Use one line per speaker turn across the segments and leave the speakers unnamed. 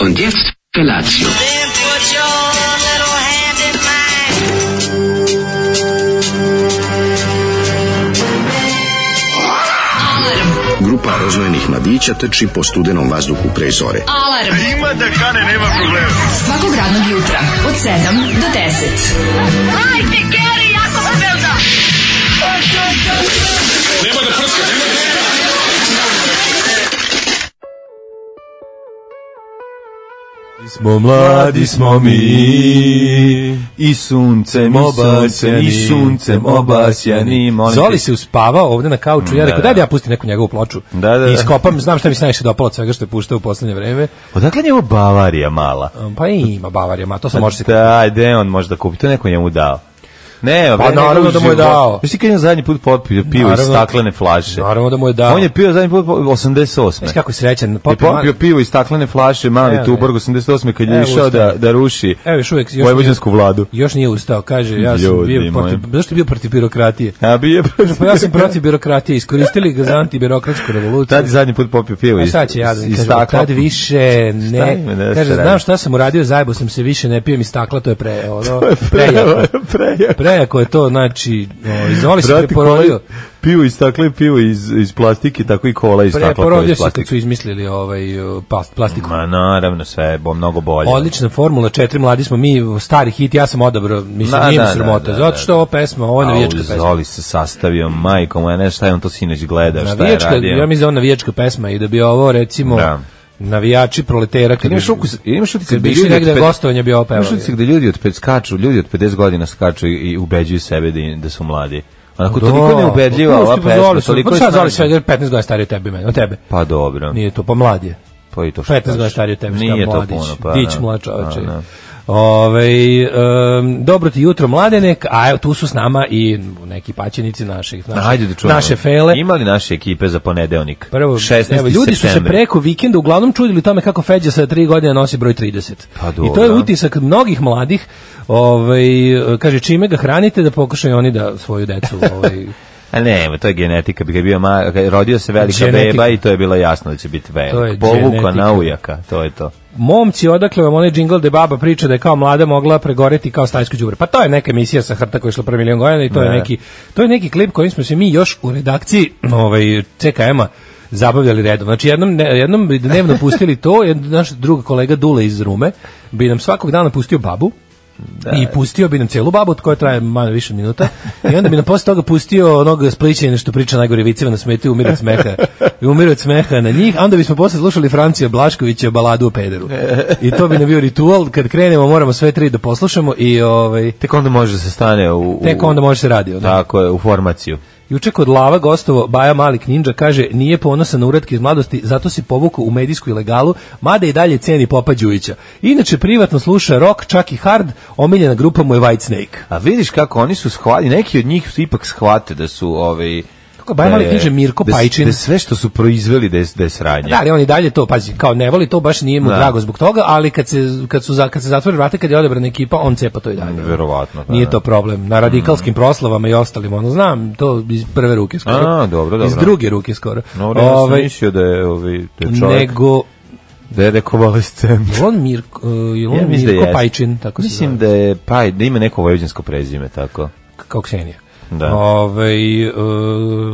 Und jetzt Felatio.
Then put your little hand in mine.
Grupa roznojenih mladića trči po studenom vazduhu pre zore.
Alarm. Ima da kane, nema problema. Svakog radnog jutra, od 7 do 10.
smo mladi smo mi
I suncem,
obasjani
i suncem obasjani. molim te.
Zoli se uspavao ovde na kauču ja rekao daj da ja pustim neku njegovu ploču
Da, da,
i
da.
iskopam znam šta mi se najviše dopalo od svega što je puštao u poslednje vreme
Odakle njemu Bavarija mala?
Um, pa ima Bavarija ma to se može se
Da, gde on može da kupi? To je neko njemu dao. Ne,
Pa naravno da mu je dao.
Jesi kad je on zadnji put popio pivo iz
Naravno.
staklene flaše?
naravno da mu je dao
On je pio zadnji put po-
Znaš
88.
kako je srećan
Je
popio
popio pivo iz staklene flaše, mali
Evo je.
Tuborg 88. kad
Evo
je išao da,
ustaje.
da ruši
Evo još uvek još
vojvođansku vladu.
još nije ustao kaže ja sam
Ljudi
bio
moji.
protiv zašto je bio protiv birokratije
A bio
pa ja sam protiv birokratije iskoristili ga za antibirokratsku revoluciju
Tad je zadnji put popio pivo
A
iz,
sad će jadan,
iz
kaže,
stakla.
tad više ne,
ima da se
kaže,
radi?
znam šta sam uradio, zajebo sam se više, ne pijem iz stakla, to je pre, ono,
Prejako.
prejako.
Prejako.
Prejako je to, znači, o, izvoli se
Brate,
preporolio.
kola- pivo iz stakla i pivo iz, iz plastike, tako i kola iz stakla koja je
Preporodio
iz
se kad su
plastike.
izmislili ovaj o, plast, plastiku.
Ma naravno, sve je bo- mnogo bolje.
Odlična formula, četiri mladi smo mi, stari hit, ja sam odabrao, mislim,
Da,
nije mi
da,
sramota,
da, da,
zato što
da.
ovo pesma, ovo je
A
navijačka pesma.
Zoli se sastavio, majko moja, ne šta je on to sinoć gledao, šta je
Navijačka,
radio.
ja mislim da je ovo navijačka pesma i da bi ovo, recimo,
Da.
navijači proletera, kad
Imaš
bi-
ukus, imaš da utice
Kad bi išli negde gostovanje bi ovo pevali.
Imaš utice gde ljudi od pet skaču, ljudi od 50 godina skaču i, i ubeđuju sebe da, da su mladi. Onako
Da.
toliko neubedljiva ova pesma, toliko
je
je
snažna. Pa
snažna.
sad Zoli sve 15 godina stariji od tebe, meni, od tebe.
Pa dobro.
Nije to, pa mlad je.
Pa i to što
15 godina
kažeš.
stariji od tebe,
Nije
šta
to
mladić.
puno, pa.
Dić
da.
mlad čoveče.
Pa, da.
Ovaj, em, dobro ti jutro mladenek, a evo tu su s nama i neki paćenici naših, naše,
Ajde da čujemo.
naše fele.
Ima li naše ekipe za ponedeonik?
Prvo,
16.
evo, ljudi su se
septembra.
preko vikenda uglavnom čudili tome kako Feđa sa 3 godine nosi broj 30.
Pa
I
dobro.
to je utisak mnogih mladih, ovaj, kaže čime ga hranite da pokušaju oni da svoju decu ovaj,
A ne, ma to je genetika. Bi ga bio ma, kad je rodio se velika
Genetika.
beba i to je bilo jasno da će biti
To je
velik. Povuka
genetika.
naujaka, to je to.
Momci, odakle vam onaj džingl da baba priča da je kao mlada mogla pregoreti kao stajsko đubre. Pa to je neka emisija sa hrta koja je išla pre milion godina i to je
Ne.
neki to je neki klip kojim smo se mi još u redakciji ovaj CKM-a zabavljali redom. Znači jednom ne- jednom bi dnevno pustili to, jed, naš drug kolega Dule iz Rume bi nam svakog dana pustio babu. I pustio bi nam celu babu, od koja traje malo više od minuta. I onda bi nam posle toga pustio onog splićenja što priča najgore viceva na smeti, umire od smeha. I umire od smeha na njih. A onda bismo posle slušali Francija Blaškovića baladu o pederu. I to bi nam bio ritual. Kad krenemo moramo sve tri da poslušamo i ovaj,
Tek onda može da se stane u... u-
tek onda može se radio. Da.
Tako je, u formaciju.
Juče kod Lava gostovo Baja Malik Ninja kaže nije ponosan na uratke iz mladosti, zato se povukao u medijsku ilegalu, mada i dalje ceni Popa Đujića. Inače privatno sluša rock, čak i hard, omiljena grupa mu je Whitesnake.
A vidiš kako oni su shvali, neki od njih su ipak shvate da su ovaj
Kako Baja Malik
da je-
Ninja, Mirko
da, s-
Pajčin.
Da je sve što su proizveli da je, da je sranje.
Da, ali on i dalje to, pazi, kao ne voli to, baš nije mu
Da.
drago zbog toga, ali kad se, kad su, za- kad se zatvore vrata, kad je odebrana ekipa, on cepa to i dalje.
Verovatno. da, Mm.
Nije
da.
to problem. Na radikalskim proslavama i ostalim, ono, znam, to iz prve ruke skoro.
A, dobro, dobro.
Iz druge ruke skoro.
No, ja sam
Ovaj,
mislio da je, ovaj, da je čovjek,
nego,
da je rekao valescent.
je li on Mirko, uh, je li on
Ja mislim da
Mirko
jeste.
Pajčin, tako se
Mislim
zove,
da je Paj, da ima neko vojvođansko prezime, tako.
kao Ksenija.
Da.
Ovaj, uh,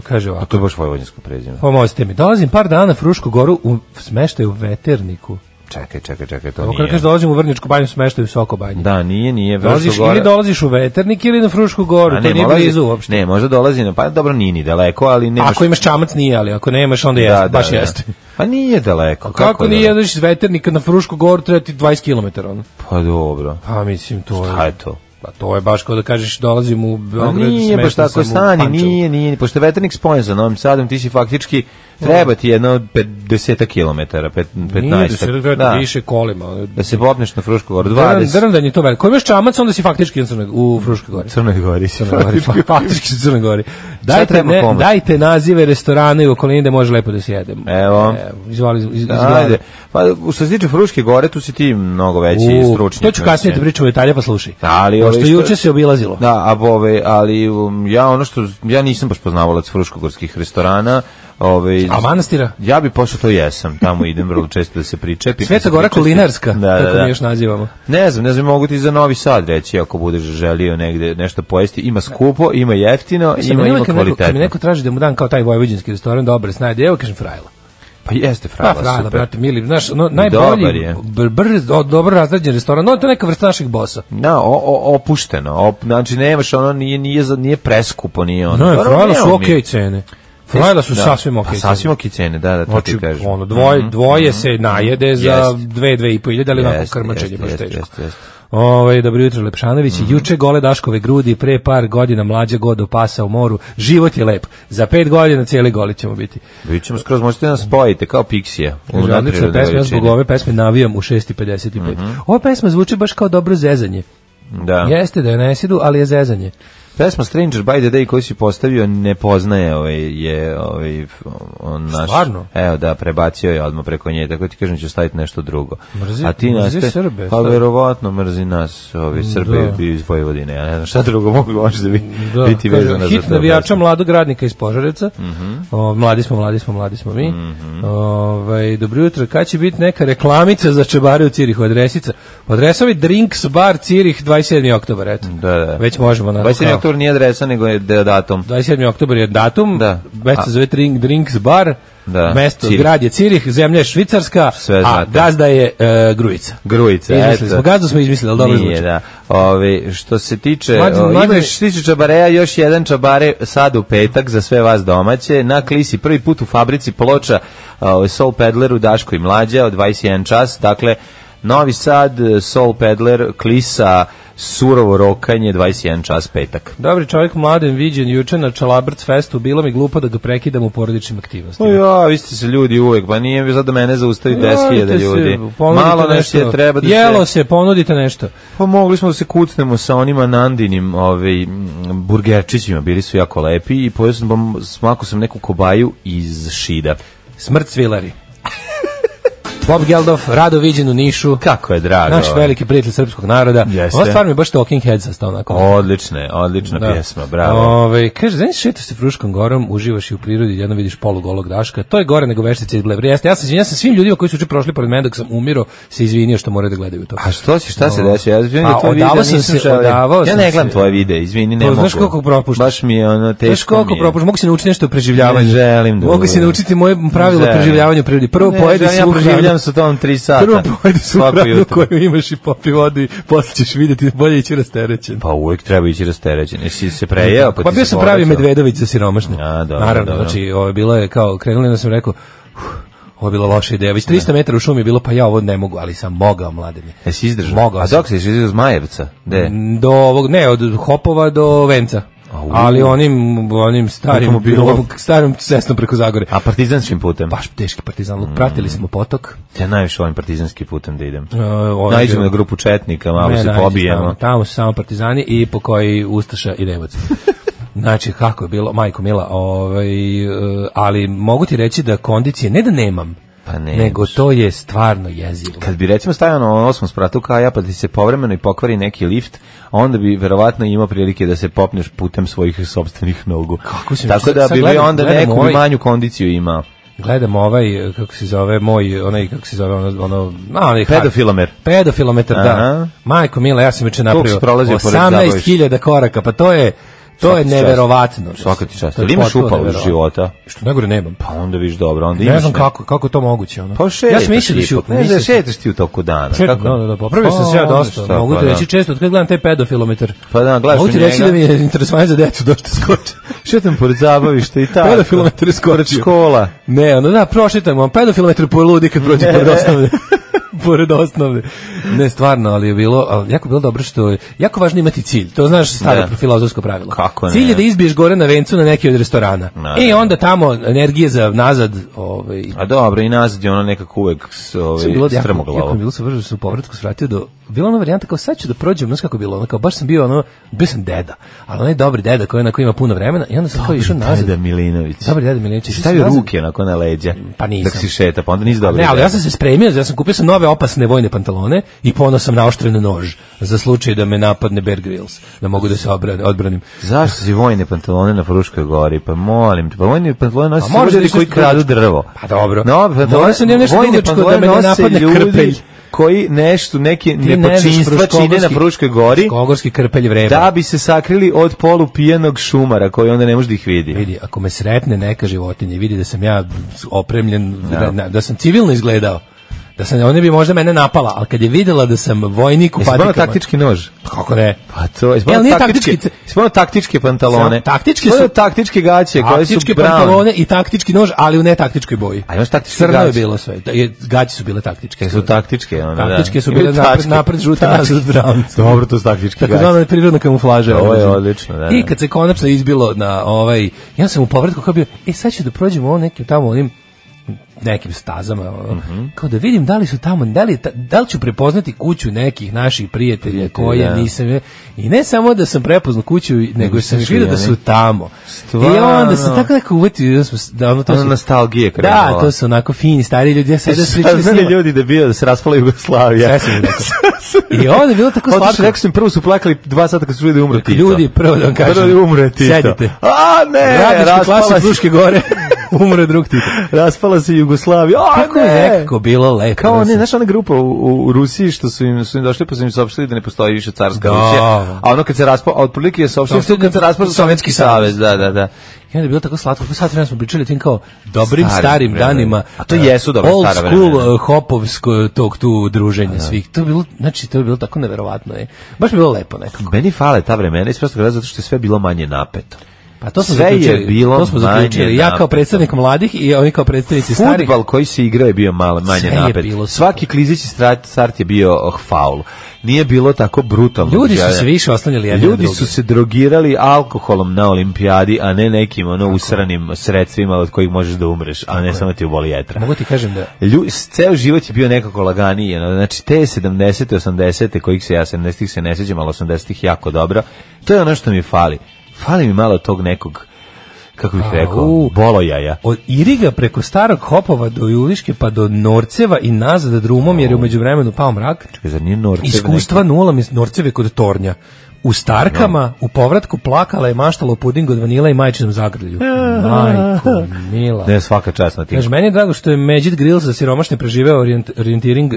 kaže ovako.
To je baš vojvođansko prezime.
Pomozite mi, dolazim par dana na Frušku goru u smeštaju u veterniku.
Čekaj, čekaj, čekaj, to
Ovo kada
nije.
kaže Pa dolazim u Vrničku banju, smeštaju u Soko banji.
Da, nije, nije.
Dolaziš
Vrško gore-
ili dolaziš u Veternik ili na Frušku
A
goru, to nije
dolazi-
blizu uopšte.
Ne, možda dolazi na, pa dobro, nije ni daleko, ali nemaš...
Ako imaš čamac nije, ali ako nemaš onda
Da,
jeste,
da,
baš
da.
jeste.
Pa nije daleko.
Kako,
je
nije,
daleko?
znaš, iz Veternika na Frušku goru treba ti 20 km, ono?
Pa dobro.
Pa mislim, to
Šta
je...
je to?
Pa to je baš kao da kažeš dolazim u
Pa
Beograd,
nije baš
smešten
tako
sam u Pančevu.
stani, nije, nije, pošto je veternik spojen sa Novim Sadom, ti si faktički, treba ti jedno 50 kilometara, pet- 15.
Da. Nije, da se da. više kolima. ono.
da se popneš na Frušku goru,
Drn,
20.
drn da je to veliko. Ko imaš čamac, onda si faktički u Crnoj- u Fruškoj gori.
Crnoj Gori si
Crnoj Gori, pa-
faktički.
faktički u Crnoj Gori. Dajte,
treba
ne,
pomoć?
dajte nazive restorana i okolini da može lepo da se jedemo.
Evo.
izvoli, iz, iz, iz glave.
Ajde. Pa, što se tiče Fruške gore, tu si ti mnogo veći
U,
stručnjak.
To ću kasnije da
mislim.
pričamo detalje, pa slušaj.
Ali,
Pošto
ovaj, što-
juče se obilazilo.
Da, a ove, ali um, ja ono što, ja nisam baš poznavalac fruškogorskih restorana, Ovaj,
A manastira?
Ja bi pošao, to jesam, tamo idem vrlo često da se pričepim.
Sveta Gora Kolinarska,
Da, da,
kako
da.
mi još nazivamo.
Ne znam, ne znam, mogu ti za Novi Sad reći ako budeš želio negde nešto pojesti. Ima skupo, ima jeftino,
Mislim,
ima,
meni
ima
uvijek kad neko- Kad mi
kvalitetno.
neko traži da mu dam kao taj vojvođanski restoran, dobre snajde, evo kažem frajla.
Pa jeste
Pa,
frajla,
frajla,
super.
brate, mili, znaš, no,
Dobar
najbolji,
je.
br, brz, o, dobro razrađen restoran, no to je neka vrsta naših bosa.
Da, o, o, opušteno. Op, znači, nemaš ono, nije, nije, za- nije preskupo, nije ono. Pa
Ne,
Dobro,
frajla su
nemamo mi.
okej cene. Frajla su
Da,
sasvim okej
pa
cene.
Sasvim okej cene, da, da, to
Znači,
ti kažem. Mhm.
ono, dvoje, dvoje se najede za
Jeste.
dve, dve i po iljede, ali onako
Jeste,
krmačenje
jeste,
baš
jeste,
teško.
jeste, jeste.
Ove, dobro jutro, Lepšanović.
Mhm.
Juče gole Daškove grudi, pre par godina mlađa god do pasa u moru. Život je lep. Za pet godina cijeli goli ćemo biti.
Vi ćemo skroz, možete da nas spojite, kao Pixija. u
Kaže, odlična
nadprirodnoj
pesma, ja
veličini.
zbog ove pesme navijam u 6.55. Ova pesma zvuči baš kao dobro zezanje.
Mhm. Da.
Jeste da je ne sidu, ali je zezanje.
Pesma Stranger by the Day koju si postavio ne poznaje ovaj, je ovaj, f- on naš...
Stvarno?
Evo da, prebacio je odmah preko nje, tako ti kažem da ću staviti nešto drugo.
Mrzi-
A ti
mrzi
nastaje-
Srbe,
Pa
šta?
verovatno mrzi nas, ovi Srbe
Da.
iz Vojvodine, ja ne znam šta drugo mogu možda bi,
Da,
biti
kaže,
vezano za Mhm.
hit
to.
navijača mladog radnika iz Požareca. o, mladi smo, mladi smo, mladi smo mi.
Mhm.
Ovaj, dobro jutro, kad će biti neka reklamica za čebare u Cirihu adresica? Adresovi Drinks Bar Cirih 27. oktobar, eto.
Da, da.
Već možemo. onako
27.
kao-
oktober nije adresa, nego je de- datum.
27. oktobar je datum,
Da.
mesto se zove Drink, Drinks Bar,
Da,
mesto,
Cirih.
grad je Cirih, zemlja je Švicarska,
Sve
a
znate.
gazda je e, Grujica.
Grujice,
Izmislili
eto.
smo, gazdu smo izmislili, ali dobro
Nije,
zvuči.
da. Ove, što se tiče,
Mlađe-
o,
mlađe-
imaš što se tiče čabareja, još jedan čabare sad u petak za sve vas domaće. Na Klisi prvi put u fabrici ploča o, Soul Pedler u Daško i Mlađa od 21 čas. Dakle, Novi Sad, Soul Pedler, Klisa, surovo rokanje, 21 čas petak.
Dobri čovjek mladen viđen juče na Čalabrc festu, bilo mi glupo da ga prekidam u
O
porodičnim aktivnostima.
Pa ja, vi ste se ljudi uvek, pa nije mi da mene zaustavi 10.000
Javite se,
ljudi.
ponudite
Malo nas
nešto.
je treba da
Jelo se, ponudite nešto.
Pa mogli smo da se kucnemo sa onima Nandinim ovaj, m, burgerčićima, bili su jako lepi i pojel sam, bom- smakao sam neku kobaju iz šida.
Smrt svilari. Bob Geldof, rado viđen u Nišu.
Kako je drago.
Naš
ovaj.
veliki prijatelj srpskog naroda.
Jeste.
Ova stvar mi je baš Talking Heads onako.
Odlična je, odlična
Da.
pjesma, bravo.
Ove, kaže, znaš, šetaš se Fruškom gorom, uživaš i u prirodi, jedno vidiš polugolog daška. To je gore nego veštice iz Blevri. Jeste, ja sam, ja sam svim ljudima koji su uče prošli pored mene dok sam umiro, se izvinio što moraju da gledaju to.
A što si, šta se desio? Ja, izvini,
A,
da tvoje
Pa, odavao
videa
sam
nisam
se,
želeo.
odavao
ja
sam
ne
se.
gledam tvoje videe, izvini, ne
Pa,
mogu.
znaš koliko propuštaš?
Baš mi je ono teško
Znaš koliko
mi je.
propuštaš? Mogu se naučiti nešto o preživljavanju.
Ne želim da
Mogu se
budem.
naučiti moje pravilo
Ne želim.
preživljavanja u prirodi. Prvo
Ne,
pojedi
želim, ja
svu
proživljam
hranu.
sa tom 3 sata.
Prvo pojedi svu
svako
hranu
jutro.
koju imaš i popi vodu i posle ćeš vidjeti da bolje ići rasterećen.
Pa uvek treba ići rasterećen. Jesi se prejeo?
Pa,
e, ti
bio
se
sam pravi
povećao?
Medvedović za siromašne.
A, dobro,
Naravno,
dobro.
znači, ovo je bilo je kao, krenuli da sam rekao, "Uf, ovo je bila loša ideja.
Da.
Već 300 metara u šumi je bilo, pa ja ovo ne mogu, ali sam mogao, mladene.
Jesi izdržao?
Mogao
A
sam.
dok si izdržao iz Majevca? De?
E. Do ovog, ne, od Hopova do Venca.
Au.
Ali onim, onim starim,
Automobilom.
starim cestom preko Zagore.
A partizanskim putem?
Baš teški partizan luk.
Mm.
Pratili smo potok.
Ja najviše volim partizanski putem da idem.
E, ovaj-
Najđemo na grupu četnika, malo
Ne,
se
nađe
pobijemo.
Tamo, tamo su samo partizani i po koji Ustaša i Nemoc. Znači, kako je bilo, majko mila, ovaj, e, ali mogu ti reći da kondicije, ne da nemam,
Pa ne.
nego to je stvarno jezivo.
Kad bi recimo stavio na osmom spratu kaja, pa ti se povremeno i pokvari neki lift, onda bi verovatno imao prilike da se popneš putem svojih sobstvenih nogu.
Kako si-
Tako
sad-
da
sad
bi
gledam-
onda
gledam
neku
ovaj-
manju kondiciju imao.
Gledam ovaj, e, kako se zove, moj, onaj, kako se zove, ono, ono, na, onaj har-
Pedofilomer.
Pedofilometar, da.
Aha.
Majko mila, ja sam juče napravio
si prolazio pored zabavišta.
18.000 koraka, pa to je, to
Svaka
je
ti čast.
neverovatno.
Svaka ti čast.
To je
Ili imaš
potpuno
upalu
neverovatno.
života?
Što najgore nemam.
Pa onda viš dobro, onda imaš...
Ne znam
ne-
kako, kako je to moguće. Ono.
Pa
ja
šetaš
sam mislio da
ipak,
ću...
ne
mislio
znaš,
sam-
šetaš ti u toku dana.
Šetam,
kako?
da, da, da, popravio sam
Pa,
se ja dosta,
onda šta,
mogu ti
pa da.
reći često, od kad gledam taj pedofilometar,
Pa da, gledaš
mogu ti
u
reći
njega.
da mi je interesovanje za decu dosta skoče.
Šetam pored zabavišta i tako.
Pedofilometar je skočio.
Škola.
Ne, ono da, prošitam, on pedofilometar poludi kad prođe pored osnovne. pored osnovne. Ne, stvarno, ali je bilo, ali jako je bilo dobro što je, jako važno imati cilj. To znaš staro
Ne.
filozofsko pravilo.
Da. Kako ne?
Cilj je da izbiješ gore na vencu na neki od restorana.
Naravno.
I onda tamo energije za nazad, ovaj,
A dobro, i nazad je ono nekako uvek s-
Sve je bilo
ovaj,
jako, jako
strmoglavo.
mi je bilo super što sam u povratku svratio do, bila ona varijanta kao sad ću da prođem, znaš kako je bilo, ono kao baš sam bio ono, bio sam deda, ali onaj dobri deda koji onako ima puno vremena i onda sam kao išao nazad.
Deda Milinović.
Dobar deda Milinović.
Si Stavio
Nazad.
ruke onako na leđa.
Pa nisam.
Dok si šeta, pa onda nisi dobro.
Ne, ali ja sam se spremio, ja sam kupio sam nove opasne vojne pantalone i ponosom naoštren nož za slučaj da me napadne Bear Grylls, da mogu da se obrane, odbranim.
Zašto si vojne pantalone na Fruškoj gori? Pa molim te, pa vojne pantalone nosi
A
samo
moraš da
ljudi
nešto
koji
drugačije.
kradu drvo.
Pa dobro.
No,
Morao sam ja nešto
vojne
drugačko da
pantalone
me ne
nose
napadne
ljudi
krpelj.
koji nešto, neke
Ti ne znaš
nepočinstva čine na
fruškogorski-
Fruškoj gori
Fruškogorski krpelj vreba.
da bi se sakrili od polu pijenog šumara koji onda ne može da ih vidi.
Vidi, ako me sretne neka životinja i vidi da sam ja opremljen, da, da sam civilno izgledao, da sam, ona bi možda mene napala, ali kad je videla da sam vojnik u
Jesi
patikama...
ponao taktički nož?
Kako ne?
Pa to je
Jel
spolno
nije
taktički,
taktički-
spolno taktičke pantalone.
Samo taktičke
Spolno
su-
taktičke gaće koje su
Taktičke
brown.
pantalone i taktički nož, ali u ne taktičkoj boji.
A imaš taktičke
Crno je
gaće?
bilo sve. Da, je- Gaće su bile taktičke.
Su taktičke, ono, da.
Taktičke su
Imaju
bile napred-
tačke.
napred žute,
Tačke.
nazad brown.
Dobro, to su taktičke
Tako
gaće.
zvana prirodna kamuflaža.
Ovo je
Ono,
odlično, da,
I
da.
kad se konačno izbilo na ovaj, ja sam u povratku kao bio, e sad ću da prođem ovo nekim tamo onim nekim stazama, ono,
Mhm.
kao da vidim da li su tamo, da li, je ta- da li ću prepoznati kuću nekih naših prijatelja koje
da.
nisam, i ne samo da sam prepoznao kuću, nego sam još
svi
vidio da
oni.
su tamo. I
Stvarno.
onda sam tako neko uvetio, da, smo, da ono to
Ono
su-
nostalgije
Da,
krenula. E,
to su onako fini, stari ljudi, ja sada sličili s
Saznali
njima.
ljudi da je bio da se raspala Jugoslavija.
Sve sam im rekao. I onda je bilo tako
Otišli,
slatko.
rekao sam, prvo su plakali dva sata kad su ljudi umro Tito.
Ljudi, prvo da vam kažem.
Prvo da umre Tito.
Sedite.
A ne,
Radnička klasa
E, raspala se,
Fruške gore. E, Umro je drug Tito.
raspala se Jugoslavija. A
Kako
Pa ne.
je nekako bilo lepo.
Kao
da
ne,
sam-
znaš ona grupa u, u, u Rusiji što su im, su im došli pa su im saopštili da ne postoji više carska
Da.
Rusija. A ono kad se raspao, a otprilike je saopštili
Saopštili
kad se raspao Sovjetski
Sovjetski
savez, da, da, da.
I onda je bilo tako slatko. Kako sad vremena smo pričali o tim kao dobrim
Starim
starim,
vremenima.
danima.
A to jesu dobra
old
stara
school
vremena.
uh, hopovsko tog tu druženja svih. To je bilo, znači to je bilo tako neverovatno. Je. Baš je bilo lepo nekako.
Meni fale ta vremena iz prostog razloga zato što je sve bilo manje napeto.
Pa to smo
Sve je
zaključili.
bilo
to smo
manje
zaključili. Ja
napeto.
kao predstavnik mladih i oni kao predstavnici starih.
Fudbal koji se igrao je bio malo manje
Sve je
napet.
bilo super.
Svaki klizići strat- start je bio oh, faul. Nije bilo tako brutalno.
Ljudi
želja.
su se više oslanjali jedni na
Ljudi
druge.
su se drogirali alkoholom na olimpijadi, a ne nekim ono usranim sredstvima od kojih možeš da umreš, a ne samo ti uboli jetra.
Mogu ti kažem da
Lju, s- ceo život je bio nekako laganiji, ono, znači te 70. 80. kojih se ja 70. se ne sjećam, ali 80. jako dobro, to je ono što mi fali. Fali mi malo tog nekog, kako bih
A,
rekao,
u.
bolojaja.
od Iriga preko starog Hopova do Juliške pa do Norceva i nazad drumom jer je u međuvremenu pao mrak.
Zar nije Norcev
Iskustva nula mi Norceve kod Tornja. U Starkama,
Da.
u povratku plakala je maštala u pudingu od vanila i majčinom zagrlju. Majko, mila.
neki? Ne, svaka čast na tim.
Kaže, meni je drago što je Međid Grill za siromašne preživeo orijent, orijentiring e,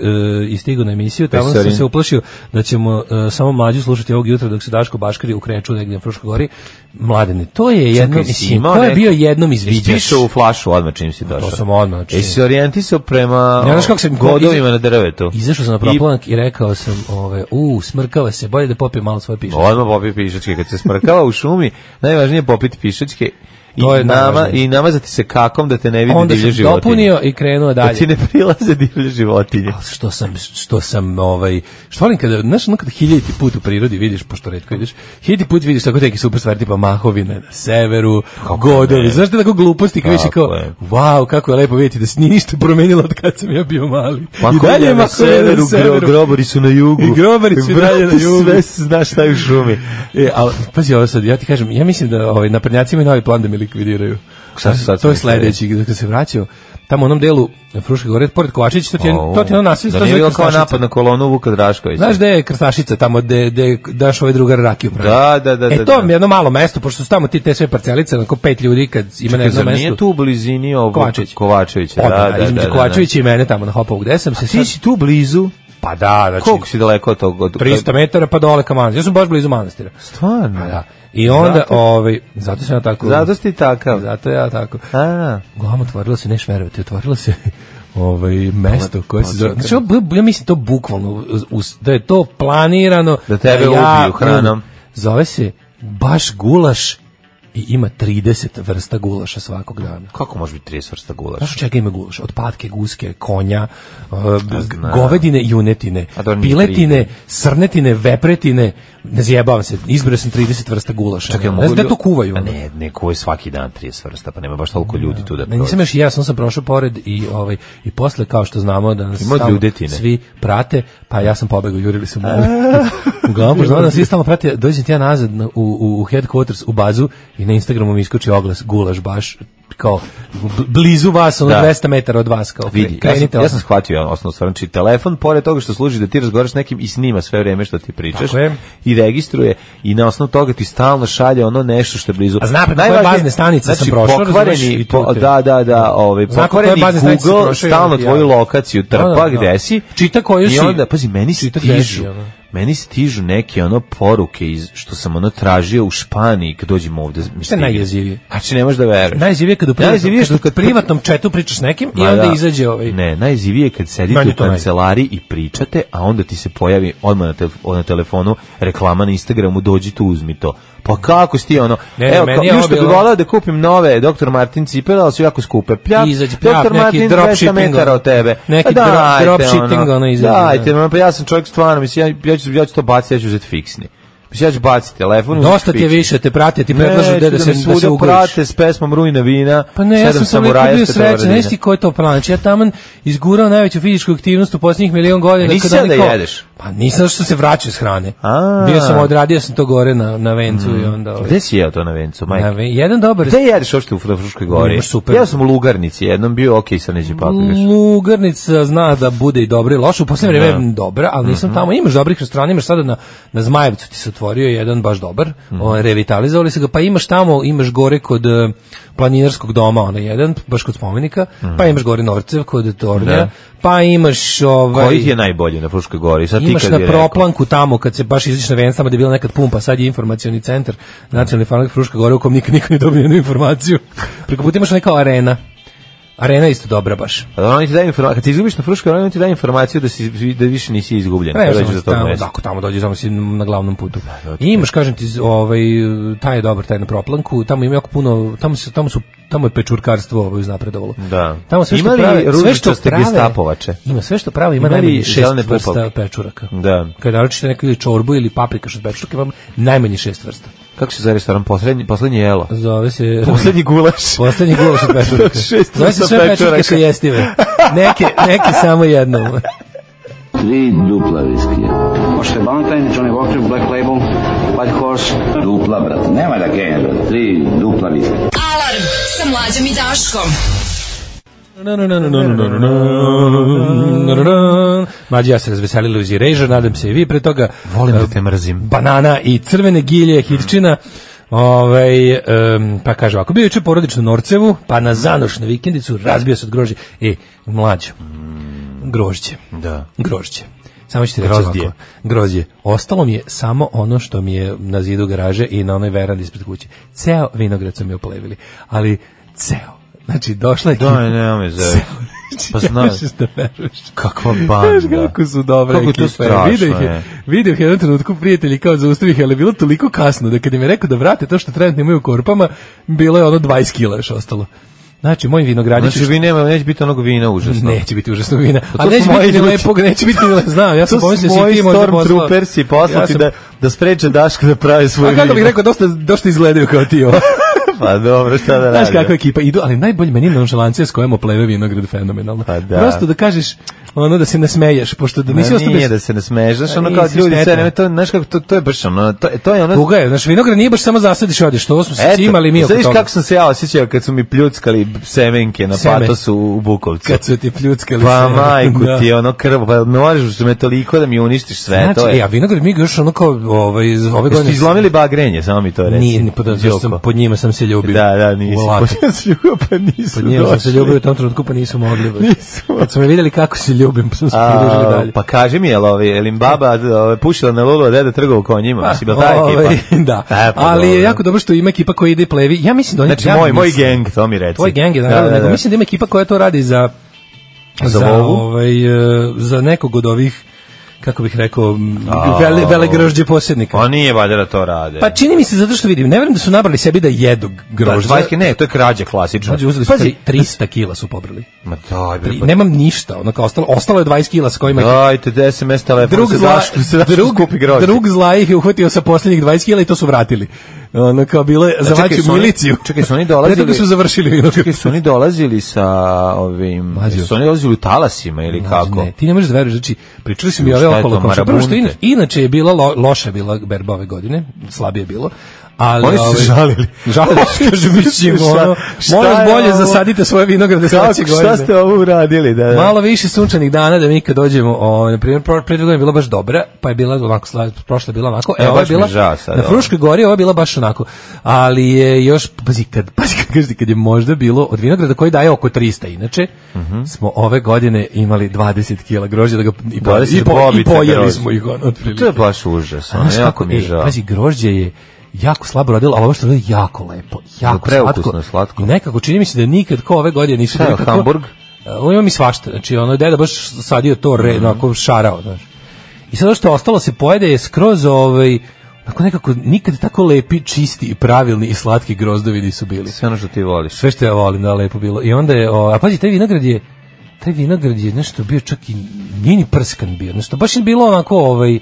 i stigao na emisiju, tamo
Pesari.
sam se uplašio da ćemo e, samo mlađu slušati ovog jutra dok se Daško Baškari ukreću negdje na Fruškoj gori. Mladene, to je jedno,
Čekaj, si
mislim,
imao
to je
neko-
bio jednom
Jesi
izviđaš.
pišao u flašu odmah čim si došao.
To sam odmah. znači-
Jesi orijentisao prema
Ne znaš kako sam-
godovima na drvetu?
Izašao sam na proplanak i, rekao sam, ove, u, smrkava se, bolje da popijem malo svoje piše.
Pa Odmah popi pišačke. Kad se smrkava u šumi, najvažnije je popiti pišačke i,
To je
nama,
najvažnije.
i namazati se kakom da te ne vidi
Onda
divlje
sam
životinje.
dopunio i krenuo
Da
dalje.
ti ne prilaze divlje životinje.
A što sam što sam ovaj što volim kada znaš ono kada hiljaditi put u prirodi vidiš pošto retko ideš hiljaditi put vidiš tako neke super stvari tipa mahovine na severu godovi znaš te tako gluposti kao više
Tako
kao
je.
wow kako je lepo vidjeti da se nije ništa promenilo od kad sam ja bio mali
Pa
i dalje je
na
mahovina
severu, gro- grobari su na jugu.
I grobari su i dalje na
Brate,
jugu.
Sve se znaš šta je u šumi.
E, ali, pazi ovo sad, ja ti kažem, ja mislim da ovaj, naprednjaci imaju novi plan da me likvidiraju.
Šta su sad
to je
smislili?
sledeći, dok se vraćao, tamo u onom delu Fruške gore, pored Kovačić, to ti je, to ti je ono nasilje,
Da
to
nije
je
bilo kao
Krstašica.
napad na kolonu Vuka Draškovića.
Znaš da gde je Krstašica, tamo gde, gde daš ovaj drugar rakiju pravi?
Da, da, da, da,
E, to
da.
je jedno malo mesto, pošto su tamo ti te sve parcelice, onako pet ljudi kad ima na
Čekaj,
jednom
zar
mestu.
nije tu u blizini ovog
Kovačević.
Kovačevića, da,
Odmah,
da, da,
između
da, da.
Kovačevića i mene tamo na Hopovu, gde sam se
Ti
sad...
si tu blizu?
Pa da, znači,
Koliko si daleko od tog? Od,
300 metara pa dole ka manastiru. Ja sam baš blizu manastira.
Stvarno?
Pa da. I onda,
Zato-
ovaj, zato sam ja tako...
Zato si ti takav.
Zato ja tako.
A,
Uglavnom otvorilo se, neš verovati, otvorilo se ovaj mesto koje se zove.
Pa, čekaj.
Znači, ja, ja mislim to bukvalno, uz- uz- da je to planirano.
Da tebe ubiju hranom.
Zove se baš gulaš i ima 30 vrsta gulaša svakog dana.
kako može biti 30 vrsta
Znaš
gulaša?
od čega ima gulaš? Od patke, guske, konja, uh,
Pa znam.
govedine, junetine,
A dobro, nije
piletine, srnetine, vepretine, ne zjebavam se, izbrao sam 30 vrsta gulaša.
Čekaj,
ne
mogu
znam da
lju-
to kuvaju.
A
ono.
Ne, ne kuvaju svaki dan 30 vrsta, pa nema baš toliko ljudi tu da
Ne,
prođe.
nisam još i ja, sam sam prošao pored i ovaj i posle kao što znamo da nas
Ima od
stalno
ljudetine.
svi prate, pa ja sam pobegao, jurili su me. Uglavnom pošto znam da nas svi stalno prate, dođem ti ja nazad na- u, u, u headquarters u bazu i na Instagramu mi iskoči oglas gulaš baš kao b- blizu vas, ono
Da.
200 metara od vas, kao
Vidi, ja sam,
krenite.
ja
ono.
sam shvatio osnovno stvar. Znači, telefon, pored toga što služi da ti razgovaraš s nekim i snima sve vreme što ti pričaš
Tako je.
i registruje i na osnovu toga ti stalno šalje ono nešto što je blizu.
A zna preko koje
Najvažnije- znači,
bazne stanice sam prošao, razumeš,
pokvareni,
i tu
po-
te-
da, da, da, ovaj,
Zna preko
pokvareni
koje bazne stanice sam
Google
prošao i
stalno
onda ti
tvoju
javi.
lokaciju trpa
Da, da, da.
gde si.
Čita koju
I
si.
onda, pazi, meni
Čita
stižu,
gde si, ono.
meni stižu neke ono poruke iz, što sam ono tražio u Španiji kad dođemo ovde. mi stigne.
najjezivije?
Znači, ne možeš da veruješ.
Najzivije kad u
Najjezivije
privatnom,
je što
kad u privatnom četu pričaš s nekim i
Ma
onda
da.
izađe ovaj...
Ne, najzivije je kad sedite
Meni
u
to naj-
kancelariji i pričate, a onda ti se pojavi odmah na, telef- na telefonu reklama na Instagramu, dođi tu, uzmi to. Pa kako si ti ono?
Ne, ne,
evo,
meni
kao,
je
još
ovo
što bi
bilo-
volao da kupim nove Dr. Martin cipele, ali su jako skupe. Pljak,
I izađe pljak,
Dr.
neki
Martin 200
dropshipping,
metara
ono.
od tebe.
Neki
Pa
dro-
dajte,
dropshipping, ono, izađe,
Dajte,
da.
ma, pa ja sam čovjek stvarno, mislim, ja, ja, ću, ja ću to baciti, ja ću uzeti fiksni. Mislim, ja ću baciti telefon, uzeti
Dosta ti je
fiksni.
više, te prate, ti
Ne,
predlažu gde
ću
da
me
se, da se
svuda
ugojiš.
prate s pesmom Rujna vina,
Pa ne, ja
sedam
sam sam uvijek
samuraja,
bio
Stefana
srećan,
Radina.
znaš ti ko je to plan? Znači, Ja taman izgurao najveću fizičku aktivnost u posljednjih milion godina.
A nisi
kad
sad
oni
da
kao-
jedeš?
Pa nisam što se vraćao s hrane.
A.
Bio sam, odradio sam to gore na, na vencu i onda... Ovaj,
Pa Gde si jeo to na vencu, majke?
na ve- jedan dobar
Gde jedeš uopšte u Fruškoj gori?
Imaš super.
Ja sam u Lugarnici jednom bio, okej, sa neđe paprikaš.
Lugarnica zna da bude i dobra i loša, u posljednje vreme
Da.
dobra, ali nisam
Mhm.
tamo, imaš dobrih restorana, imaš sada na, na Zmajevcu ti se otvorio jedan baš dobar,
Mhm.
ovaj, revitalizovali se ga, pa imaš tamo, imaš gore kod eh, planinarskog doma, onaj jedan, baš kod spomenika, pa imaš gore Norcev kod Tornja,
Mhm. Da.
pa imaš ovaj,
Koji ti je najbolji na Fruškoj gori? Sad ti
imaš
kad
na
bi rekao.
proplanku tamo kad se baš izađeš na venstama da je bila nekad pumpa, sad je informacioni centar Nacionalni farmak Fruška Gora u kom nikad niko ne dobije jednu informaciju. Preko puta imaš neka arena. Arena je isto dobra baš.
A Oni ti daju informaciju, kad ti izgubiš na Fruškoj gori, oni ti daju informaciju da, si, da više nisi izgubljen.
Ne,
Kad
znam,
dođeš do tog
tamo,
mesta. Da,
da, ako tamo dođeš, tamo si na glavnom putu. I imaš, kažem ti, ovaj, taj je dobar, taj na proplanku, tamo ima jako puno, tamo, se, tamo, su, tamo je pečurkarstvo ovo uznapredovalo.
Da.
Tamo sve
Ima
što
li
prave, sve što
ružičaste
prave,
gestapovače?
Ima sve što prave, ima,
Ima li
najmanje šest
zelene
vrsta
pupavke?
pečuraka.
Da.
Kada naručite neku ili čorbu ili paprikaš od pečuraka, imam najmanje šest vrsta.
Kako se zove restoran? Poslednji, poslednji jelo.
Zove se...
Poslednji gulaš.
Poslednji gulaš od pečuraka.
Šest
Zove se
vrsta
sve pečurke
pečuraka.
su jestive. Neke, neke samo jednom.
Tri dupla viskija. Možete Valentine, Johnny Walker, Black Label, White Horse. Dupla, brate. Nema da genja, brate. Tri dupla viskija.
Alarm sa mlađom i Daškom.
Mlađi ja se razveselili uz Reža, nadam se i vi pre toga. eh,
Volim da te mrzim.
Banana i crvene gilje, hitčina. Ovaj em, pa kaže ovako, bio je juče porodično u Norcevu, pa na zanoš na vikendicu razbio se od grožđe. E, mlađo, grožđe.
Da.
Grožđe. Samo ću ti reći
Grozdje.
ovako. Grozdje. Ostalo mi je samo ono što mi je na zidu garaže i na onoj verandi ispred kuće. Ceo vinograd su mi oplevili, ali ceo. Znači, došla je
Da, ne, me zove. Pa znaš,
Možeš da veruješ.
kakva
Znaš
banda.
kako su dobre
Kako je to
ekipe.
strašno,
Video ih
je.
je, video ih je u jednom trenutku prijatelji kao zaustavih, ali je bilo toliko kasno da kad im je rekao da vrate to što trenutno imaju u korpama, bilo je ono 20 kila još ostalo. Znači, moj vinogradić
Znači, vi nema, neće biti onog vina užasno.
Neće biti užasno vina.
to
A neće
su moji
biti ni
ljudi.
lepog, neće biti ni le- Znam, ja sam
To
pomislio
su
da si
moji
ti možda poslao.
stormtroopersi poslati
Ja sam-
da, da spreče Daška da pravi svoje
A
vino.
kako bih rekao, dosta, dosta izgledaju kao ti ovo.
Pa dobro, šta da radim?
Znaš kakva ekipa idu, ali najbolje meni je nonšalancija s kojom opleve vinograd fenomenalno.
Pa da.
Prosto da kažeš, ono da se nasmeješ, pošto da nisi
Nisi
ostao
nije
bez E,
da se ne smežeš,
A
ono
nisi
kao ljudi
štetan.
sve vreme, to, znaš kako, to, to je baš ono, to, to je ono...
Tuga je, znaš, vinograd nije baš samo zasadiš i odeš, to smo se imali mi oko
znaš
toga.
kako sam se ja osjećao kad su mi pljuckali semenke na
Seme.
patosu u Bukovcu.
Kad su ti pljuckali
pa
se.
majku
Da.
ti, ono krv, pa možeš me toliko da mi uništiš sve,
Znači,
to je...
e, a vinograd mi ga još ono kao ovaj, iz ove godine...
Jeste izlomili bagrenje, samo mi to reći.
Nije, ni, pa da, zašto sam, pod njima sam se ljubio.
Da, da, nisi.
U laku.
Pa ja sam ljubio, pa nisu
Pod njima sam se
došli.
ljubio u tom trenutku, pa nisu mogli. baš.
Nisu.
Kad su me vidjeli kako se ljubim, pa sam se
A,
pridružili dalje.
pa kaži mi, jel, ovaj, jel im baba ovaj, pušila na lulu, a deda trgao u konjima? Pa, bila ta
Ovaj,
ekipa?
da,
E, pa
ali je
dobro.
jako dobro što ima ekipa koja ide i plevi. Ja mislim da oni...
Znači,
ja
moj, moj
mislim-
geng, to mi reci.
Tvoj gang je, naravno, nego mislim da ima ekipa koja to radi za
Za
za,
lovu?
ovaj, e, za nekog od ovih kako bih rekao, m,
A.
vele, vele grožđe posjednika.
Pa nije valjda da to rade.
Pa čini mi se zato što vidim, ne vjerujem da su nabrali sebi da jedu
Da,
grožđe.
dvajske, ne, to je krađa klasična.
Pazi, uzeli su tri- 300 kila su pobrali.
Ma daj, bre,
Tri-
pa-
nemam ništa, ono kao ostalo, ostalo je 20 kila sa kojima je
Dajte, da SMS telefon,
drug
se
zla,
zašto se zašto
drug,
skupi grožđe.
drug zla ih je uhvatio sa posljednjih 20 kila i to su vratili. Ono kao bilo je za
čekaj,
vaću
su oni-
miliciju.
čekaj, su oni
Pre toga
dolazili-
su završili vinograd.
su oni dolazili sa ovim,
Mlađo.
su oni dolazili u talasima ili
Mlađe,
kako?
Ne, ti ne možeš da veruješ, znači pričali su mi
Šta
ove
je to,
okolo komšije. Prvo što
marabunte?
inače, inače je bila lo, loša je bila berba ove godine, slabije je bilo. Ali, ovaj,
Oni su se žalili.
Žalili su, kaže, mi ćemo, ono,
Šta- šta
molim vas
je
bolje
ovo?
zasadite svoje vinograde
Kako,
sledeće godine.
šta ste ovo uradili? Da, da.
Malo više sunčanih dana da mi kad dođemo, o, na primjer, pro- pre dve godine je bila baš dobra, pa je bila ovako, sla- prošla je bila onako, e,
E,
ova je
baš mi je
bila,
žao sad,
na
ovo.
Fruškoj gori ova je bila baš onako, ali je još, pazi, kad, pazi, kad, kažete, kad je možda bilo od vinograda koji daje oko 300, inače,
Mhm.
smo ove godine imali 20 kila grožđa da ga i, po,
20
i, po, i
bobica
pojeli
grožđa.
smo ih, ono, otprilike.
To je baš užas. ono,
Znaš
Jako
kako,
mi je
e,
žao.
pazi, grožđe je jako slabo rodilo, ali ovo što je rodilo je jako lepo, jako
preukusno,
slatko.
slatko.
I nekako čini mi se da nikad ko ove godine nisu
Šta je,
bili kako-
Hamburg?
E, On ima mi svašta, znači ono je deda baš sadio to re,
Mhm.
onako šarao, znaš. I sad ovo što je ostalo se pojede je skroz ovaj, onako nekako nikad tako lepi, čisti i pravilni i slatki grozdovi nisu bili.
Sve ono što ti voliš.
Sve što ja volim da lepo bilo. I onda je, o, a pazi, taj vinograd je, taj vinograd je nešto bio čak i, nije ni prskan bio, nešto baš je bilo onako ovaj,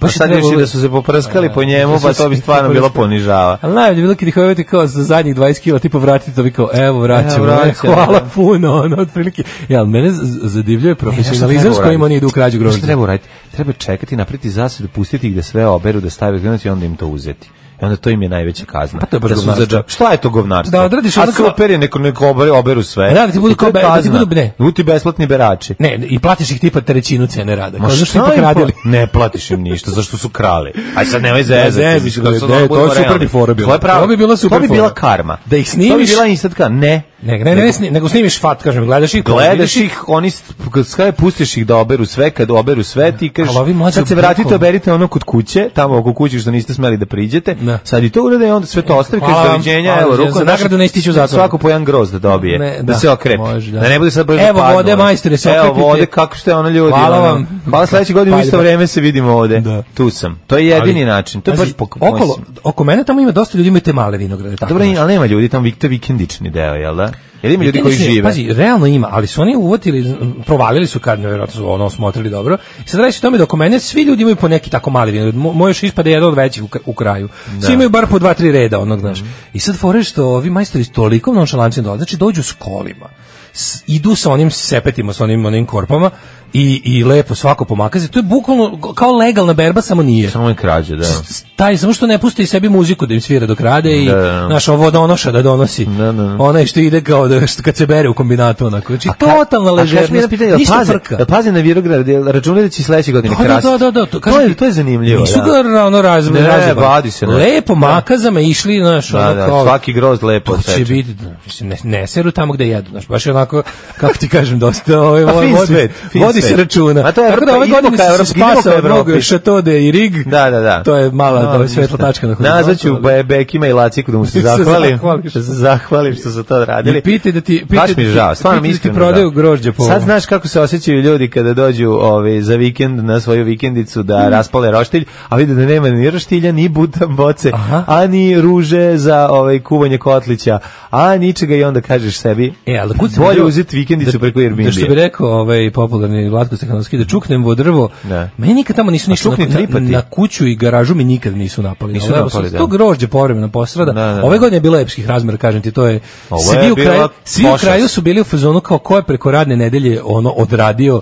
Pa
baš je
sad još i
trebalo-
da su se poprskali po
Da
njemu,
su
pa
se
to bi stvarno bilo
poprskali.
ponižava.
Ali najbolje Pa je bilo kad ih ovete kao za zadnjih 20 kila, tipa vratite, to bi kao, evo vraćamo,
Evo,
ne,
vraćamo,
hvala
da.
puno, ono, otprilike. Ja, ali mene z- zadivljuje profesionalizam s kojim oni idu u krađu
Šta
grožđa.
treba uraditi? Treba čekati, napriti zasadu, pustiti ih da sve oberu, da stave klinac i onda im to uzeti. I onda to im je najveća kazna.
Pa to je baš
da su
govnarstvo.
zadža- Šta je to govnarstvo?
Da odradiš
A
onako-
super je, neko, neko oberu, oberu sve.
Da, da ti budu
I to je
kao be- da ti
kazna.
budu- ne.
Budu ti besplatni berači.
Ne, i platiš ih tipa trećinu cene rada. Kao, zašto
šta
ipak
im pla-
radili?
Ne platiš im ništa, zašto su krali. Aj sad nemoj zezati.
Ne,
mislim,
zezati,
kad sad
ne,
ono
to
budemo
je super
realni.
bi fora bila.
To je pravo.
To bi bila super
To bi bila
fora.
karma.
Da ih
To bi
snimiš-
bila instant karma. Ne.
Ne, ne, ne, ne, sni- nego snimiš fat, kažem, gledaš ih,
Gledaš ih, oni s- kad skaje pustiš ih da oberu sve, kad oberu sve ti kažeš
Ali ovi mlađi
sad se
bukvalno-
vratite oberite ono kod kuće, tamo oko kuće što niste smeli da priđete.
Da. E,
Sad i to urade i onda sve to ostavi
Hvala
kaže
vam,
doviđenja,
hvala
evo
vam,
ruku
za nagradu ne istiću u zatvor.
Svako po jedan groz da dobije,
Ne,
da,
da,
se okrepi.
može, da.
da. ne bude sad brzo
Evo
padnu,
vode,
ono.
majstore, se okrepite.
Evo vode kako što je ono ljudi.
Hvala
ono.
vam.
Hvala sledeće godine u isto
Paljba.
vreme se vidimo ovde.
Da.
Tu sam. To je jedini način. To je baš
Pazi,
pok-
okolo, oko mene tamo ima dosta ljudi imaju te male vinograde. Tako,
Dobro,
znaš.
ali nema ljudi tamo, to je vikendični deo, jel da? Jel ima ljudi koji
Vikendični,
žive?
Pazi, realno ima, ali su oni uvatili, z- provalili su kad nevjerojatno su ono osmotrili dobro. I sad radi se o tome da oko mene svi ljudi imaju po neki tako mali vinograd. Mo- Moj još ispada jedan od većih u, kra- u kraju.
Da.
Svi imaju bar po dva, tri reda onog, znaš.
Mhm.
I sad fore što ovi majstori s tolikom nonšalancijom dolaze, znači dođu s kolima. S- idu sa onim sepetima, sa onim, onim korpama i, i lepo svako pomakaze. To je bukvalno kao legalna berba, samo nije
Samo je krađe, da.
s- taj samo što ne pusti sebi muziku da im svira dok rade i
Da, da, da.
naš ovo donoša da donosi.
Da, da, da.
Onaj što ide kao da što kad se bere u kombinatu onako. Znači totalna ležernost. Ništa
Ništa
frka.
Da pazi na Virograd, jel računaj da će sledeće godine
Da,
krasti.
da, da, da, to,
to, je, to je zanimljivo.
Nisu
da.
ga ono razme,
Ne,
razjebali.
vadi se, ne.
Lepo makazama išli, znaš,
Da,
ono
da,
kao,
svaki groz lepo
to će
seče.
biti, da, mislim, ne, ne seru tamo gde jedu, znaš, baš je onako, kako ti kažem, dosta, ovaj,
A Pa fin
vodi,
svet, fin
vodi se
svet.
računa.
A to je
Tako da
Evropa,
ove
idemo
godine
ka
se
Evropi, idemo ka
spasao mnogo
Evropi.
Šatode i Rig,
Da, da, da.
to je mala,
Da,
da,
ništa.
svetla tačka. na horizontu,
Nazvaću
ali-
be- Bekima i Laciku da mu se
Da se
zahvalim.
zahvališ.
Da se zahvalim što su to radili.
I pitaj da ti- pitaj
Baš mi je
da ti-
žao, stvarno
pitaj da
mi
ti
iskreno
prodaju
žao.
grožđe po
Sad
ovom.
znaš kako se osjećaju ljudi kada dođu ove, za vikend na svoju vikendicu
Mm.
da raspale roštilj, a vide da nema ni roštilja, ni butan boce,
Aha.
a ni ruže za ovaj, kuvanje kotlića, a ničega i onda kažeš sebi,
E, ali kud sam
bolje
bio-
uzeti vikendicu preko
Da što bi
Airbnb.
rekao ovaj popularni Vlatko Stefanovski da čuknem vo drvo.
Da.
Meni nikad tamo nisu ništa
čukni
na, na,
tripati.
na kuću i garažu mi nikad nisu napali.
Nisu
Ono, evo,
napali,
su-
da.
To grožđe povremeno postrada.
Da, da, da.
Ove godine je bilo epskih razmera, kažem ti, to je
Ovo
svi
je
u
bila
kraju, svi u
pošast.
kraju su bili u fazonu kao ko je preko radne nedelje ono odradio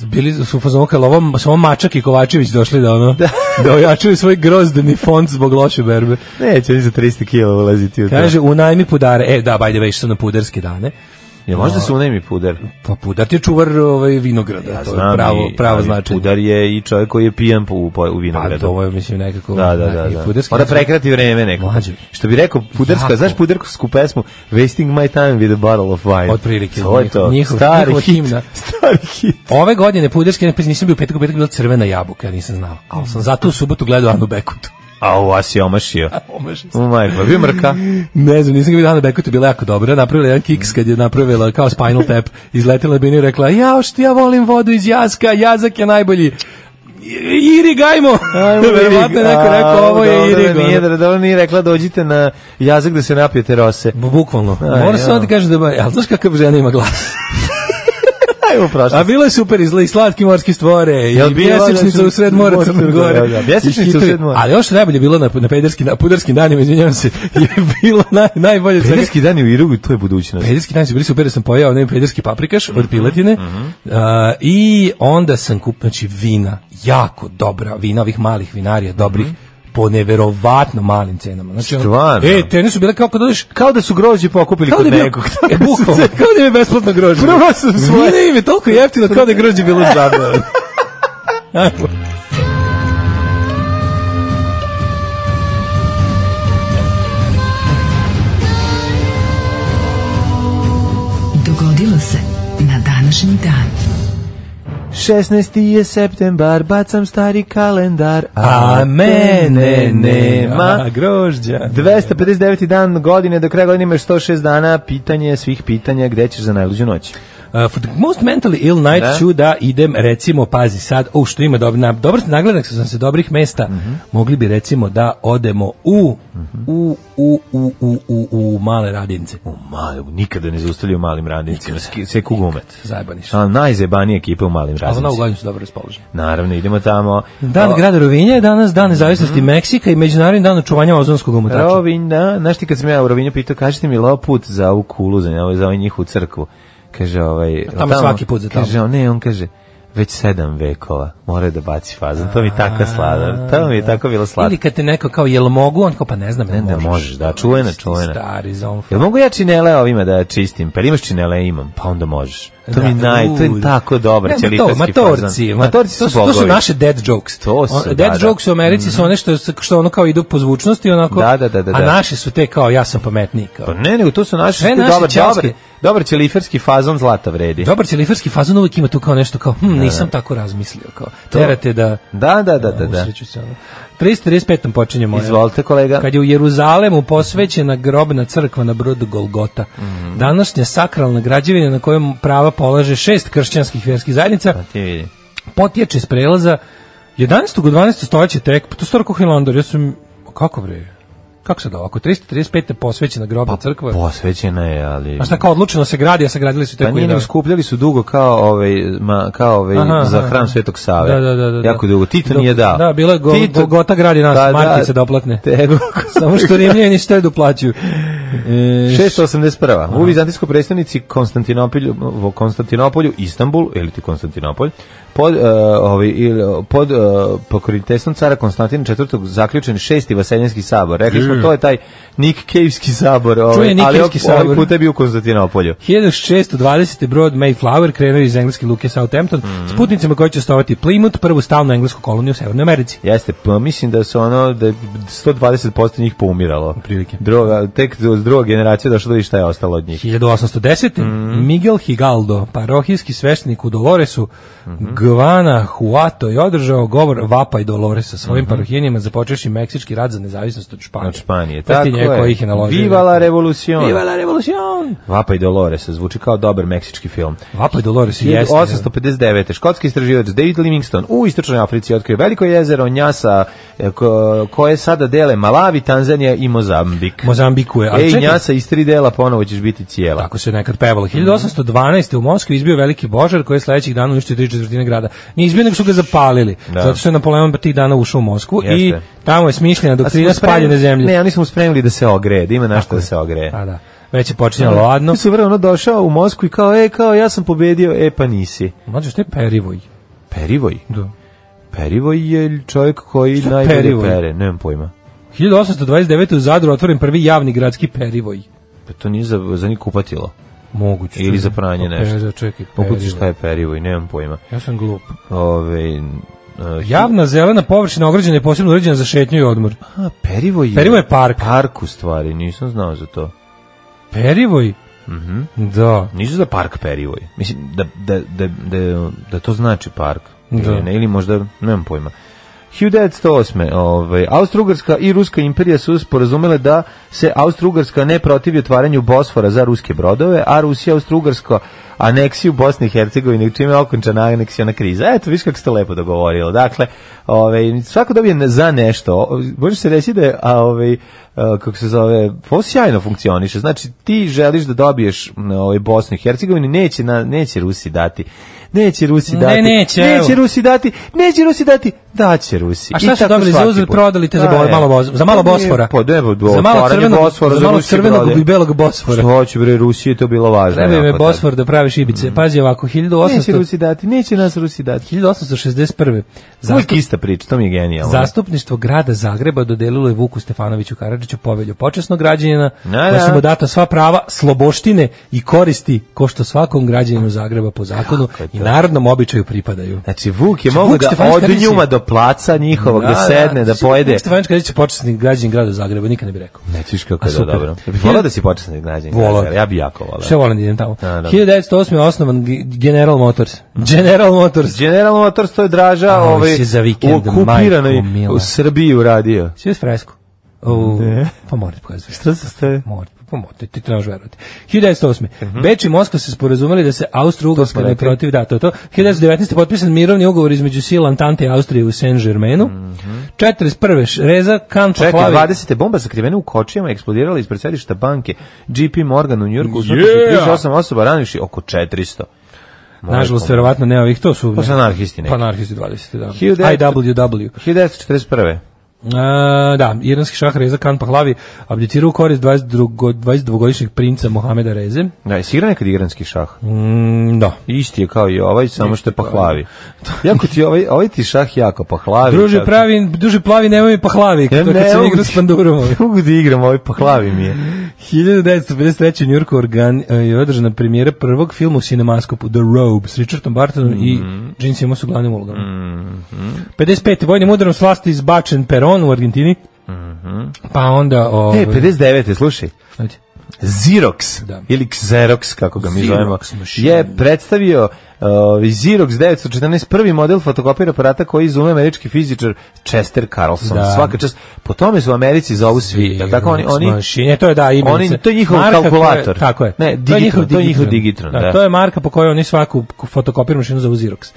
bili su u fazonu kao ovom samo Mačak i Kovačević došli da ono da, ojačaju svoj grozdeni fond zbog loše berbe.
Neće, oni za 300 kila ulaziti u to.
Kaže unajmi pudare. E da, by the way, što su na pudarske dane.
Jel možda se unajmi puder? Pa
Pa pudar ti je čuvar ovaj, vinograda, to je
Znam
pravo,
i-
pravo
ali
značenje.
Pudar je i čovjek koji je pijan po, po, u
Pa
vinogradu.
to je, mislim, nekako...
Da, da, da.
i
da.
pudarski-
Mora prekrati vreme neko.
Mlađe.
Što bi rekao, puderska,
Jako.
znaš pudersku pesmu Wasting my time with a bottle of wine.
Otprilike,
To je to.
njihov-
Stari
njihova
hit.
himna.
Stari hit.
Ove godine puderski, ne, pa nisam bio u petak, u petak je bila crvena jabuka, ja nisam znao. Ali sam zato u subotu gledao Anu Bekutu.
A ovo vas je omašio.
Omašio sam.
U majko, bio mrka.
Ne znam, nisam ga vidio Anu Bekutu, bila jako dobra. Napravila je jedan
Mm.
kiks kad je napravila kao Spinal Tap, izletela bi i rekla, ja što ja volim vodu iz jaska, jazak je najbolji. I- Irig, ajmo! Verovatno je neko rekao, ovo
A,
je
dobro,
Irig.
Nije, da dobro,
ono.
dobro, nije rekla, dođite na jazak da se napijete rose.
Bu- Bukvalno.
Aj,
Mora se
ja.
onda kaže da... ba- Ali znaš kakav žena ima glas?
Ajmo, prošli.
A bilo je super izla i slatki morski stvore
Jel
i
bilo,
mjesečnica
da,
u sred mora
mora
Crne
Crne
Gore.
Gore, da, da, mjesečnica
I hitovi.
u sred mora.
Ali ono što je najbolje bilo na, na pederski, na pudarski danima, izvinjavam se, je bilo naj, najbolje. svega-
Pederski dan je u Irugu, to je budućnost.
Pederski dan su bili super, jer sam pojao onaj pederski paprikaš od piletine a, i onda sam kupio, znači, vina, jako dobra vina, ovih malih vinarija, dobrih, po neverovatno malim cenama. Znači, ono,
Stvarno?
E, cene su bile kao kad odeš
Kao da su grožđe pokupili
Kao
kod
da je
nekog.
bio, e, bukvalno, kao da im je besplatno grožđe.
Prvo sam svoje-
Nije da im je toliko jeftino kao da je grožđe bilo džabe.
Dogodilo se na današnji dan.
16. je septembar, bacam stari kalendar, a
A
mene nema.
grožđa.
259. dan godine, do kraja godine imaš 106 dana, pitanje svih pitanja, gde ćeš za najluđu noć?
Uh, for the most mentally ill night
Da.
da. ću da idem recimo pazi sad u što ima dobro na dobro nagledak sam se dobrih mesta mogli bi recimo da odemo u u u u u u, u male radince
U malim, nikada ne zaustavljaju u malim radnicima, ski- sve kugumet.
zajebaniš
A najzebanije ekipe u malim
a ona
radnicima.
uglavnom su dobro raspoložena
Naravno, idemo tamo.
Dan
O,
grada Rovinja je danas dan nezavisnosti Meksika i međunarodni dan očuvanja ozonskog omotača.
Rovinja, da, znaš ti kad sam ja u Rovinju pitao, kažete mi lao put za ovu kulu, za, ovaj- za ovaj njihovu crkvu. Kaže ovaj...
tamo svaki put za tamo.
Kaže, on, ne, on kaže, već sedam vekova mora da baci fazan. To mi je tako sladno. To mi je tako bilo
Ili
sladno.
kad te neko kao jel mogu, on kao pa ne znam,
Ne, ne možeš, da, čuvena,
Ti
čuvena.
Stari zonfa.
Jel mogu ja činele ovima da čistim? Pa jel imaš činele, imam, pa onda možeš. To mi naj, to je tako dobro,
Da, Ne,
ćelitarski
ma to, Matorci,
fazan.
ma,
Matorci
to
su
To su
Znači, bogovi.
naše dead jokes.
To su,
On-
da,
dead
da.
jokes u Americi su one što, što ono kao idu po zvučnosti, onako,
Da, da, da, da,
a
da.
naše su te kao ja sam pametniji. Kao.
Pa ne, nego to su naše,
Sve
sve
naše
dobar,
ćelske.
dobar, dobar ćeliferski fazon zlata vredi.
Dobar celiferski fazon uvijek ima tu kao nešto kao, hm, nisam tako razmislio. Kao, terate da...
Da, da, da, da, da.
Usreću se ono. 335. počinje moja.
Izvolite kolega.
Kad je u Jeruzalemu posvećena grobna crkva na brodu Golgota,
Mhm.
današnja sakralna građevina na kojoj prava polaže šest kršćanskih vjerskih zajednica,
Ti vidi.
potječe iz prelaza 11. u 12. stoljeće tek, pa to je staro kao Hilandar, ja sam, kako bre, kako sad ovako, 335. posvećena grobna
Pa,
crkva,
Posvećena je, ali...
a šta kao odlučeno se gradi, a sagradili su
Pa
tek u
nije nego
11..
skupljali su dugo kao ovaj ma, kao ovaj
Aha,
za
aha,
hram
aha.
Svetog Save.
Da, da, da, da.
Jako dugo. Tito
Dok-
nije dao. Pa da,
da, bilo je Gol- Golgota gradi nas, markice da doplatne.
Tego.
Samo što Rimljani štedu plaćaju. E,
681. U vizantijskoj predstavnici Konstantinopolju, u Konstantinopolju, Istanbul, ili ti Konstantinopolj, pod, uh, ovaj, ili, pod uh, pokroviteljstvom cara Konstantina IV. zaključen šesti vaseljanski sabor. Rekli smo, to je taj Nik Kejvski sabor, ovaj,
Nick
ali
Caveski
ovaj,
sabor.
ovaj puta je bio u Konstantinopolju.
1620. brod Mayflower krenuo iz engleske luke Southampton
Mhm.
s putnicima koji će ostavati Plymouth, prvu stalnu englesku koloniju u Severnoj Americi.
Jeste, pa mislim da su ono da je 120% njih poumiralo.
Otprilike.
Druga, tek od druga generacija došlo da vidi šta je ostalo od njih.
1810.
Mhm.
Miguel Higaldo, parohijski sveštenik u Doloresu,
Mhm.
Gvana Huato je održao govor Vapaj Doloresa svojim parohijenima započeši meksički rad za nezavisnost od
Mhm.
Španije.
Od Znači, Španije.
Pa stinje
tako
koji ih je naložio.
Viva la revolucion.
Viva la revolucion!
Vapa i Dolores, zvuči kao dobar meksički film.
Vapaj Dolores jeste. da.
1859. Škotski istraživač David Livingstone u istočnoj Africi otkrio veliko jezero Njasa e, ko- koje sada dele Malavi, Tanzanija i Mozambik.
Mozambiku je. Ali
Ej,
čekaj,
Njasa iz tri dela ponovo ćeš biti cijela.
Tako Pa se nekad pevalo. 1812. u Moskvi izbio veliki božar koji je sledećih dana uništio tri četvrtine grada. Nije izbio nego su ga zapalili.
Da.
Zato što je Napoleon tih dana ušao u Moskvu i
Jeste.
tamo je smišljena
A smo
doktrina
spremni-
spaljene zemlje.
Ne, oni smo spremili da se ogreje, da ima našto da se ogreje.
A da. Već je počinjalo ladno.
Ti su vrlo došao u Moskvu i kao, e, kao, ja sam pobedio, e, pa nisi.
Mlađe, što je perivoj?
Perivoj?
Da.
Perivoj je čovjek koji
Šta je
najbolje
Perivoj?
pere, nemam pojma.
1829. u Zadru otvoren prvi javni gradski perivoj.
Pa to nije za, za njih kupatilo.
Moguće.
Ili za pranje nešto.
Pera, čekaj,
Moguće
perivoj.
šta je perivoj, nemam pojma.
Ja sam glup.
Ove, uh,
Javna zelena površina ograđena je posebno uređena za šetnju i odmor.
A, perivoj je...
Perivoj je park.
Park u stvari, nisam znao za to.
Perivoj? Mhm. Da.
Nisu za park perivoj. Mislim, da, da, da, da, da to znači park.
Da.
Ili, ne, ili možda, nemam pojma. 1908. Ovaj, Austrougarska i Ruska imperija su sporazumele da se Austrougarska ne protivi otvaranju Bosfora za ruske brodove, a Rusija Austrougarsko aneksiju Bosne i Hercegovine, čime je okončana aneksijona kriza. Eto, viš kako ste lepo dogovorili. Dakle, ovaj, svako dobije ne- za nešto. O, Može se reći da je, a, ovaj, a, kako se zove, ovo sjajno funkcioniše. Znači, ti želiš da dobiješ m, ovaj, Bosnu i Hercegovinu, neće, na, neće Rusi dati neće Rusi
Ne,
dati.
neće, evo.
Neće Rusi dati, neće Rusi dati, daće Rusi.
A
I
šta su
tako
dobili za
svaki
uzeli,
put.
prodali te za
Pa,
bo-
evo.
malo voz- za malo
Pa nije,
Bosfora.
Pa da, evo,
Za malo
otvaranje
crvenog-
Bosfora,
za malo
Rusi
crvenog
brode.
i belog Bosfora.
Što hoće bre Rusiji je to bilo važno.
Treba me
jako,
Bosfor da praviš ibice. Pazi ovako,
tako. Neće
1800,
Rusi dati, neće nas Rusi dati.
1861.
Uvijek
Zastup-
ista priča, to mi je genijalno.
Zastupništvo grada Zagreba dodelilo je Vuku Stefanoviću Karadžiću povelju počasnog građanina,
Da,
da su
da.
mu data sva prava, sloboštine i koristi ko što svakom građaninu Zagreba po zakonu i narodnom običaju pripadaju.
Znači, Vuk je
Znači,
mogu
Vuk
da
Stefanović
od
Karadžić je-
njuma do placa njihovog, da, sedne, da
Znači,
pojede.
Vuk Stefanović Karadžić je počasni građanin grada Zagreba, nikad ne bi rekao.
Nećeš kako
A,
je to
super.
dobro. Ja bih volao da si počasni građan.
Volao.
Ja bi jako volao.
Sve volim da idem tamo.
Da, da.
1908. je osnovan G- General Motors. General Motors.
General Motors to je Draža
A,
ovaj,
si za vikend,
u okupiranoj
majko mila.
u Srbiji uradio.
Svi uz fresku. U,
Ne.
pa morate pokazati.
Šta se ste?
Morate, pa morate, ti trebaš verovati. 1908. Beč i Moskva se sporazumeli da se Austro-Ugarska ne
Mhm. pa rekli.
protiv, da, to je to. 1919. potpisan mirovni ugovor između sila Antante i Austrije u Saint-Germainu. 41. š- Reza Kančo
Mhm. Čekaj,
Flavi.
20. bomba sakrivena u kočijama eksplodirala ispred sedišta banke JP Morgan u Njurku. U
Yeah!
38 osoba ranivši oko 400.
Nažalost, verovatno ne ovih, to su...
To su anarhisti neki.
Pa anarhisti 20. da.
1900.
IWW.
1941.
A, da, iranski šah Reza Kan Pahlavi abdicirao u korist 22 22-godišnjeg princa Mohameda Reze.
Da, je igra nekad igranski šah.
Mm, da.
Isti je kao i ovaj, samo što je pahlavi. Jako ti ovaj, ovaj ti šah jako pahlavi.
Druže
tako.
pravi, druže plavi, nemoj mi Pahlavi,
Ja
ja, kad se
mogu
igra
ti-
s pandurom.
Ne mogu da igram, ovaj pahlavi mi je.
1953. u Njurku organ, e, je održana premijera prvog filma u cinemaskopu The Robe s Richardom Bartonom
Mhm.
i Gene Simmons u glavnim ulogama. 55. vojnim udarom s vlasti izbačen Peron u Argentini. Pa onda... Ovaj,
Mhm. E, 59. slušaj.
ajde.
Xerox
Da.
ili Xerox kako ga mi
Xerox
zovemo
mašina.
je predstavio uh, Xerox 914 prvi model fotokopira aparata koji izume američki fizičar Chester Carlson
Da.
svaka čast po tome su u Americi zovu svi jel tako oni oni
mašine, to je da imenica.
oni to je njihov
Marka koja-
kalkulator
tako je.
ne digitron, to je njihov digitron da,
To je marka po kojoj oni svaku fotokopirnu mašinu zovu Xerox.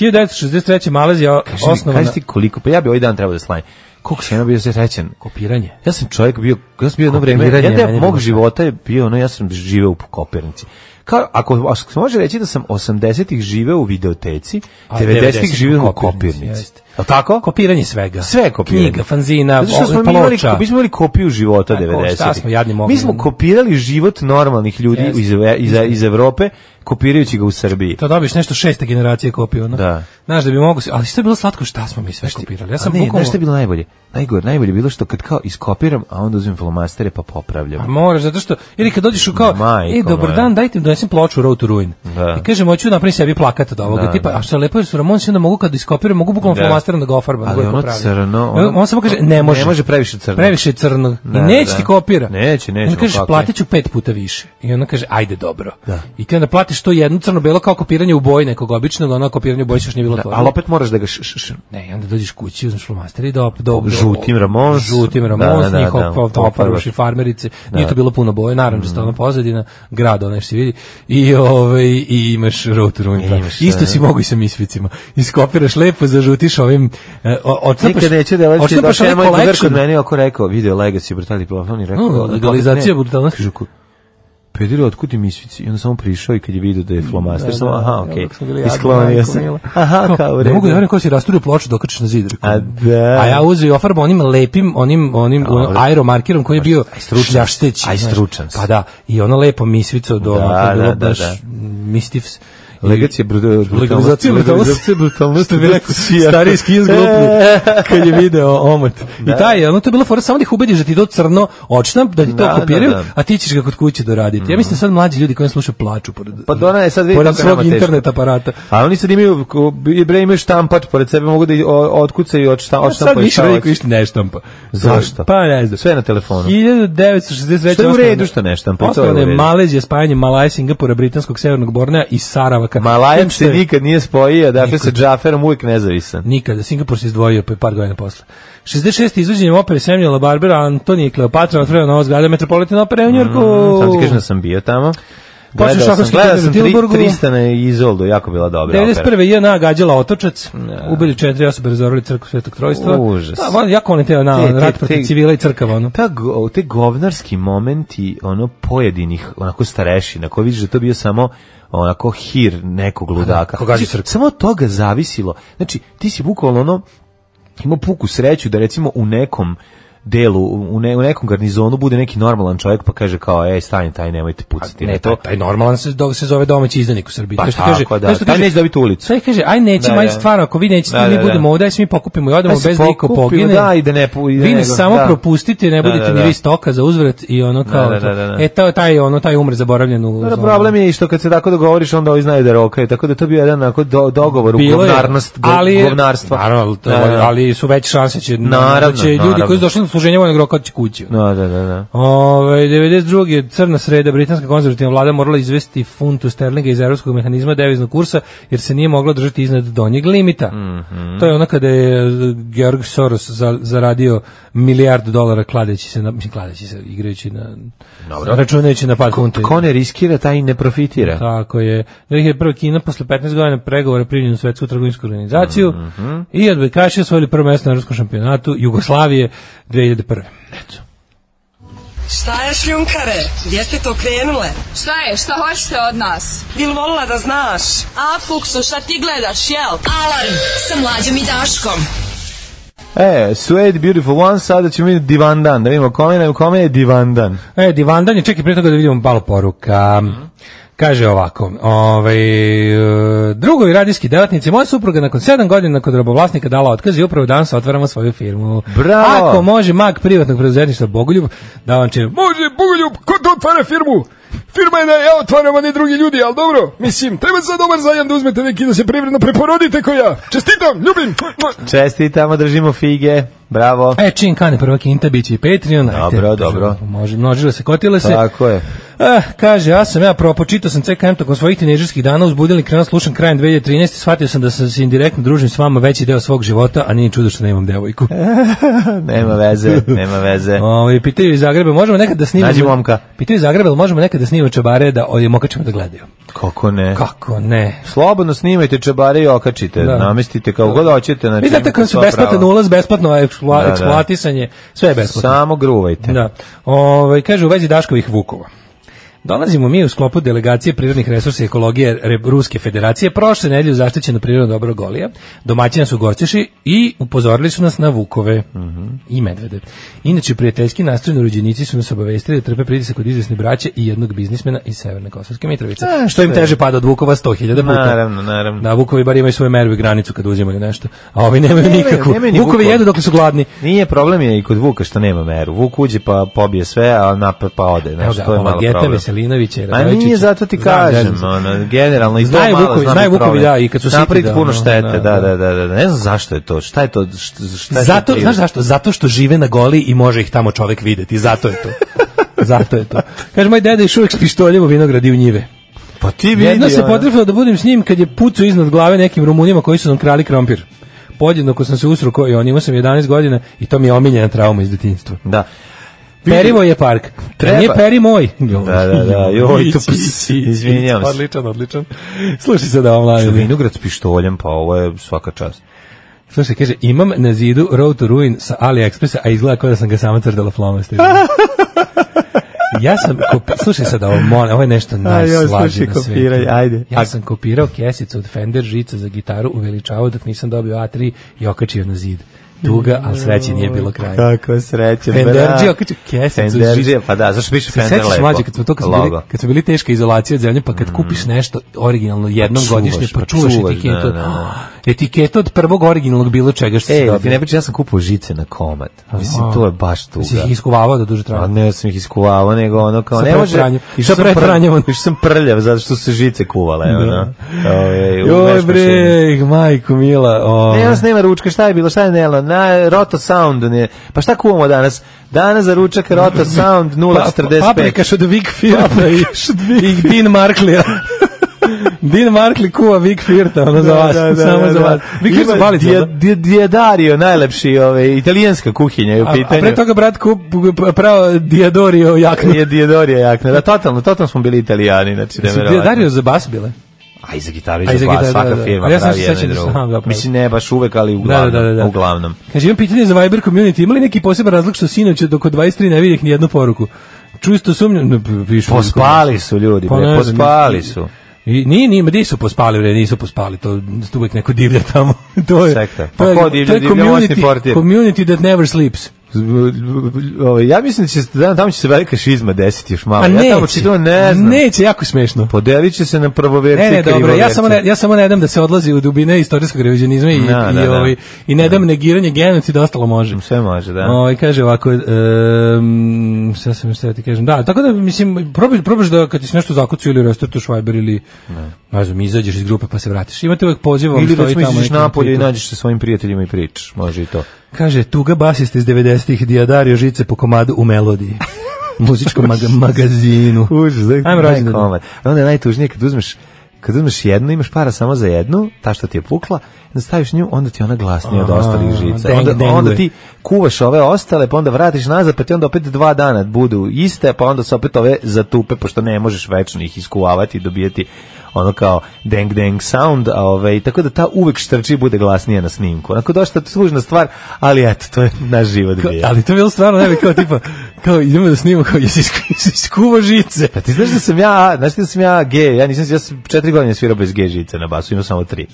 1963. Malezija
Mhm. Kaži mi,
osnovana
kaži ti koliko pa ja bi ovaj dan trebao da slavim koliko sam ja bio srećan
kopiranje.
Ja sam čovjek bio, ja sam bio jedno vreme,
Kopiranje,
jedan deo
meni je
mog
bilo
života je bio, ono, ja sam živeo u Kopernici. Kao, ako, ako se može reći da sam 80-ih živeo u videoteci,
A
90-ih
90-ih
živeo u
u Kopirnici,
Kopernici.
jeste.
Je li tako?
Kopiranje svega.
Sve je kopiranje.
Da. Knjiga, fanzina,
Zato što smo mi imali,
ploča.
mi smo imali kopiju života
Tako,
90-ih.
šta smo jadni mogli?
Mi smo kopirali život normalnih ljudi
Jeste.
iz, iz, iz Evrope, kopirajući ga u Srbiji.
To dobiješ nešto šeste generacije kopio, ono.
Da.
Znaš da bi mogu, se- ali što je bilo slatko, šta smo mi sve kopirali? Ja sam
A ne,
bukvalno-
znaš šta je bilo najbolje? Najgore, najbolje je bilo što kad kao iskopiram, a onda uzmem flomastere pa popravljam.
A moraš, zato što, ili kad dođeš u kao,
Majko
e, dobar
moja.
dan, dajte mi donesem ploču Road to Ruin.
Da.
I kažem, hoću napraviti sebi plakat od ovoga
Da,
tipa,
da.
a što je lepo, jer su Ramonsi onda mogu kad iskopiram, mogu bukvalno
Da.
flomasterom da ga ofarbam.
Ali
da ga
ono
popravim.
crno,
E,
ono-
On samo kaže, ne može.
Ne može previše crnog.
Previše je crnog.
Da,
I neće
da.
ti kopira.
Neće, neće,
Onda kažeš,
kako je. Da.
platit ću pet puta više. I ona kaže, ajde, dobro. I ti onda platiš to jedno crno-belo kao kopiranje u boji nekog običnog, ono kopiranje u boji se još nije bilo to.
Ali opet moraš da ga š, š, š,
Ne, i onda dođeš kući, uzmeš flomaster i do, do, do
Žutim Ramons.
žutim
Da,
Ramons,
da,
da, njihov
da.
da, da,
Ofarbaš.
farmerice, nije to bilo puno boje, naranđasta
Mhm.
ona pozadina, grad onaj što se vidi, i, ovaj, i imaš rotor
I imaš,
Isto
da,
si mogu i sa misvicima. Iskopiraš lepo, zažutiš ovim, e, o- odcepaš-
Nikad neću da leći da
odcepaš
šema
ovaj
i kod
collection.
mene oko rekao video legacy brutali plafon i rekao
No,
"Odakle
legalizacija
ne?"
brutalnosti.
Kažu ko Pedro otkud ti misvici i onda samo prišao i kad je video da je flomaster samo
da,
aha okej okay. isklonio sam aha kao u
Ne
redu.
mogu da verujem ko si rasturio ploču dokačiš na zid.
A da.
A ja uzeo i ofarbao onim lepim, onim, onim,
Dobro.
ono, aeromarkirom koji je bio
Aj, stručan si.
šljašteći.
Aj,
znaš.
stručan si.
Pa da, i ono lepo misvico do
Da,
onako, bilo
da, da,
baš
da.
mistifs. I-
Legacija brutalnosti.
Legalizacija brutalnosti.
brutalnosti.
Što bi rekao, stari skins glupni, kad je video omot.
Da.
I taj, ono, to je bila fora, samo da ih ubediš da ti to crno očnam, da ti to
Da, da,
kopiraju,
da.
a ti ćeš ga kod kuće doraditi. Ja mislim da sad mlađi ljudi koji slušaju plaču pored,
Pa Dona je sad vidi
pored
kako je nama
svog
teško.
internet aparata.
A oni sad imaju, ko- i bre imaju štampač pored sebe, mogu da i o- otkucaju od štampa.
Pa sad više veliko ništa ne štampa.
Zašto?
Pa ne znam.
Sve je na telefonu.
1963.
Što je u
osnovana-
redu što ne štampa, to je u
Osnovana je
redu.
Malezija spajanjem Malaja, Singapura, Britanskog, Severnog Bornea i Saravaka.
Malajan
Što je-
se nikad nije spojio, dakle sa Džaferom uvijek nezavisan.
Nikada, Singapur se izdvojio pa je par godina posle. 66. izvođenjem opere Samuela
Mhm,
Barbera, Antonije i Kleopatra otvorena nova zgrada Metropolitan opere u Njorku.
Samo ti kažem da sam da bio tamo.
Počeo
Gledao sam,
šahovski
gledao
turnir
sam
u
tri,
Tilburgu.
Tristana i Izoldu, jako bila dobra opera.
91. je nagađala otočac, ubili četiri osobe, razorili crkvu Svetog Trojstva.
Da. Užas.
Da, volim- jako volim te, na,
Te- te-
rat protiv
te-
civila i crkava, ono.
Ta, go- te govnarski momenti ono pojedinih onako stareši na koji vidiš da je to bio samo onako hir nekog ludaka.
ko gađa
Znači,
crkvu.
samo od toga zavisilo. Znači, ti si bukvalno ono imao puku sreću da recimo u nekom delu, u, ne, u nekom garnizonu bude neki normalan čovjek pa kaže kao ej stani taj nemojte pucati na
Ne,
to.
to taj normalan se dok se zove domaći izdanik u Srbiji.
Pa
To što
tako,
kaže,
da.
to što
Taj
kaže-
neće dobiti ulicu.
Sve kaže, aj nećemo,
Da,
aj
da.
stvarno, ako vi nećete,
Da,
mi
da,
budemo
da.
ovdje, aj se mi pokupimo i odemo
Aj se
bez da iko
pokupimo,
pogine.
da, i da ne pu- i da
vi
ne-
nas samo
da.
propustite, ne
Da,
budete
da,
ni
da.
vi stoka za uzvrat i ono kao.
da,
to.
da, da.
E, to, taj, ono, taj umre zaboravljen u...
Da,
zonu.
problem je i što kad se tako dogovoriš onda ovi znaju da rokaju, tako da to je bio jedan onako do, dogovor u
Bilo je,
govnarnost, go-
ali,
govnarstva.
Naravno, ali, to-
Da, da.
ali su veće šanse će,
Naravno,
da će ljudi
naravno.
koji su došli na služenje vojnog roka će kući.
Da, da, da, da.
Ove, 92. crna sreda, britanska konzervativna vlada morala izvesti funtu sterlinga iz evropskog mehanizma deviznog kursa, jer se nije mogla držati iznad donjeg limita.
Mhm.
To je ono kada je e, Georg Soros za- zaradio milijardu dolara kladeći se, na, mislim, kladeći se, igrajući na, računajući na pad funte.
Ko ne riskira, taj i ne profitira.
Tako je. 2001. Kina posle 15 godina pregovora primljena u svetsku trgovinsku organizaciju
Mhm.
i odbojkaši osvojili prvo mesto na evropskom šampionatu Jugoslavije 2001.
Šta je šljunkare? Gdje ste E, to krenule?
Šta je, šta hoćete od nas?
Bil volila da znaš?
A, Fuksu, šta ti gledaš, jel?
Alarm sa mlađom i Daškom.
E, Suede Beautiful One, sada ćemo vidjeti Divandan, da vidimo kome, nam- kome je Divandan.
E, divandan je, čekaj, prije toga da vidimo malo poruka. Kaže ovako, ovaj, e, drugovi radijski delatnici, moja supruga nakon 7 godina kod robovlasnika dala otkaz i upravo danas otvaramo svoju firmu.
Bravo!
Ako može mag privatnog preduzetništva Bogoljub, da vam će, može Bogoljub, ko to otvara firmu? Firma je da ja otvaram, a ne drugi ljudi, ali dobro, mislim, treba za dobar zajam da uzmete neki da se privredno preporodite ko ja. Čestitam, ljubim!
Čestitamo, držimo fige, bravo.
E, čim kane prvak Inta, bit će i Patreon. ajte,
Dobro, dobro.
Može, množile se, kotile se.
Tako je.
Eh, kaže, ja sam ja propočitao sam CKM tokom svojih tineđerskih dana uzbudili krenuo slušam krajem 2013. Shvatio sam da sam se indirektno družim s vama veći deo svog života, a nije čudo što nemam devojku.
Eh. Nema veze, nema veze.
Ovaj pitaju iz Zagreba, možemo nekad da snimamo...
Nađi momka.
Pitaju iz Zagreba, jel možemo nekad da snimamo čabare da ovdje mokačemo da gledaju.
Kako ne?
Kako ne?
Slobodno snimajte čebare i okačite,
Da.
namestite kako god hoćete. Znači,
Vi znate
imate
kako su
sva
besplatan
prava.
ulaz, besplatno eksplo-
Da, da.
eksploatisanje, sve je besplatno.
Samo gruvajte.
Da. Ovaj kaže u vezi Daškovih Vukova. Dolazimo mi u sklopu delegacije prirodnih resursa i ekologije Re- Ruske federacije prošle nedelje u zaštićeno prirodno dobro Golija. Domaćina su gostiši i upozorili su nas na vukove
Mhm.
i medvede. Inače, prijateljski nastrojeni urođenici su nas obavestili da trpe pritisak od izvesne braće i jednog biznismena iz Severne Kosovske Mitrovice. što im teže pada od vukova 100.000 puta.
Naravno, naravno.
Da, vukovi bar imaju svoju meru i granicu kad uzimaju nešto. A ovi nemaju
Nemaju,
nikakvu.
nemaju ni
vukovi
vukova.
jedu dokle su gladni.
Nije problem je i kod Vuka što nema meru. Vuk uđe pa pobije sve, a napad pa ode.
Evo
Znači,
ga,
to je
ova
malo
Geta
problem.
Veselinović je
A nije, zato
Da,
ti kažem, ono, generalno, i to
Znaju
malo
Vukovi,
znam
znaju
i problem.
Vukovi, da, i kad su siti,
Napraviti
da,
puno
ono,
štete,
da,
da, da, da, da, ne znam zašto je to, šta je to, št- šta je to
Zato,
krivo?
znaš zašto? Zato što žive na goli i može ih tamo čovek videti. Zato je to. zato je to. Kaže, moj deda je šuvek s pištoljem u vinogradi u njive.
pa ti vidi,
Jedno se
ono.
potrefilo da budem s njim kad je pucu iznad glave nekim Rumunima koji su nam krali krompir. Podjednako sam se usruko i on imao sam 11 godina i to mi je omiljena trauma iz detinjstva.
Da.
Perivo je park.
Treba.
Nije peri moj.
Da, da, da, joj, to pis, izvinjam se.
Odličan, odličan. Slušaj se da vam lažem.
Vinograd s pištoljem, pa ovo je svaka čast.
Slušaj, kaže, imam na zidu Road to Ruin sa AliExpressa, a izgleda kao da sam ga sama crtala flomastima. ja sam, kopi... slušaj sad ovo, molim, ovo je nešto najslađe
slušaj,
na svijetu.
kopiraj, ajde.
Ja sam kopirao kesicu od Fender žica za gitaru u Veličavu dok nisam dobio A3 i okačio na zid. Tuga, ali sreće nije bilo kraja.
Kako sreće,
Fenderđija, okačio kesicu.
Fenderđija, pa da, zašto piše
Se
Fender
sećaš
lepo?
mlađe kad smo to kad smo bili,
Logo.
kad smo bili teška izolacija od zemlje, pa kad kupiš nešto originalno jednom
čuvaš,
godišnje, pa
pa
čuvaš
čuvaš,
etiketu.
da, da, da.
Etiketu od prvog originalnog bilo čega što si
Ej, da ti
dobio.
ne pričam, ja sam kupao žice na komad. Mislim, to je baš tuga.
Si ih iskuvavao da duže traje.
A ne sam ih iskuvao, nego ono kao
Sa
ne može.
pretranjem.
Išao
Sa
sam prljav-
pretranjem, ono. Da.
Išao sam prljav zato što su se žice kuvale, ono. Ovaj, u
Joj
veš mašini.
bre, majko mila. O.
Ne, danas nema ručka, šta je bilo, šta je nelo, na Roto Sound, ne. pa šta kuvamo danas? Danas za ručak Roto Sound
Pa-
045.
Paprikaš od Big Firda i, i Dean Marklija. Din Markli kuva Vic Firta, ono
Da,
za vas, samo za vas. Vic Firta
Ima
palica,
dia-
ono?
dia- Diadario, najlepši ovaj, italijanska kuhinja je u
A, a
pitanju.
pre toga brat kup, pravo Diadorio jaknu.
je Diadario jakna. Da, totalno, totalno smo bili italijani. Znači,
Jesu
neverovatno.
Diadorio za bas bile?
A i za gitaru, i
A
za,
i za
glas,
gitaru, da,
svaka
da.
firma
Ali ja sam
pravi
se
jedno i
sećam da sam- aha,
drugo.
zapravo.
pa Mislim, ne baš uvek, ali uglavnom.
Da, da, da, da.
uglavnom.
Kaže, imam pitanje za Viber community. Ima li neki poseban razlog što sinoć dok od 23 ne vidjeh ni jednu poruku? Čusto sumnjam, ne, p- pišu.
Pospali su ljudi,
Pa ne
bre,
znam,
pospali
nisu-
su.
I nije, nije, ma di su pospali, bre, nisu pospali, to to uvek neko divlja tamo. to je,
Sekta.
to
Pa
je,
ko divlja?
to je
Divlja moćni
community,
portir.
community that never sleeps.
Ovo, Ja mislim da će se, da, tamo će se velika šizma desiti još malo.
A neće,
ja tamo čitam, ne znam.
neće, jako smešno.
Podelit će se na prvoverce
Ne, ne,
i
dobro, ja
krivoverce.
samo ne, ja samo ne dam da se odlazi u dubine istorijskog revizionizma i,
Da,
i,
da, da.
ovaj, i ne dam negiranje genocida, ostalo može.
Sve može, da.
Ovaj kaže ovako, um, šta sam šta ti kažem. Da, tako da mislim probaš probaš da kad ti se nešto zakucuje ili restartuješ Viber ili ne, znam, izađeš iz grupe pa se vratiš. Imate uvek poziv vam
Ili
stoji
recimo
tamo.
iziš
neki na
napolje i
Twitteru.
nađeš se svojim prijateljima i pričaš. Može i to.
Kaže tuga basista iz 90-ih Dijadario žice po komadu u melodiji. muzičkom maga- magazinu.
Užas, da je
Ajmo rođendan.
najkomad. A Onda je najtužnije kad uzmeš kad uzmeš jednu, imaš para samo za jednu, ta što ti je pukla, da staviš nju, onda ti je ona glasnija od
Aha,
ostalih žica.
deng-
Onda,
denguje.
onda ti kuvaš ove ostale, pa onda vratiš nazad, pa ti onda opet dva dana budu iste, pa onda se opet ove zatupe, pošto ne možeš večno ih iskuvavati i dobijeti ono kao deng deng sound, a ove, tako da ta uvek štrči i bude glasnija na snimku. Onako došta tužna stvar, ali eto, to je naš život
Ka-
bio.
Pa, ali to je bilo stvarno ne bi kao tipa kao idemo da snimamo kao jesi isku- jesi iskuvo žice.
Pa ti znaš da sam ja, znaš ti da sam ja gej, ja nisam, ja sam četiri godine svirao bez gej žice na basu, imao samo tri.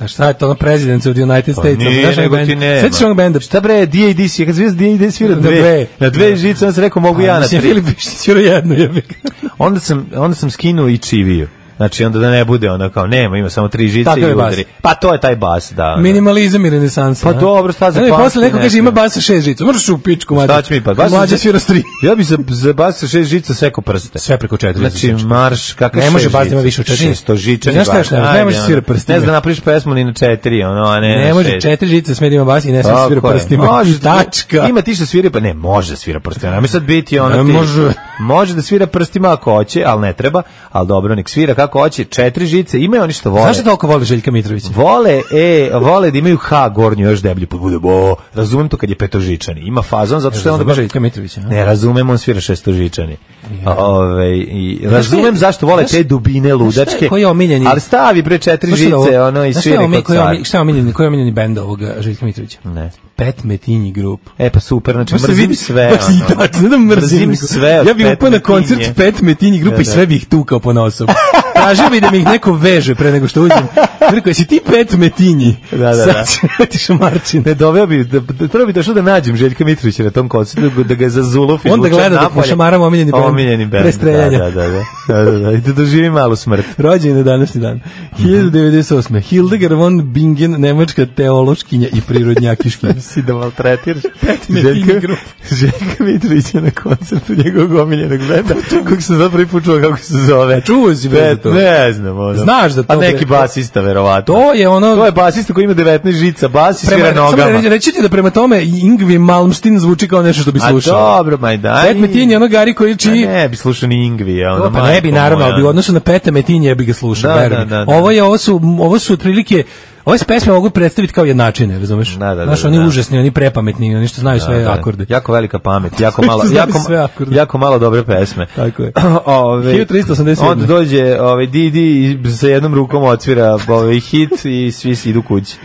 A šta je to ono Presidents of the United States?
Pa nije, nego ti nema.
Sveći onog benda.
Šta Da bre, D.A.D.C, kad da zvijez D.A.D.C svira
Na
dve,
dve. Da.
na dve žice, onda sam rekao mogu ja na
Mislim,
tri.
Filip Bišić je jedno jebi. ga.
Onda sam, onda sam skinuo i čiviju. Znači onda da ne bude ono kao nema, ima samo tri žice
Takav
i
je bas.
udari. Pa to je taj bas, da. ono.
Minimalizam i renesansa.
Pa
a?
dobro, šta za
Ne, ne,
pamti,
Posle neko
ne
kaže
znam.
ima basa šest žica. Mrš u pičku, mlađe.
Šta će mi pa? Bas-
Mlađe svira s tri.
Ja bi za, za bas sa šest žica sekao prste.
Sve preko četiri
Znači,
žice.
marš, kakav
Ne može
šest
bas da ima
žica?
više od četiri.
Šesto žičani
Znaš šta
bas.
još ne može? Ne
Ajde,
može
ono.
svira prstima.
Ne zna da napraviš pesmu ni na četiri, ono, a ne,
Ne
na
može
šest.
četiri žice sme da ima bas i ne sme da
Tako
svira
je.
prstima.
Može,
Tačka.
Ima ti što svira, pa ne, može da svira prstima. Nema sad biti ono
Ne
ti.
može.
Može da svira prstima ako hoće, ali ne treba. Ali dobro, nek svira kako hoće. Četiri žice, imaju oni što vole.
Zašto toliko voli Željka Mitrovića?
Vole, e, vole da imaju H gornju još deblju, pa bude bo. Razumem to kad je petožičani. Ima fazon, zato što je onda baš...
Željka Mitrovića. a?
Ne, razumem, on svira šestožičani. Ove, i, razumem
koji-
zašto vole
znaš-
te dubine ludačke.
koji je omiljeni-
Ali stavi pre četiri
Znaš šta je ovo-
žice, ono, i
znaš šta je
svira
omi-
kod
koji je omi-
car.
Šta je omiljeni, koji je omiljeni bend ovoga Željka Mitrovića?
Ne.
Pet Metinji grup.
E, pa super, znači,
Baš se
mrzim
vidi-
sve.
baš i
ono.
tačno, ne da mrzim,
Mrzim
nego-
sve od
Ja bih
Pet
upao na koncert
Metinje.
pet metinji grupa
Da,
i
da.
sve bih tukao po nosu. Tražio bih da mi ih neko veže pre nego što uđem. Rekao, jesi ti pet metinji?
Da, da, da.
Sad će ti šamarčin.
Ne doveo bi, da, da, prvo bi došao da nađem Željka Mitrovića na tom koncertu, da, da ga zazulov i
Onda gleda da dok mu šamaramo omiljeni bend.
Omiljeni band,
Bez
da,
streljanja.
da, da, da, da, da, da, i da doživi malu smrt.
Rođen je na današnji dan.
Mhm.
1998. Hildegard von Bingen, nemačka teološkinja i prirodnjakiškinja.
Si da maltretiraš
Metinji
Željka,
grup.
Željka Mitrovića na koncertu njegovog omiljenog benda, kog sam zapravo i počuo kako se zove.
Čuo si bre za
Pet,
to.
ne znam, ono.
Znaš za to,
A neki
bre.
basista, verovatno.
To je ono...
To je basista koji ima 19 žica, bas i svira
samo
nogama.
reći- reći ti da prema tome Ingvi Malmsteen zvuči kao nešto što bi
A
slušao.
dobro, maj daj.
Pet Metinji je ono Gari koji
Pa
čiji...
Ne bi slušao ni Ingvi, ja ono.
To, pa ne bi
majko
naravno,
moja.
ali bi u odnosu na Peta Metinje bi ga slušao,
Da,
veruj mi.
da, da, da.
Ovo je ovo su ovo su otprilike ove se pesme mogu predstaviti kao jednačine, razumeš?
Da, da, da,
Znaš,
da,
oni
da.
užasni, oni prepametni, oni što znaju sve akorde.
Jako velika pamet, jako malo,
Što znaju
jako,
da sve akorde.
jako malo dobre pesme.
Tako je.
Ove,
1387.
Onda dođe ovaj Didi i sa jednom rukom odsvira ovaj hit i svi si idu kući.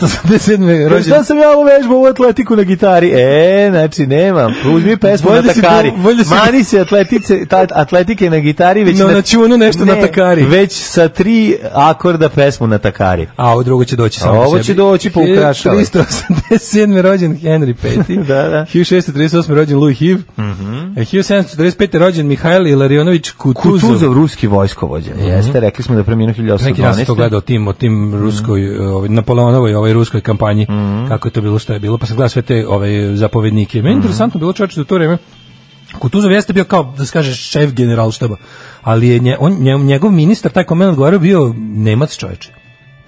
1387.
Kaže,
rođen.
Šta sam ja ovo vežbao u atletiku na gitari? E, znači nemam. Uzmi pesmu
Bolje
na
si
takari.
bu- bolje si- da-
Mani se atletice, ta, atletike na gitari već
No, na čunu nešto na takari.
Već sa tri akorda pesmu na takari.
A ovo drugo će doći samo
A
po
ovo
sebi.
će doći po ukrašavanju.
1387. rođen Henry V.
Da, da. Mhm.
1638. rođen Louis Hiv. Mm -hmm. 1745. rođen Mihajl Ilarionović Kutuzov. Mhm.
Kutuzov ruski vojskovođa. Jeste, rekli smo da je preminuo
Neki dan sam to
1812.
gledao o tim, o tim
Mhm.
ruskoj, ovaj, Napoleonovoj, ovaj ruskoj kampanji, kako je to bilo, što je bilo, pa sam gledao sve te ovaj, zapovednike.
Mhm.
Meni je interesantno bilo čovječe da u to vreme Kutuzov jeste bio kao, da se kaže, šef generalštaba, ali je nje, on, nje- njegov ministar, taj kome je odgovarao, bio Nemac čovječe.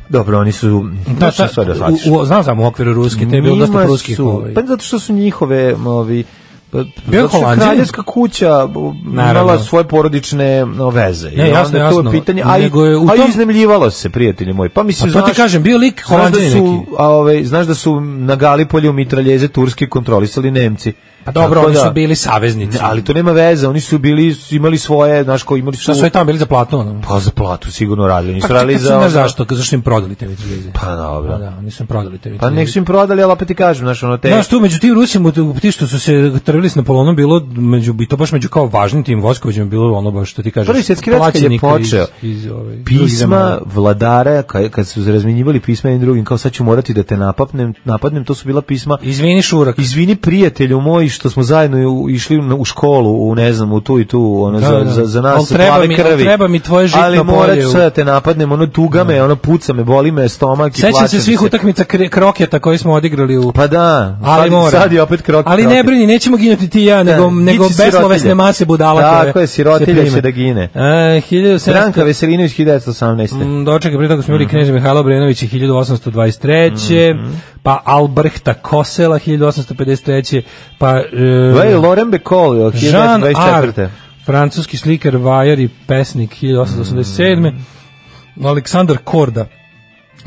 Dobro, oni su...
Da,
Znaš šta sve da shvatiš.
u, u, znam sam u okviru ruske, te je bilo
Njima
dosta ruskih.
su- da
Ovaj.
Pa zato što su njihove, ovi,
Bio
zato što je
Holanđanin?
kraljevska kuća b- imala
Naravno.
svoje porodične no, veze. I
Ne, jasno,
onda To
jasno.
je pitanje, a, i,
Nego je u
a i
tom-
iznemljivalo se, prijatelji moji. Pa mislim,
Pa to ti
znaš-
kažem, bio lik
znaš da
Holanđanin
su,
neki.
a, ovaj, znaš da su na Galipolju mitraljeze turske kontrolisali Nemci.
Pa dobro,
Tako
oni
da-
su bili saveznici.
Ali to nema veze, oni su bili, su imali svoje, znaš, ko imali su...
Šta su i tamo bili za platno? Ono?
Pa za platu sigurno radili, nisu
Pa
radili
čekaj,
za...
znaš
ono-
zašto, zašto su im prodali te mitraljeze?
Pa dobro.
Pa da, oni su im prodali te
Pa
mitraljeze.
nek su im prodali, ali opet ti kažem, znaš, ono te...
Znaš tu, među tim Rusima, u- ti što su se trvili s Napoleonom, bilo, među, i to baš među kao važnim tim vojskovođima, bilo ono baš što ti kažeš.
Prvi svjetski rat kad je
plaćenika iz-
počeo,
iz, ovaj, drugih
pisma
zemalja.
vladara kad, kad su razminjivali pisma jednim drugim kao sad ću morati da te napapnem, napadnem to su bila pisma
Izvini Šurak.
izvini prijatelju moj što smo zajedno u- išli na- u školu u ne znam u tu i tu ono
Da,
za,
da.
za, za nas
Al
su
treba
plave
mi- al
krvi
treba mi tvoje žitno
ali morat ću
polje u-
sad da te napadnem ono tuga me ono puca me boli me stomak i
Sećam
plašim
se svih utakmica kre- kroketa koje smo odigrali u...
pa da
ali
sad,
mora.
sad je opet krok
Ali ne
kroket.
brini, nećemo ginuti ti i ja, nego,
Da,
nego
bit će sirotilja.
beslovesne mase budala koje
Tako je,
se
sirotilja
prime.
će da gine.
A, 1700
Branka Veselinović 1918.
Mm, Dočekaj, prije toga smo
Mhm.
bili knježe Mihajlo Brenović 1823. Pa Albrehta Kosela 1853. Pa
Vej,
e,
Loren Bekol,
Jean
1924.
Ar, francuski slikar, vajar i pesnik 1887.
Mhm.
Aleksandar Korda,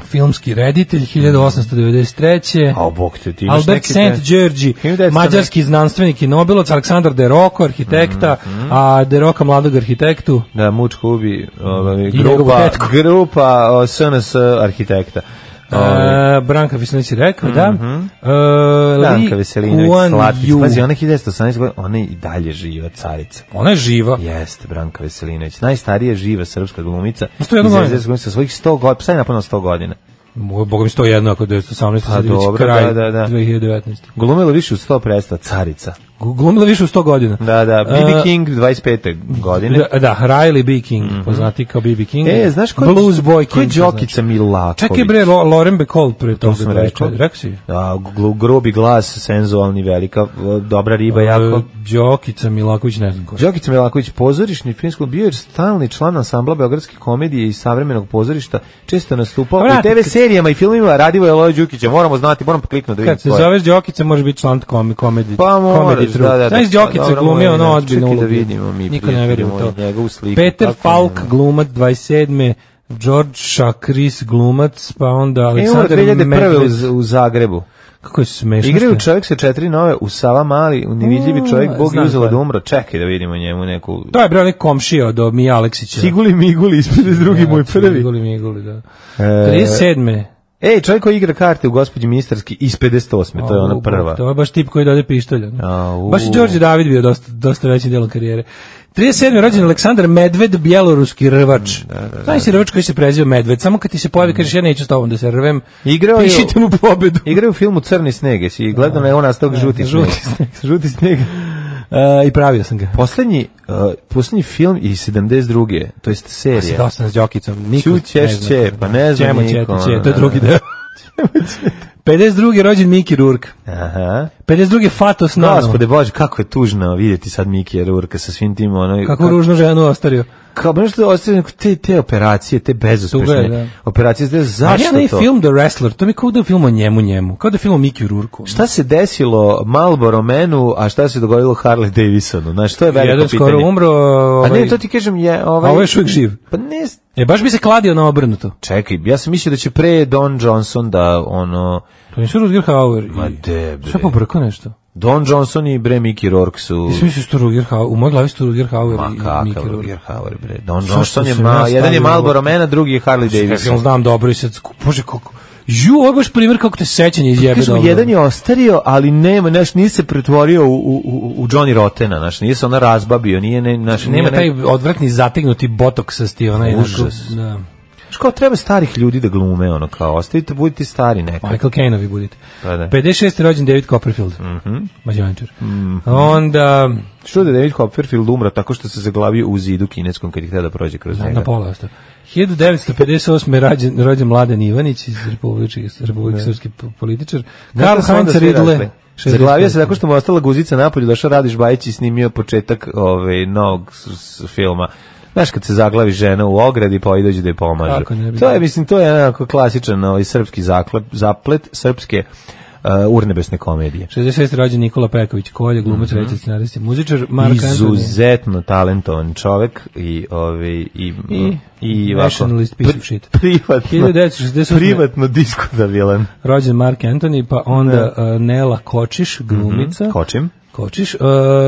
filmski reditelj 1893.
A, bok te, ti imaš
Albert
neke te-
St. Đorđi,
1900
mađarski znanstvenik i nobilac, Aleksandar De Rocco, arhitekta,
Mhm.
a De Rocca mladog arhitektu,
Da, mučko ubi ovaj,
njegovu
grupa,
tetku.
grupa o, SNS arhitekta. Ovaj,
E, Branka Veselinović je rekao, da. E, Li
Danka Mhm. Veselinović,
Kuan
Slatkić.
Ju.
Pazi, ona je 1918 godina, ona je i dalje živa carica.
Ona je živa.
Jeste, Branka Veselinović. Najstarija živa srpska glumica.
Ma, 101
iz
godina.
90 Sa svojih 100 godina, pa sad je napunila 100 godina.
Moj, Boga mi 101 ako je 918,
Pa
sad je već
dobro,
kraj
da, da, da.
2019.
Glumila više od 100 predstava, carica.
Gu- Glumila više u 100 godina.
Da, da, B.B.
E,
King 25. godine.
Da, da, Riley B. King, poznati kao B.B. King.
Mhm. E, znaš ko je,
Blues Boy
ko je
King.
Đokica Milaković?
Čekaj bre, Lo, Loren Bacall pre toga.
sam rekao.
Rekao si?
Da, glu- grubi glas, senzualni, velika, dobra riba, jako.
E, Đokica Milaković, ne znam ko je.
Đokica Milaković, pozorišni filmski bio je stalni član ansambla beogradske komedije i savremenog pozorišta, često nastupao
Vrati,
u TV
kad-
serijama i filmima, radivo je Lojo Đukića, moramo znati, moram kliknuti da vidim
Kad se
ko je.
zoveš Đokica, možeš biti član komi, komedi,
Pa moraš,
komedi trup.
da, da, da.
Znaš,
Pa
Đokica
dobro,
glumio
moram
ono
da-
odbinu
čekaj da
ulogu.
vidimo mi,
Niko ne veruje u to.
prijatelji moji, njegovu sliku,
Peter
kako
Falk,
ne.
glumac 27. George Chakris, glumac, pa onda
E, umro
Aleksandar
2001. u
Medved. Pa
Z- u Zagrebu.
Kako je smešno.
Igraju
što je.
čovjek sa četiri nove u Sava Mali, u nevidljivi čovjek,
Mm,
Bog je
znam ko
uzela
je.
da umro. Čekaj da vidimo njemu neku...
To je bre onaj komšija od Mija Aleksića.
Siguli miguli, ispred iz drugi moj prvi. E,
Iguli, miguli, da. 37.
Ej, čovjek koji igra karte u gospođi ministarski iz 58. To je ona
Au,
prva.
To je baš tip koji dode pištolja. ne?
Au.
Baš i Đorđe David bio dosta, dosta veći delom karijere. 37. rođen Aleksandar Medved, bjeloruski rvač. Da, da, Znaš si rvač koji se preziva Medved, samo kad ti se
Mm.
pojavi kažeš ja neću s tobom da se rvem,
Igrao je-
pišite mu pobedu.
Igra u filmu Crni sneg, jesi gledao na on nastavak žuti sneg.
žuti sneg.
žuti sneg.
E, I pravio sam ga.
Poslednji, uh, poslednji film iz 72. To jest serija.
Dosta sam s Đokicom. Niko
Ću ćeš
ne zna.
će, pa ne znam
Ćemo će,
niko,
će, to
da,
je drugi deo. 52. rođen Miki Rourke.
Aha.
52. Fatos Nano.
Gospode Bože, kako je tužno vidjeti sad Mikija Rurka sa svim tim ono...
Kako ružnu ženu ostario.
Kao nešto ostaje neko- te, te operacije, te bezuspešne
Tuga je, da.
operacije, znaš
Ali
zašto
onaj
to?
film The Wrestler, to mi kao da je film o njemu njemu. Kao da je film o Miki Rourke.
Šta se desilo Marlboro menu, a šta se dogodilo Harley Davidsonu? Znaš, to je veliko
Jedan
pitanje.
skoro umro.
A
Ovaj,
ne, to ti kažem je... Ovaj,
A ovo je još uvijek živ.
Pa ne,
E, baš bi se kladio na obrnuto.
čekaj, ja sam mislio da će pre Don Johnson da ono...
To nisu Rutger Hauer.
Ma
i...
de bre.
Šta pobrko nešto?
Don Johnson i bre Mickey Rourke su...
Ti su misliš to Rutger Hauer? U mojoj glavi su to Rutger Hauer
Ma
i da Mickey
kakav
Rourke.
Roger Hauer bre. Don
Zašto
Johnson je
sam
ma...
ja
Jedan je
stavio
Marlboro
ovo?
mena, drugi je Harley
Ja film
Davidson.
znam dobro i sad, sku- bože kako... Ju, ovo je baš primjer kako te sećanje izjebe
Kažemo,
dobro.
Pa jedan je ostario, ali nema, naš, nije se pretvorio u, u, u- u Johnny Rotena, naš, nije se ona razbabio, nije, ne, naš,
Nema
nije ne-
taj odvratni zategnuti botok sa sti, onaj onako,
Užas.
Da.
Znaš, kao treba starih ljudi da glume, ono, kao, ostavite, budite stari nekad.
Michael Caine-ovi budite.
Pa da.
56. rođen David Copperfield. Mhm. Mađioničar.
Mhm.
Onda
Što da je David Copperfield umra tako što se zaglavio u zidu kineskom kad je htio da prođe kroz njega?
na pola je ostao. 1958. rođen, rođen Mladen Ivanić iz Republike, Republike
Da.
Srpske političar.
Znaš
Karl
šta su da onda
Heinz
svi
Ridle.
rekli? Zaglavio se tako što mu je ostala guzica napolju, došao Radiš Bajić i snimio početak ove, novog s- s- filma. Znaš, kad se zaglavi žena u ogradi, pa i dođe da je pomaže.
Kako ne bi
To je,
bilo.
mislim, to je onako klasičan ovaj, srpski zaklep, zaplet, srpske urnebesne komedije.
66. rođen Nikola Peković, kolje, glumac,
Mhm.
mm -hmm. reći, scenarist i muzičar, Mark Antony,
Izuzetno talentovan čovek i ovaj i i, i ovako
nationalist piece of shit.
privatno
1968.
privatno da diskutabilan.
rođen Mark Antony, pa onda uh, Nela Kočiš, glumica.
Da. Mhm. Kočim.
Kočiš, uh,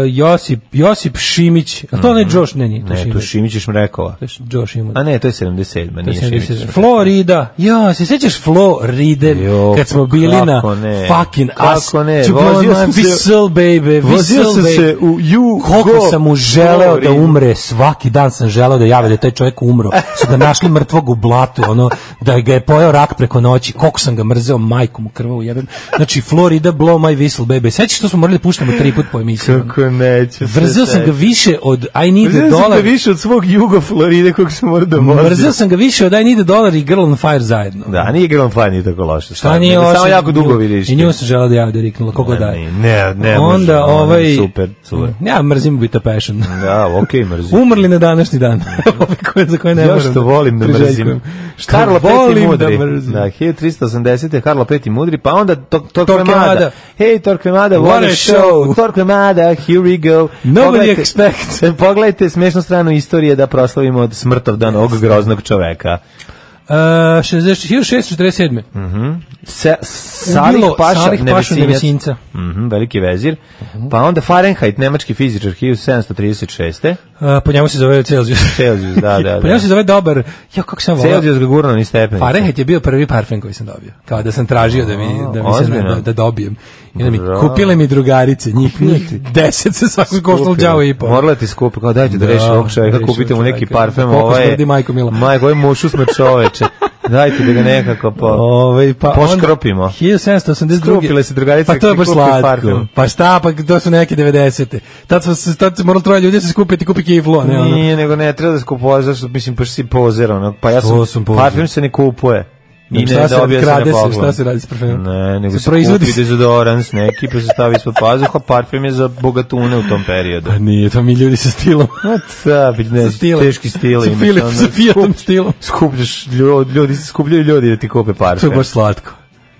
Josip, Josip Šimić, a to ne Josh, ne, nije,
Mhm.
to
Ne, tu
Šimić.
Šimić je Šmrekova.
To je Josh ima.
A ne, to je 77,
To
nije
se ne
Šimić.
sjećaš. Florida. Ja, se sećaš Floride
Jo, pa
kad smo bili na
kako ne.
fucking
Kako
as.
ne,
to
vozio
blow
sam
my
se-
whistle, baby.
Vozio
whistle,
sam
baby.
se u Jugo
Koliko sam mu želeo da
Floridu.
umre, svaki dan sam želeo da jave da je taj čovjek umro, su ga našli mrtvog u blatu, ono, da ga je pojao rak preko noći, koliko sam ga mrzeo, majkom u krvavu jebem. Znači, Florida, blow my whistle, baby. Sećaš što smo morali da puštamo tri put po emisiji? ono?
Kako neću. se
Vrzeo sam ga
setiti.
više od I need a
Mrzeo sam ga
dollar.
više od svog Jugo Floride kog sam morao da mozim.
Mrzeo sam ga više od I need a dollar i Girl on Fire zajedno.
Da, nije Grand Fan Pa nije tako loše.
Šta nije
nego
loše?
Samo jako dugo
Nju-
vidiš.
I nju se žela da javi da je riknula, koga da
Ne,
je.
ne, ne može,
Onda
ona je
ovaj...
Super, cure.
Ja mrzim Vita Passion.
Da, okej, mrzim.
Umrli na današnji dan. Ove koje, za koje ne
ja
moram.
što volim da mrzim.
priželjkujem.
Karlo V
volim
mudri.
Da mrzim.
Da, 1380. Karlo V mudri, pa onda to, Torquemada.
Torquemada.
Hej, Torquemada, what, a show. Torquemada, here we go.
Nobody
Pogledajte-
expects.
Pogledajte smešnu stranu istorije da proslavimo od smrtov dan ovog groznog čoveka.
Uh, 60 1647.
Mm. Se, Salih
Ubilo
Paša,
Salih Pašu
Nevesinjac.
Nevesinca. Mhm.
Mhm, veliki vezir. Pa onda Fahrenheit, nemački fizičar 1736.
Uh, po njemu se zove Celsius.
Celsius, da, da,
po njemu
da.
Pa se zove dobar. Ja, kako sam volao.
Celsius ga gurno ni stepenice.
Fahrenheit je bio prvi parfem koji sam dobio. Kao da sam tražio da mi, da mi se
ozbiljno?
da, da dobijem. I onda mi
Bravo.
kupile mi drugarice, njih, njih deset se svakog koštalo đavo i po.
Morala ti skupi, kao dajte da
Da,
reši ovog čovjeka,
reši
kupite mu
ovog
neki
čoveka.
parfem,
Koliko
ovaj...
smrdi, majko mila.
Majko, ovaj mušu smo čoveče. Dajte da ga nekako po...
Ovaj pa onda-
Poškropimo.
1782.
Skrupile se drugarice
Pa to je
i
baš
kupile
slatko.
parfum.
Pa šta, pa to su neke 90-te. Tad smo se tad se moralo troje ljudi da se skupiti kupi kiflu, a ne ono.
Nije, nego ne, treba da se kupuje, zašto, mislim, pa si pozer, ono, pa ja
To
sam,
sam pozer. Znači,
parfem se ne kupuje. I
Šta
ne
se
dobija se na
krade se,
poklon.
šta se radi s parfemom?
Ne, nego
Ja. Se
se,
proizvodi
kupi
se.
dezodorans neki, pa se stavi ispod pazuha, parfem je za bogatune u tom periodu.
A Pa nije, to mi ljudi sa stilom.
No, da, bi ne,
sa stilom.
teški stil
Sa,
imaš,
Filip,
ono,
sa Fiatom
skup-
stilom.
Skupljaš ljudi, ljudi, skupljaju ljudi da ti kupe
To
parfem.
je baš slatko.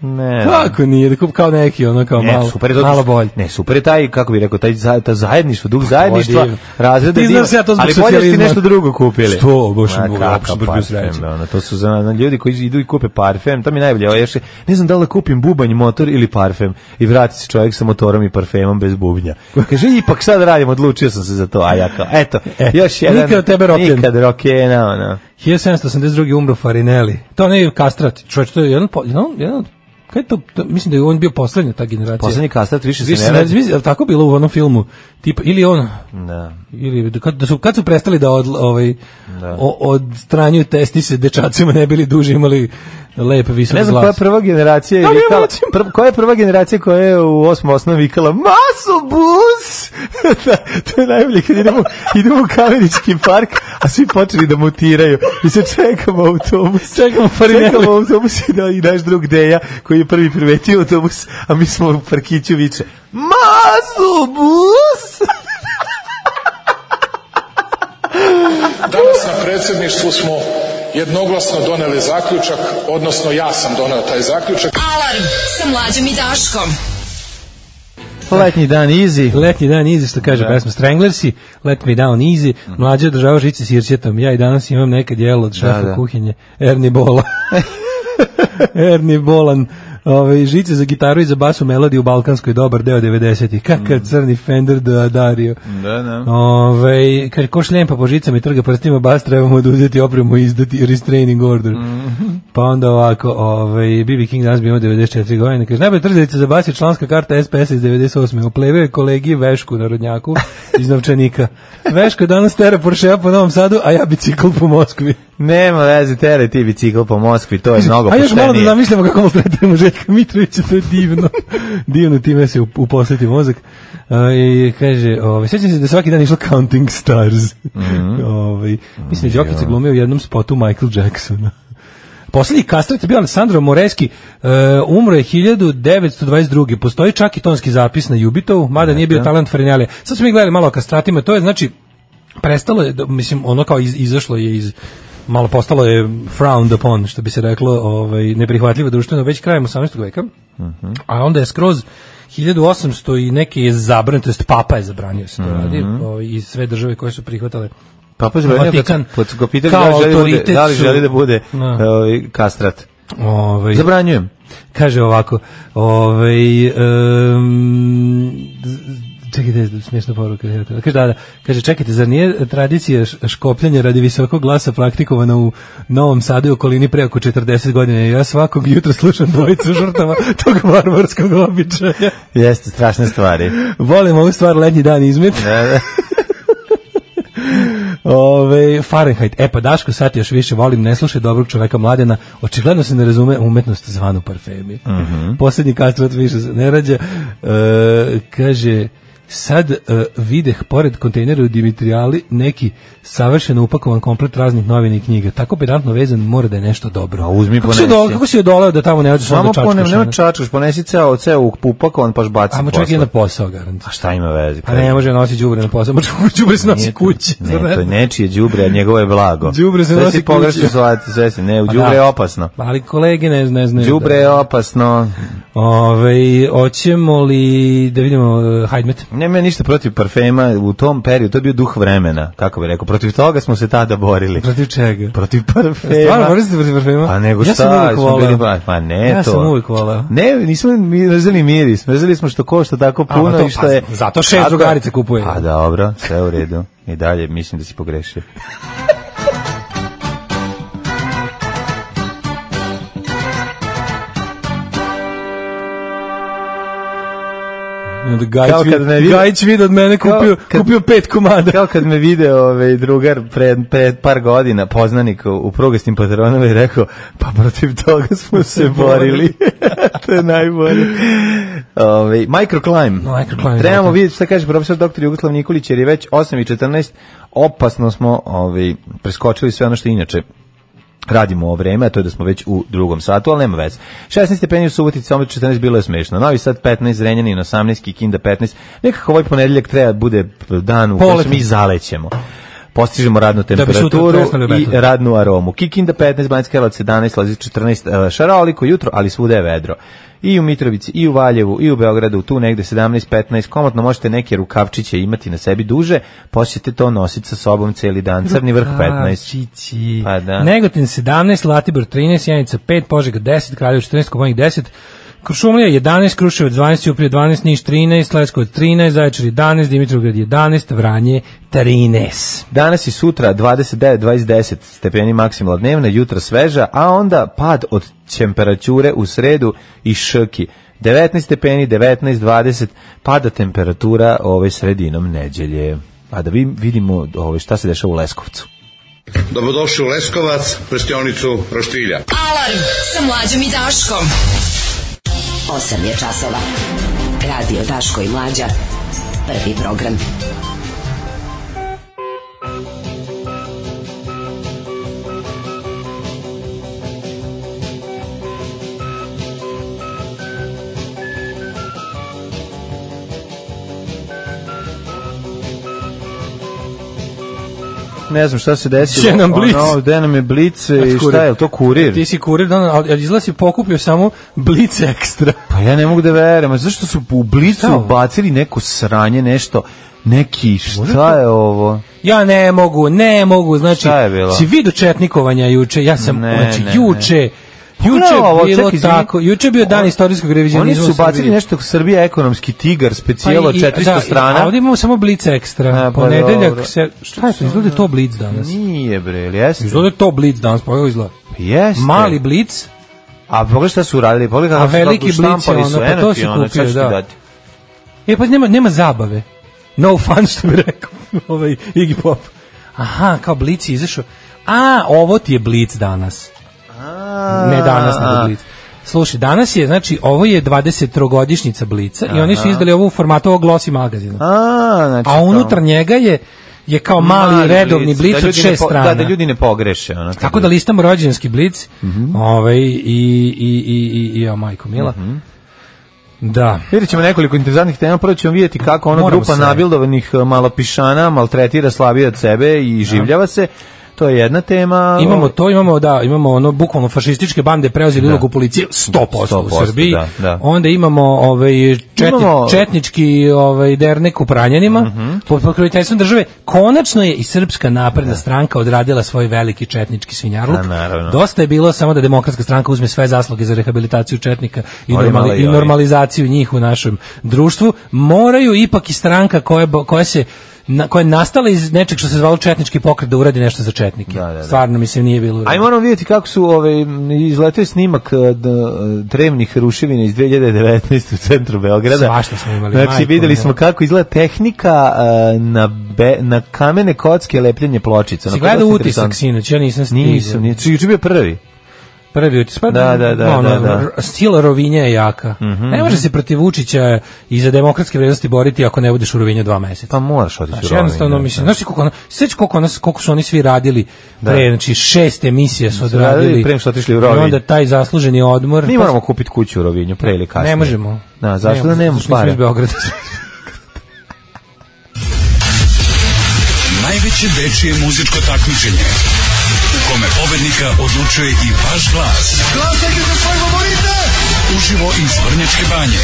Ne.
Kako nije, da kup kao neki, ono kao
Ne,
Pa malo,
E, super je to-
malo bolje.
Ne, super je taj, kako bi rekao, taj za, ta zajedništvo, duh zajedništva,
divno.
razreda
Ti
divno.
znaš ja to zbog
Ali bolje da ste
socijalizma.
nešto drugo kupili.
Što, baš
Ma,
mi je
kakav
uopšte brzo
parfem, da,
sreće.
ono, to su za na, ljudi koji idu i kupe parfem, to mi je najbolje. Ovo je još, ne znam da li da kupim bubanj, motor ili parfem. I vrati se čovjek sa motorom i parfemom bez bubnja. Kaže, ipak sad radim, odlučio sam se za to. A ja kao, eto,
E,
još jedan.
nikad od tebe roken.
Nikad rokena, ono.
1782. umro Farinelli. To ne je kastrat. Čovječ, to je jedan, po- jedan, jedan Kaj je to, to- mislim da je on bio poslednja ta generacija.
Poslednji kastat više se
Više
ne
sam,
radi.
mislim, je li tako bilo u onom filmu? Tipa, ili on,
Da.
ili da kad, da su, kad su prestali da od, ovaj, o, odstranjuju testi se dečacima ne bili duži imali lep visok
Ne znam koja je
glas.
prva generacija je
Ali ja
vikala,
volim.
prv, koja je prva generacija koja je u osmom osnovu vikala Masobus! da, to je najbolje kad idemo, idemo u Kaverički park, a svi počeli da mutiraju i se čekamo autobus.
Čekamo Farinelli.
Čekamo autobus i, da, i naš drug Deja koji je prvi primetio autobus, a mi smo u parkiću viče Masobus!
Danas na predsjedništvu smo jednoglasno doneli zaključak, odnosno ja sam doneo taj zaključak.
Alarm sa mlađom i Daškom.
Letnji dan easy. Da.
Letnji dan easy, što kaže pesma Stranglersi, let me down easy,
Mhm.
mlađe održava žice s irćetom, ja i danas imam nekad jelo od šefa
da.
kuhinje, Erni Bola. Erni Bolan, Ove, žice za gitaru i za basu melodiju u Balkanskoj dobar deo 90-ih.
Mhm.
Kakav crni Fender da Dario.
Da, da.
Ove, kaže, ko šljempa po žicama i trga prstima, bas trebamo oduzeti opremu i izdati restraining order. Pa onda ovako, ove, BB King danas bi imao 94 godine, kaže, najbolje trzalica za bas je članska karta SPS iz 98. Oplevio je kolegi Vešku na rodnjaku iz Novčanika. Veško danas tera Porsche po Novom Sadu, a ja bicikl po Moskvi.
Nema veze, tere ti bicikl po Moskvi, to je mnogo
A još malo da
poštenije.
zamišljamo kako mu sletimo Željka Mitrovića, to je divno. divno time se up- uposliti mozak. A, I kaže, ovaj sećam se da je svaki dan išlo Counting Stars.
Mhm.
ovaj mislim, da je Đokić se glumio u jednom spotu Michael Jacksona. Posljednji kastrat je bio Alessandro Moreski, e, umro je 1922. Postoji čak i tonski zapis na Jubitovu, mada nije bio talent Farinelli. Sad smo mi gledali malo o kastratima, to je znači prestalo je, da- mislim, ono kao iz, izašlo je iz malo postalo je frowned upon, što bi se reklo, ovaj, neprihvatljivo društveno, već krajem 18. veka A onda je skroz 1800 i neke je zabranjeno, to jest papa je zabranio da se to radi o, i sve države koje su prihvatale
Papa Žveljnjak,
Vatikan
kad su ga pitali
kao
da li želi, da bude,
autoritet
da li
su-
želi da bude
Da.
ovaj, kastrat.
ovaj,
Zabranjujem.
kaže ovako, ovaj, um, čekaj da je smiješna poruka. Kaže, da, da, kaže, čekajte, zar nije tradicija š- škopljanja radi visokog glasa praktikovana u Novom Sadu i okolini pre oko 40 godina? Ja svakog jutra slušam dvojicu žrtava tog varvarskog običaja.
Jeste, strašne stvari.
Volim ovu stvar, letnji dan izmet.
Da, da.
Ove, Fahrenheit. E pa Daško, sad još više volim, ne slušaj dobrog čoveka mladena, očigledno se ne razume umetnost zvanu parfemi.
Mhm.
Posljednji kastrat više se ne rađa. E, kaže, sad e, videh pored kontejnera u Dimitrijali neki savršeno upakovan komplet raznih novina i knjiga. Tako pedantno vezan mora da je nešto dobro.
A uzmi,
kako si,
ponesi.
odoleo- kako si odoleo da tamo ne odeš
Samo
onda
ponem,
čačkaš?
nema
ono?
čačkaš, ponesi ceo, ceo pupak, on paš baci
Amo čovjek je
posle.
na posao, garant.
A šta ima veze?
A Pa ne može nositi đubre na posao, đubre se nosi kući.
Ne, to je nečije đubre, a njegovo je blago.
Đubre se
Sve
nosi
si pogrešno
kući.
zvati, sve si. Ne, u
Pa
đubre
da.
je opasno.
Ali kolege ne, ne znaju.
Đubre
da-
je opasno.
Ove, hoćemo li da vidimo uh, Hajdmet?
Nema ništa protiv parfema u tom periodu, to je bio duh vremena, kako bih rekao. Protiv toga smo se tada borili.
Protiv čega?
Protiv parfema.
Stvarno, da morate protiv parfema?
Pa nego
ja
šta,
sam uvijek
smo
volao.
bili ba- pa ne
ja
to.
sam uvijek volao.
Ne, nismo mi mrzeli miris, mrzeli smo što košta tako
A, pa
puno
to-
i što je...
pa, zato šest
Tako-
drugarice kupuje.
Pa dobro, sve u redu. I dalje, mislim da si pogrešio.
I onda Gajić,
Kao kad
vid,
me vidi-
Gajić vid od mene
Kao
Ovaj kupio,
kad-
kupio pet komada.
Kao kad me video ovaj drugar pred, pred par godina, poznanik u, u prugastim patronama i rekao, pa protiv toga smo se borili. to je najbolje. Ove, microclimb.
No, microclimb, da.
Trebamo
izvolite.
vidjeti šta kaže profesor dr. Jugoslav Nikolić, jer je već 8.14 opasno smo ovaj, preskočili sve ono što inače radimo ovo vreme, a to je da smo već u drugom satu, ali nema veze. 16 stepeni u Subotici, Sombor 14, bilo je smešno. Novi Sad 15, Zrenjanin 18, Kikinda 15. Nekako ovaj ponedeljak treba da bude dan u kojem se
Poletno. Da
mi zalećemo. Postižemo radnu
bi sutra
temperaturu
plesnuli u
i
Beogradu.
radnu aromu. Kikinda 15, Banjska Karlovac 17, Lazić 14, e, šaroliko jutro, ali svuda je vedro. I u Mitrovici, i u Valjevu, i u Beogradu, tu negde 17-15, komotno možete neke rukavčiće imati na sebi duže, posjete to nositi sa sobom celi dan, crni vrh 15.
Pa, Čići.
Pa da.
Negotin 17, Latibor 13, Janica 5, Požega 10, Kraljevo 14, Kopanik 10, Krušumlija 11, Kruševac 12, Uprije 12, Niš 13, Leskovac 13, Zaječar 11, Dimitrovgrad 11, Vranje 13.
Danas i sutra 29, 20, 10 stepeni maksimala dnevna, jutra sveža, a onda pad od temperature u sredu i ški. 19 stepeni, 19, 20, pada temperatura ovaj sredinom neđelje. A da vi vidimo ovaj, šta se dešava u Leskovcu.
Dobrodošli u Leskovac, prštionicu Roštilja.
Alarm sa mlađom i Daškom.
8 je časova. Radio Daško i Mlađa. Prvi program.
Ne znam šta se desilo.
Gde nam Blic?
Ono, gde nam je blic i
Kurir.
šta je, to
Ti
kurir?
si kurir, da, ali ali izgleda si pokupio samo blic ekstra.
Pa ja ne mogu da verujem, a zašto su u
Šta je
blicu
ovo?
bacili neko sranje, nešto, neki, šta je ovo?
Ja ne mogu, ne mogu, znači,
Šta je bilo?
si vidio četnikovanja juče, ja sam,
Ne,
znači,
ne,
juče, juče
Pogledaj ovo,
je bilo
čekaj, izvini.
tako, juče je bio dan
On-
istorijskog
Oni
revizionizma
su
u Srbiji.
bacili nešto Srbija ekonomski tigar, specijalo
i-
400
da, i-
strana.
A ovdje imamo samo blic ekstra.
A, pa
Ponedeljak
dobro.
se... Šta je to? Izgleda to blic danas.
Nije bre, jel jeste?
Izgleda da to blic danas, pogledaj izgleda.
Jeste.
Mali blic,
A pogledaj šta su uradili, pogledaj
A
kako su
veliki
kako štampali
blic je
su,
ono, pa
eno
to
ti
si
ono,
kupio,
šta ću ti
da.
dati?
e pa nema, nema zabave. No fun, što bi rekao ovaj Iggy Pop. Aha, kao blic je izašao. A, ovo ti je blic danas. Ne danas, nego blic. Slušaj, danas je, znači, ovo je 23-godišnjica Blica i oni su izdali ovo u formatu ovog Glossy magazina.
A, znači
A
to.
unutar njega je je kao mali, redovni blic,
da
od
ljudi ne
šest
po-
strana.
Da, da ljudi ne pogreše. Ono, kad
Tako da listamo rođenski blic, ovaj, i, i, i, i, i, o, majko Mila. Da.
Vidjet ćemo nekoliko interesantnih tema, prvo ćemo vidjeti kako ona
Moramo
grupa
se.
nabildovanih e, malopišana maltretira slabije od sebe i življava se. to je jedna tema.
Da. Imamo to, imamo da, imamo ono bukvalno fašističke bande preuzeli ulogu policije 100%,
100%,
u Srbiji.
da, da.
Onda imamo ovaj četni,
Imamo-
četnički ovaj dernek u Pranjanima
Mhm.
pod pokroviteljstvom države. Konačno je i Srpska napredna stranka odradila svoj veliki četnički svinjarluk.
Da, naravno.
Dosta je bilo samo da Demokratska stranka uzme sve zasluge za rehabilitaciju četnika i,
Oni
normali-
mali
i
ovi.
normalizaciju njih u našem društvu. Moraju ipak i stranka koja, bo- koja se na, koja je nastala iz nečeg što se zvalo četnički pokret da uradi nešto za četnike.
Da, da, da.
Stvarno mislim nije bilo. u redu.
Ajmo moramo vidjeti kako su ovaj izletio je snimak eh, d- eh, drevnih ruševina iz 2019 u centru Beograda.
Svašta smo imali,
Znači
majko
videli
moja.
smo kako izgleda tehnika eh, na be, na kamene kocke lepljenje pločica.
Si
Onako
gledao
dosta
utisak
interesantno.
sinoć, ja nisam stigao.
Nisam, nisam. Juče je bio prvi.
Prvi utisak. Pa,
Da, da, da,
ono,
da, da. Mhm,
r- Sila rovinja je jaka. Ne može se protiv Vučića i za demokratske vrednosti boriti ako ne budeš u rovinja dva meseca.
Pa moraš otići u
Znači,
Rovinj,
jednostavno,
da, da.
mislim, znaš ti koliko, ono, sveći koliko, ono, koliko su oni svi radili pre, znači šest emisija su
Su radili
odradili.
pre nego što otišli u
I
Rovinj.
onda taj zasluženi odmor. pa
Mi moramo kupiti kuću u Rovinju pre ili kasnije.
Ne možemo.
Da, zašto
Ne,
da nemamo
zato što nismo iz
para?
Beograda.
Najveće dečije muzičko takmičenje u kome pobednika odlučuje i vaš glas. Glasajte za svoje favorite! Uživo iz Vrnjačke banje.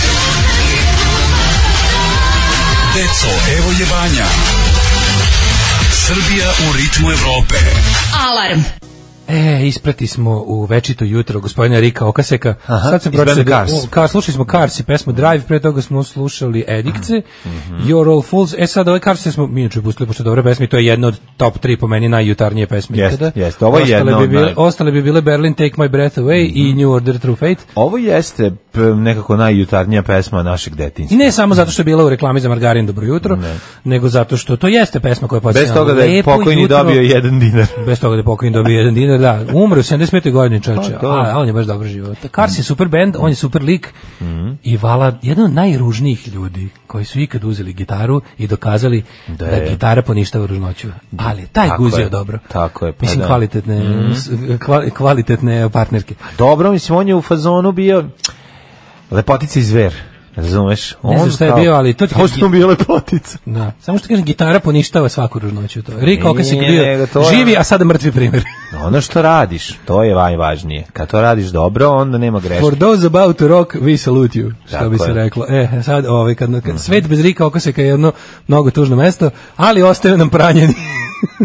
Deco, evo je banja. Srbija u ritmu Evrope.
Alarm.
E, isprati smo u večito jutro gospodina Rika Okaseka.
Aha,
Sad se
iz benda
pročeli,
Cars.
ka, slušali smo Cars i pesmu Drive, pre toga smo slušali Edikce,
Mhm.
You're All Fools. E sad, ove Cars smo, mi inače pustili, pošto je dobra pesma i to je jedna od top 3 po meni najjutarnije pesme.
Jeste,
ikada.
jeste, ovo je
ostale
jedna
bi
od
bile,
naj- Mhm.
Ostale bi bile Berlin Take My Breath Away i New Order True Fate.
Ovo jeste p- nekako najjutarnija pesma našeg
I
detinjstva.
ne samo zato što je bila u reklami za margarin Dobro jutro, nego zato što to jeste pesma koja je
Bez
posjećala.
toga da je
Lepo
pokojni
jutro.
dobio jedan dinar.
Bez toga da je pokojni dobio jedan dinar, da. Umro u 75. godini čovječe,
Pa, to.
a on je baš dobro živio. Kars je super band, on je super lik
Mhm.
i vala, jedan od najružnijih ljudi koji su ikad uzeli gitaru i dokazali da,
je. Da.
gitara poništava ružnoću. Ali taj
Tako
guzio
je,
dobro.
tako je, pa
Mislim,
da.
kvalitetne, s- kva- kvalitetne partnerke.
Dobro, mislim, on je u fazonu bio lepotica i zver. Razumeš?
Ne znam šta je bio, ali to ti-
Kao što mu bio lepotica.
Da. Samo što kažem, gitara poništava svaku ružnoću. To. je. Rick Ocasek
Nije, nego
bio
to je-
živi, a sada mrtvi primjer.
Ono što radiš, to je najvažnije. Kad to radiš dobro, onda nema greške.
For those about to rock, we salute you, što
Tako
bi se
je. Mhm.
reklo. E, sad, ovaj, kad, kad svet bez Rika Okoseka je jedno mnogo tužno mesto, ali ostaju nam pranjeni.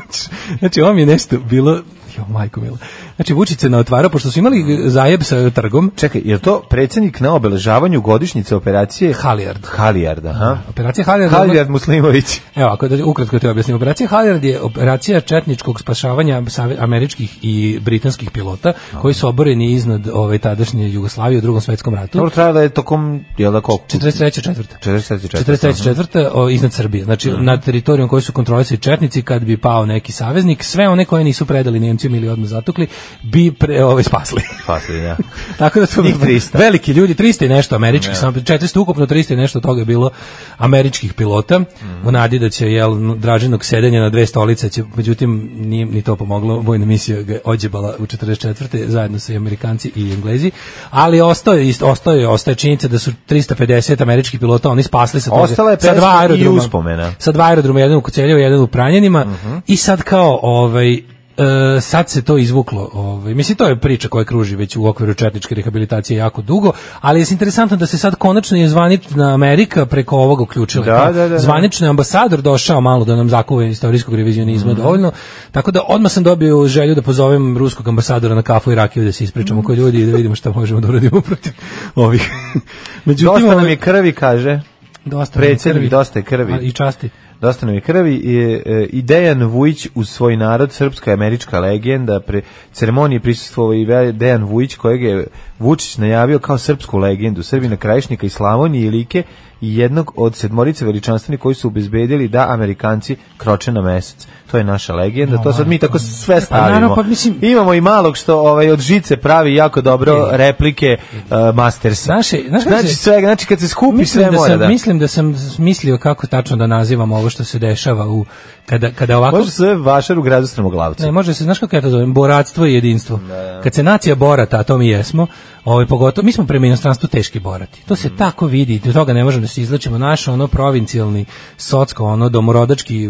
znači, ovo mi je nešto bilo... Jo, majko milo. Znači, Vučić se naotvarao, pošto su imali zajeb sa trgom,
Čekaj, je li to predsjednik na obeležavanju godišnjice operacije
Halijard.
Halijarda, ha?
Operacija Halijard...
Halijard Muslimović.
Evo, ako da ukratko ti objasnim, operacija Halyard je operacija četničkog spašavanja save- američkih i britanskih pilota koji su oboreni iznad ove tadašnje Jugoslavije u drugom svetskom ratu.
Dobro, trajala je tokom, je li da koliko?
43. četvrta.
44.
43. četvrta o, iznad Srbije. Znači, nad teritorijom koju su kontrolisali četnici, kad bi pao neki saveznik, sve one koje nisu predali Nemcima ili odmah zatukli, bi pre, ovaj, ove, spasli.
Spasili, da.
Tako da su
Njih 300.
veliki ljudi, 300 i nešto američkih, samo 400 ukupno 300 i nešto toga je bilo američkih pilota.
Mhm.
U nadi da će jel Draženog sedenja na dve stolice će međutim nije ni to pomoglo. Vojna misija ga je odjebala u 44. zajedno sa i Amerikanci i Englezi, ali ostao je isto ostao je ostaje činjenica da su 350 američkih pilota oni spasli sa toga,
Ostala je
sa
pesma
dva
i
aerodroma
uspomena.
sa dva aerodroma, jedan u Koceljevu, jedan u Pranjanima
Mhm.
i sad kao ovaj e, sad se to izvuklo. Ovaj. Mislim, to je priča koja kruži već u okviru četničke rehabilitacije jako dugo, ali je interesantno da se sad konačno je zvanična Amerika preko ovog uključila.
Da,
Kao
da, da, da.
Zvanično je ambasador došao malo da nam zakuve istorijskog revizionizma
Mhm.
dovoljno, tako da odmah sam dobio želju da pozovem ruskog ambasadora na kafu i rakiju da se ispričamo koji ljudi i da vidimo šta možemo da uradimo protiv ovih. Međutim,
Dosta nam
ovaj,
je krvi, kaže.
dosta nam je
Predsjednik,
krvi.
dosta je krvi.
A, I časti.
Dosta nam je krvi i, e, i Dejan Vujić u svoj narod, srpska i američka legenda, pre ceremoniji prisustvovao i Ve- Dejan Vujić kojeg je Vučić najavio kao srpsku legendu, Srbina Krajišnika i Slavonije i Like i jednog od sedmorice veličanstvenih koji su obezbedili da Amerikanci kroče na mesec. To je naša legenda, to sad mi tako sve stavimo.
naravno, pa mislim-
Imamo i malog što ovaj, od žice pravi jako dobro replike uh, Mastersa.
Znaš, je- znaš kako
znači,
se-
svega, znači kad se skupi
Mislim
sve
da,
mora
sam,
da...
mislim da sam mislio kako tačno da nazivam ovo što se dešava u kada kada ovako
Može se zove vašar u gradu Strmoglavci.
Ne, može se, znaš kako ja to zovem, boratstvo i jedinstvo.
Da,
Kad se nacija borata, a to mi jesmo, ovaj, pogotovo, mi smo prema inostranstvu teški borati. To
Mm.
se tako vidi, do toga ne možemo da se izlačimo. Naš ono provincijalni, socko, ono domorodački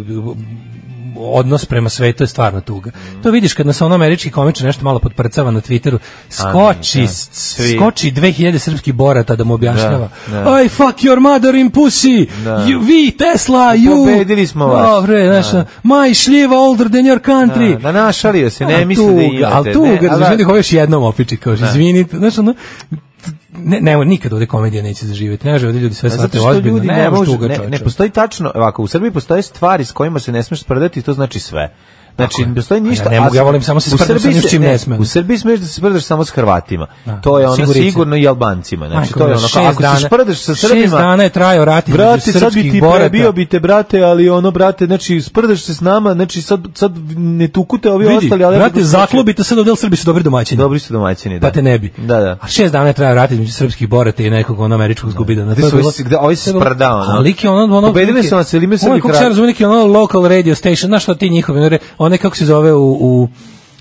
odnos prema svetu je stvarno tuga.
Mm.
To vidiš kad nas ono američki komičar nešto malo podprcava na Twitteru, skoči,
da,
s-
svi.
skoči 2000 srpskih borata da mu objašnjava.
Da, da.
Aj, fuck your mother in pussy!
Da.
You, vi, Tesla, you!
Pobedili smo vas.
Dobre, znaš, my šljiva older than your country!
Da, da našalio se, ne
A,
misli da
tuga,
imate.
Ali tu,
ne, Da. ali-
razumiješ, hoćeš jednom opiči, kao, izvinite, znaš, ono, ne, ne, nikad ovde komedija neće zaživjeti. Ne može ovde ljudi sve
Pa Zato
shvate
što
ozbiljno.
ljudi
Ne,
ne,
može
može, ne,
tuga,
ne
čoveče.
postoji tačno, ovako, u Srbiji postoje stvari s kojima se ne smeš sprdati i to znači sve. Znači, ne postoji ništa.
ja ne mogu,
a-
ja volim samo se
u
sprdam sa
Srbiji
onim s
se-
čim ne smem.
U Srbiji smeš da se sprdaš samo s Hrvatima.
Da,
To je ono
sigurice.
sigurno i Albancima. Znači,
Majko
to je
mila,
ono, kao,
da, šest
ako se
dana-
sprdaš sa
šest
Srbima...
dana je trajao rat između
Brate, sad bi
srpskih
ti
boraca.
prebio bi te, brate, ali ono, brate, znači, sprdaš se s nama, znači, sad, sad ne tukute ovi
Vidi,
ostali, ali...
brate, zaklobite se do del Srbi su dobri domaćini.
Dobri su domaćini, da.
Pa te ne bi.
Da, da.
A šest dana je trajao rat između srpskih borata i nekog ono američkog zgubida. Na
Gde su ovi- gde- ovi se sprdao, ono?
Ali je ono... ono
Pobedili
lik je-
su nas, ili imaju
Ovo je,
Srbi
kako se
hrabri?
razume, neki ono local radio station, znaš što ti njihovi, ono re- one kako se zove u... u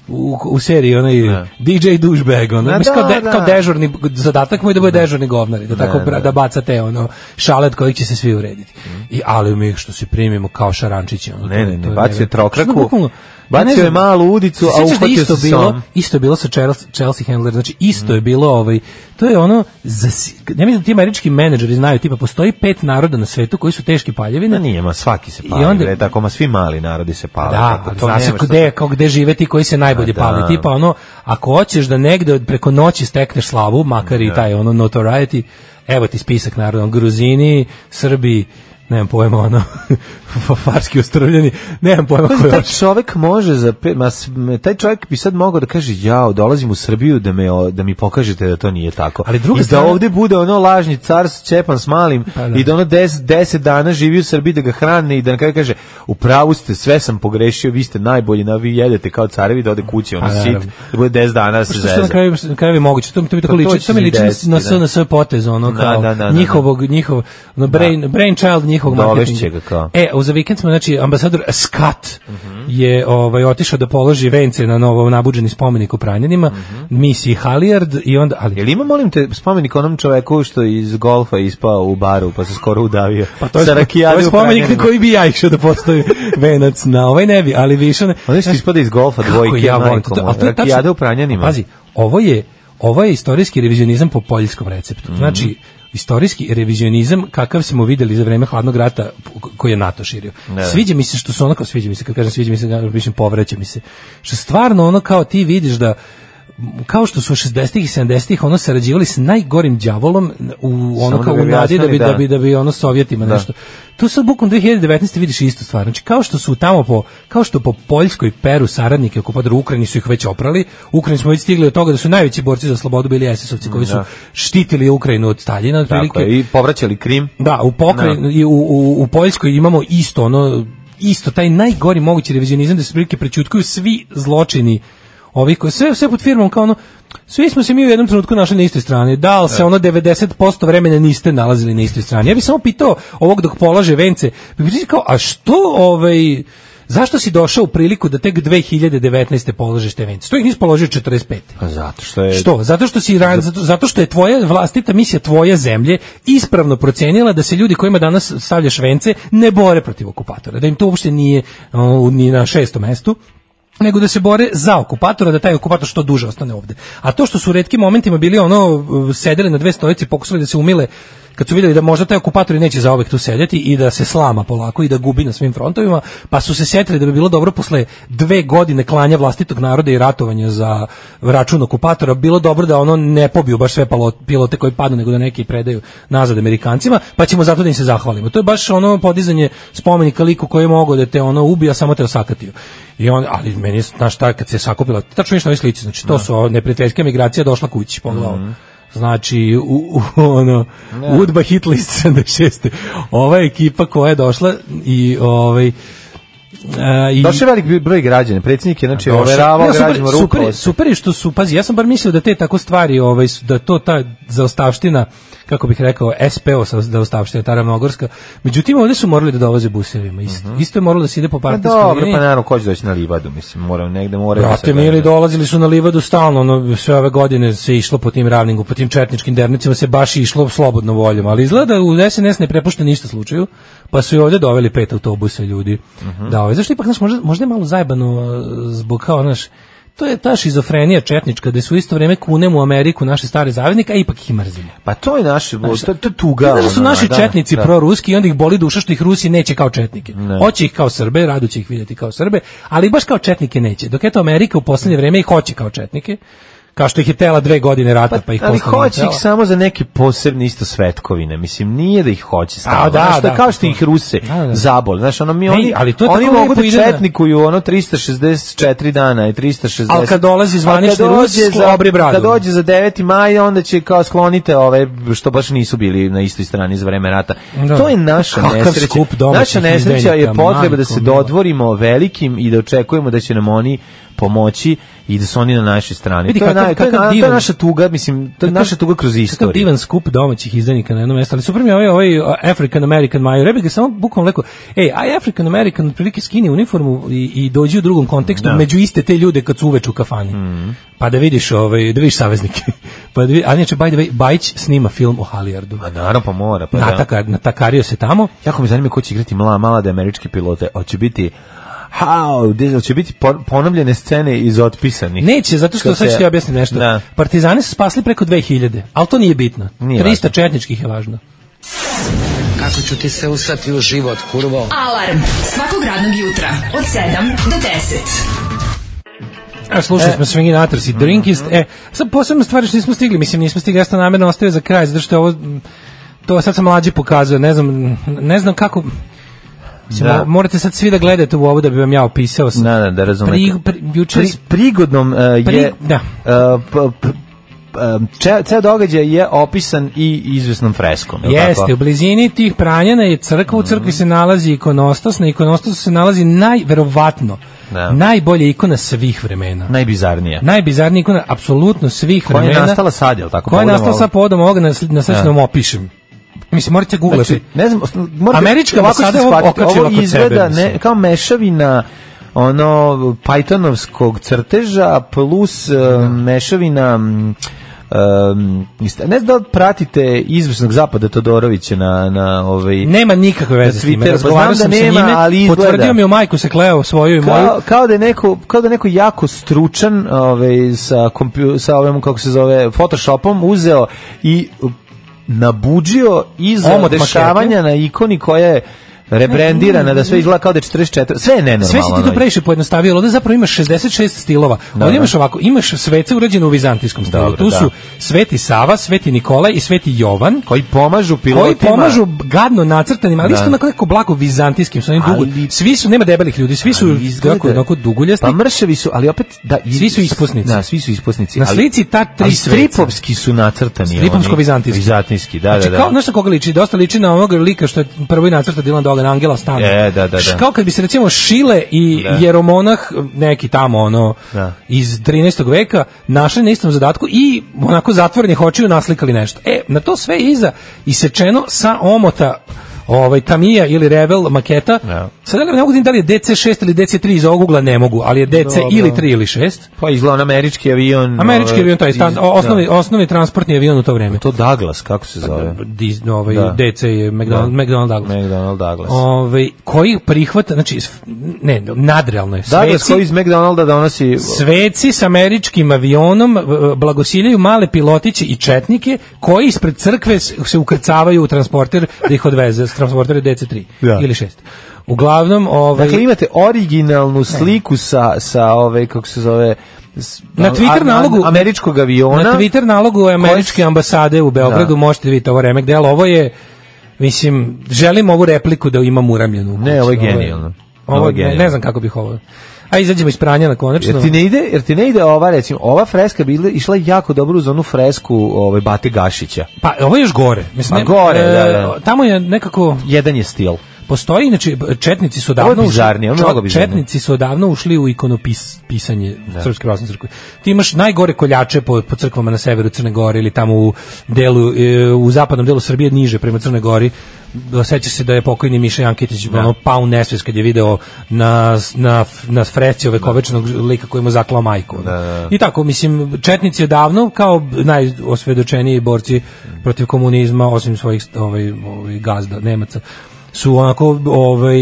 u, u seriji onaj DJ douchebag ono
Da. Ma
mislim kao,
da,
de-
da.
kao dežurni zadatak mu je da bude dežurni govnar i da tako bra- da baca te ono šalet koji će se svi urediti i ali mi što se primimo kao šarančići ono
Mm. Ne,
Pa to-
ne, ne,
to je
bacio je
nevjerojatno.
trokraku,
Što, bukvalno, ja ne
bacio je
znam,
malu udicu, a
se sjećaš da
uhvatio
isto
se Mm.
bilo-
som?
isto je bilo sa Chelsea, Chelsea Handler, znači isto je bilo ovaj, to je ono, za, si- ne mislim da ti američki menadžeri znaju, tipa postoji pet naroda na svetu koji su teški paljevine,
Ne, Pa nije, ma svaki se pali,
I onda-
bre, tako, ma svi mali narodi se pali.
da,
tako,
ali
to
znaš
nema šta-
gde, kao gde žive ti koji se najbolje
Pa da.
pali, tipa ono, ako hoćeš da negde od- preko noći stekneš slavu, makar
Da.
i taj ono notoriety, evo ti spisak naroda, ono, Gruzini, Srbi, nemam pojma, ono, farski ostrovljeni, nemam pojma
Pazi,
ko
taj
još.
čovek može za pe- ma, s- m, taj čovek bi sad mogao da kaže jao dolazim u Srbiju da me o- da mi pokažete da to nije tako
Ali druga
i da
strana-
ovde bude ono lažni car s čepan s malim
Pa da.
i da ono 10 10 dana živi u Srbiji da ga hrane i da na kraju kaže u pravu ste sve sam pogrešio vi ste najbolji na vi jedete kao carevi da ode kući ono
Pa,
sit
naravno.
da bude 10 dana da se
Što što na
zeza
kraju na kraju je moguće. To mi to mi tako
Pa to
liči,
će
to mi
se
liči
desiti,
na, na
da.
SNS potez ono
Da,
kao
da, da, da,
njihovog njihov no brain brain child njihovog
Dovešće
marketinga.
ga kao. Mhm.
E, a za vikend smo znači ambasador Skat je ovaj otišao da položi vence na novo nabuđeni spomenik u Pranjanima,
Mhm.
misiji Halijard i onda ali
Jel ima, molim te, spomenik onom čoveku što je iz golfa ispao u baru pa se skoro udavio?
Pa to je,
Sa
to je
rakijade u
spomenik na
Pranjanima.
koji bi ja išao da postoji venac na ovaj ne bi, ali više ne.
Oni što ispada iz golfa
Kako
dvojke,
ja volim
majko
to, to-
moja.
ali to je
Rakijada
tačno-
u Pranjanima.
Pazi, ovo je, ovo je istorijski revizionizam po poljskom receptu.
Mhm.
Znači, istorijski revizionizam kakav smo videli za vreme hladnog rata ko- koji je NATO širio. Sviđa mi se što su onako, sviđa mi se, kad kažem sviđa mi se, ja mislim povraća mi se. Što stvarno ono kao ti vidiš da kao što su 60-ih i 70-ih ono sarađivali sa najgorim đavolom u ono
Samo
kao
da
u
bi
nadi da bi
objasnili,
da
da.
bi da bi ono sovjetima nešto. Tu sad bukom 2019 vidiš istu stvar. Znači kao što su tamo po kao što po Poljskoj peru saradnike okupatora u Ukrajini su ih već oprali. U Ukrajini smo već stigli od toga da su najveći borci za slobodu bili SS-ovci koji su štitili Ukrajinu od Staljina
Da. Tako
otprilike.
je, i povraćali Krim.
Da, u pokrajini i u, u, u Poljskoj imamo isto ono isto taj najgori mogući revizionizam da se prilike prećutkuju svi zločini ovih koji sve sve pod firmom kao ono svi smo se mi u jednom trenutku našli na istoj strani. Da, ali se ono 90% vremena niste nalazili na istoj strani. Ja bih samo pitao ovog dok polaže vence, bi pitao kao, a što ovaj, zašto si došao u priliku da tek 2019. položeš te vence? Što ih nisi položio 45.
Pa zato što je...
Što? Zato što si ra- zato, zato što je tvoja vlastita misija tvoje zemlje ispravno procenila da se ljudi kojima danas stavljaš vence ne bore protiv okupatora, da im to uopšte nije o, ni na šestom mestu nego da se bore za okupatora, da taj okupator što duže ostane ovde. A to što su u retkim momentima bili ono, sedeli na dve stojice i pokušali da se umile kad su vidjeli da možda taj okupator i neće zaovek tu sedjeti i da se slama polako i da gubi na svim frontovima, pa su se sjetili da bi bilo dobro posle dve godine klanja vlastitog naroda i ratovanja za račun okupatora, bilo dobro da ono ne pobiju baš sve palo- pilote koji padnu, nego da neki predaju nazad Amerikancima, pa ćemo zato da im se zahvalimo. To je baš ono podizanje spomenika liku koji je mogao da te ono ubija, samo te osakatio. I on, ali meni, je, znaš šta, kad se sakupila, tačno vidiš na ovoj slici, znači to su ovo, neprijateljska migracija došla kući, pogledao. Znači, u, u, ono, Udba hit list 76. Ova ekipa koja je došla i ovaj, a, i,
Došao je velik broj građana. Predsjednik je, znači, overavao
Ne, super-
građanima
super,
rukovo.
super je što su, pazi, ja sam bar mislio da te tako stvari, ovaj, su- da to ta zaostavština kako bih rekao, SPO sa da ostavština Tara Mnogorska. Međutim, ovde su morali da dolaze busevima. Isto, isto je moralo da se ide po
Pa
partijskom
dobro, pa naravno, ko će doći na livadu, mislim, moram negde, da mora
Brate, mili, dolazili su na livadu stalno, ono, sve ove godine se išlo po tim ravningu, po tim četničkim dernicima se baš išlo slobodno voljom, ali izgleda da u SNS ne prepušta ništa slučaju, pa su i ovde doveli pet autobusa ljudi. Da, ovaj, zašto ipak, znaš, možda, možda je malo zajebano e, zbog kao, znaš, to je ta šizofrenija četnička, gde su u isto vreme kunemo u Ameriku naše stare zavednike, a ipak ih mrzimo.
Pa to je naš, to, to je tuga.
Znaš da su
ono,
naši
da,
četnici
da.
proruski i onda ih boli duša što ih Rusi neće kao četnike.
Ne.
Hoće ih kao Srbe, rado će ih vidjeti kao Srbe, ali baš kao četnike neće. Dok eto Amerika u poslednje vreme ih hoće kao četnike, kao što ih je tela dve godine rata, pa, ih
ali
posle
hoće
natela.
ih samo za neke posebne isto svetkovine. Mislim, nije da ih hoće stalno.
A, da,
znaš, to je
da.
kao što ih Ruse
da.
zabole. Znaš, ono mi
Ne,
oni,
ali to je
oni
tako
mogu
lepo
da
ide na-
četnikuju ono 364 dana i 360.
Ali kad dolazi
Ali
zvanični
kad
Rus,
dođe za-
sklobri bradu.
Kad dođe za 9. maj, onda će kao sklonite ove što baš nisu bili na istoj strani za vreme rata.
Da.
To je naša
Kakav
nesreća.
skup domaćih
Naša nesreća je
izdajnika,
potreba da
majko
se
mila.
dodvorimo velikim i da očekujemo da će nam oni pomoći i da su oni na našoj strani.
Vidi
to, je
kakav-
naj- to je
kakav
na- to je
divan-
naša tuga, mislim, to je naša tuga kroz
Kakav
istoriju.
divan skup domaćih izdajnika na jednom mjestu, ali super mi je ovaj, ovaj uh, African American major, ja bih ga samo bukvalno rekao, ej, aj African American otprilike skini uniformu i, i dođi u drugom kontekstu,
Da. Mhm.
među iste te ljude kad su uveč u kafani. Pa da vidiš, ovaj, da vidiš saveznike. pa da vidi, a inače, by the way, Bajić snima film o Halijardu.
A naravno pa mora, pa da.
Natakar, natakario se tamo.
Jako me zanima ko će igrati mala, mala da američki pilote. Hoće biti How, gde će biti po- ponavljene scene iz otpisanih.
Neće, zato što
Kad
sad ću
se-
ti objasniti nešto.
Da.
Partizani su spasli preko 2000, ali to nije bitno.
Nije
300 četničkih je važno.
Kako ću ti se usrati u život, kurvo?
Alarm svakog radnog jutra od 7 do 10.
E, slušali smo Swingin' Atters i Drinkist.
Mhm.
E, sad posebno stvari što nismo stigli, mislim nismo stigli, ja sam namjerno ostavio za kraj, zato što je ovo, m, to sad sam mlađi pokazuje, ne znam, m, ne znam kako, mislim,
Da.
mo- morate sad svi da gledate u ovo da bi vam ja opisao. s-
Da, da, da razumete.
Pri- pri- juče-
Pri- prigodnom uh, je...
Pri- da.
uh, p- p- um, ce- ceo događaj je opisan i izvesnom freskom. je li
Jeste,
tako?
u blizini tih pranjana je crkva, u crkvi se nalazi ikonostas, na ikonostasu se nalazi najverovatno,
Da.
najbolja ikona svih vremena.
Najbizarnija.
Najbizarnija ikona apsolutno svih
Koja je
vremena.
nastala sad, jel tako?
Koja je
Povodom
nastala
ovog-
sad povodom ovoga, na, sl- na sve što
Da.
vam opišem. Mislim, morate googlati.
Znači, ne znam, morate,
Američka
ovako
ambasada
ćete
je ovo
shvatiti,
okačila
ovo
kod
izgleda
sebe, mislim.
ne, kao mešavina ono pajtonovskog crteža plus e, mešavina mm, em, ista- ne znam da li pratite izvršnog zapada Todorovića na, na ovaj,
Nema nikakve veze
Na
s time.
Twitteru, pa
Razgovarao
znam
sam
da nema,
sa njime,
ali izgleda.
potvrdio mi je majku se kleo svoju i moju.
kao, kao da je neko kao da je neko jako stručan ovaj sa kompju, sa ovim kako se zove photoshopom uzeo i nabuđio iz
Omot
dešavanja na ikoni koja je rebrendirana da sve izgleda kao da je 44 sve je nenormalno
Sve si ti to
ono.
previše pojednostavio, ali ovde zapravo imaš 66 stilova.
Da,
Ovdje
da.
imaš ovako, imaš svece urađene u vizantijskom stilu.
Dobro,
tu
da.
su Sveti Sava, Sveti Nikola i Sveti Jovan.
koji pomažu
koji
pilotima Pa
pomažu gadno nacrtanim, ali
Da.
isto onako neko blago vizantijskim, sa onim dugu.
Ali-
Svi su, nema debelih ljudi, svi su
Ali izgleda-
tako, onako duguljasti.
pa mršavi su ali opet da i-
Svi su ispusnici.
da svi su ispusnici
Na
ali-
slici ta tri
ali
sveca.
stripovski su nacrtani oni.
Stripomsko-vizantijski.
vizantijski da da
znači,
da
kao, znaš na koga liči? Dosta liči na onog lika što je prvi nacrta Dylan Dolan, Angela Stan.
E, da, da, da.
Kao kad bi se recimo Šile i
Da.
Jeromonah, neki tamo ono,
Da.
iz 13. veka, našli na istom zadatku i onako zatvorenih očiju naslikali nešto. E, na to sve iza isečeno sa omota ovaj Tamija ili Revel maketa.
Da.
Sad ja ne mogu da vidim da li je DC6 ili DC3 iz ovog ugla ne mogu, ali je DC ili 3 ili 6.
pa izgleda on američki avion
Američki
ovaj,
avion taj
iz-
stan,
da.
osnovni osnovni transportni avion u to vreme.
to Douglas kako se zove
Dis, ovaj,
Da.
DC je McDonald,
Da.
McDonald Douglas.
McDonald Pa, Douglas.
Ovaj, koji prihvata, znači, s- ne, nadrealno je.
Douglas
Sveci-
Da, koji iz McDonalda donosi...
Sveci s američkim avionom e, blagosiljaju male pilotiće i četnike koji ispred crkve s- se ukrcavaju u transporter da ih odveze s transportera DC3
Da.
ili 6. Uglavnom, ovaj,
Dakle, imate originalnu sliku sa, sa ove, kako se zove... s-
Na Twitter
Da, a- a-
nalogu-
Američkog aviona.
na Twitter nalogu američke ambasade u Beogradu
Da.
možete vidjeti ovo remek delo. Ovo je, mislim, želim ovu repliku da imam uramljenu. u kući.
Ne, ovo je genijalno.
Ovo,
Ovo je
ne-
genijalno.
Ne, znam kako bih ovo... A izađemo iz pranja na konačno.
Jer ti ne ide, jer ti ne ide ova, recimo, ova freska bi ile- išla jako dobro uz onu fresku ovaj, Bate Gašića.
Pa ovo je još gore. Mislim,
Pa gore, da, da.
Tamo je nekako...
Jedan je stil.
Postoji, znači, četnici su odavno
Ovo je bizarnije, ovo je
ušli,
mnogo bizarnije.
četnici su odavno ušli u ikonopis, pisanje Srpske pravoslavne crkve. Ti imaš najgore koljače po, po crkvama na severu Crne Gore ili tamo u delu, e, u zapadnom delu Srbije niže prema Crnoj Gori. Osjeća se da je pokojni Miša Jankitić ono, pao u nesvest kad je video na, na, na freci ove kovečnog lika koji mu zaklao majku. ono. I tako, mislim, četnici odavno kao najosvedočeniji borci protiv komunizma, osim svojih ovaj, ovaj, gazda, Nemaca, su onako ovaj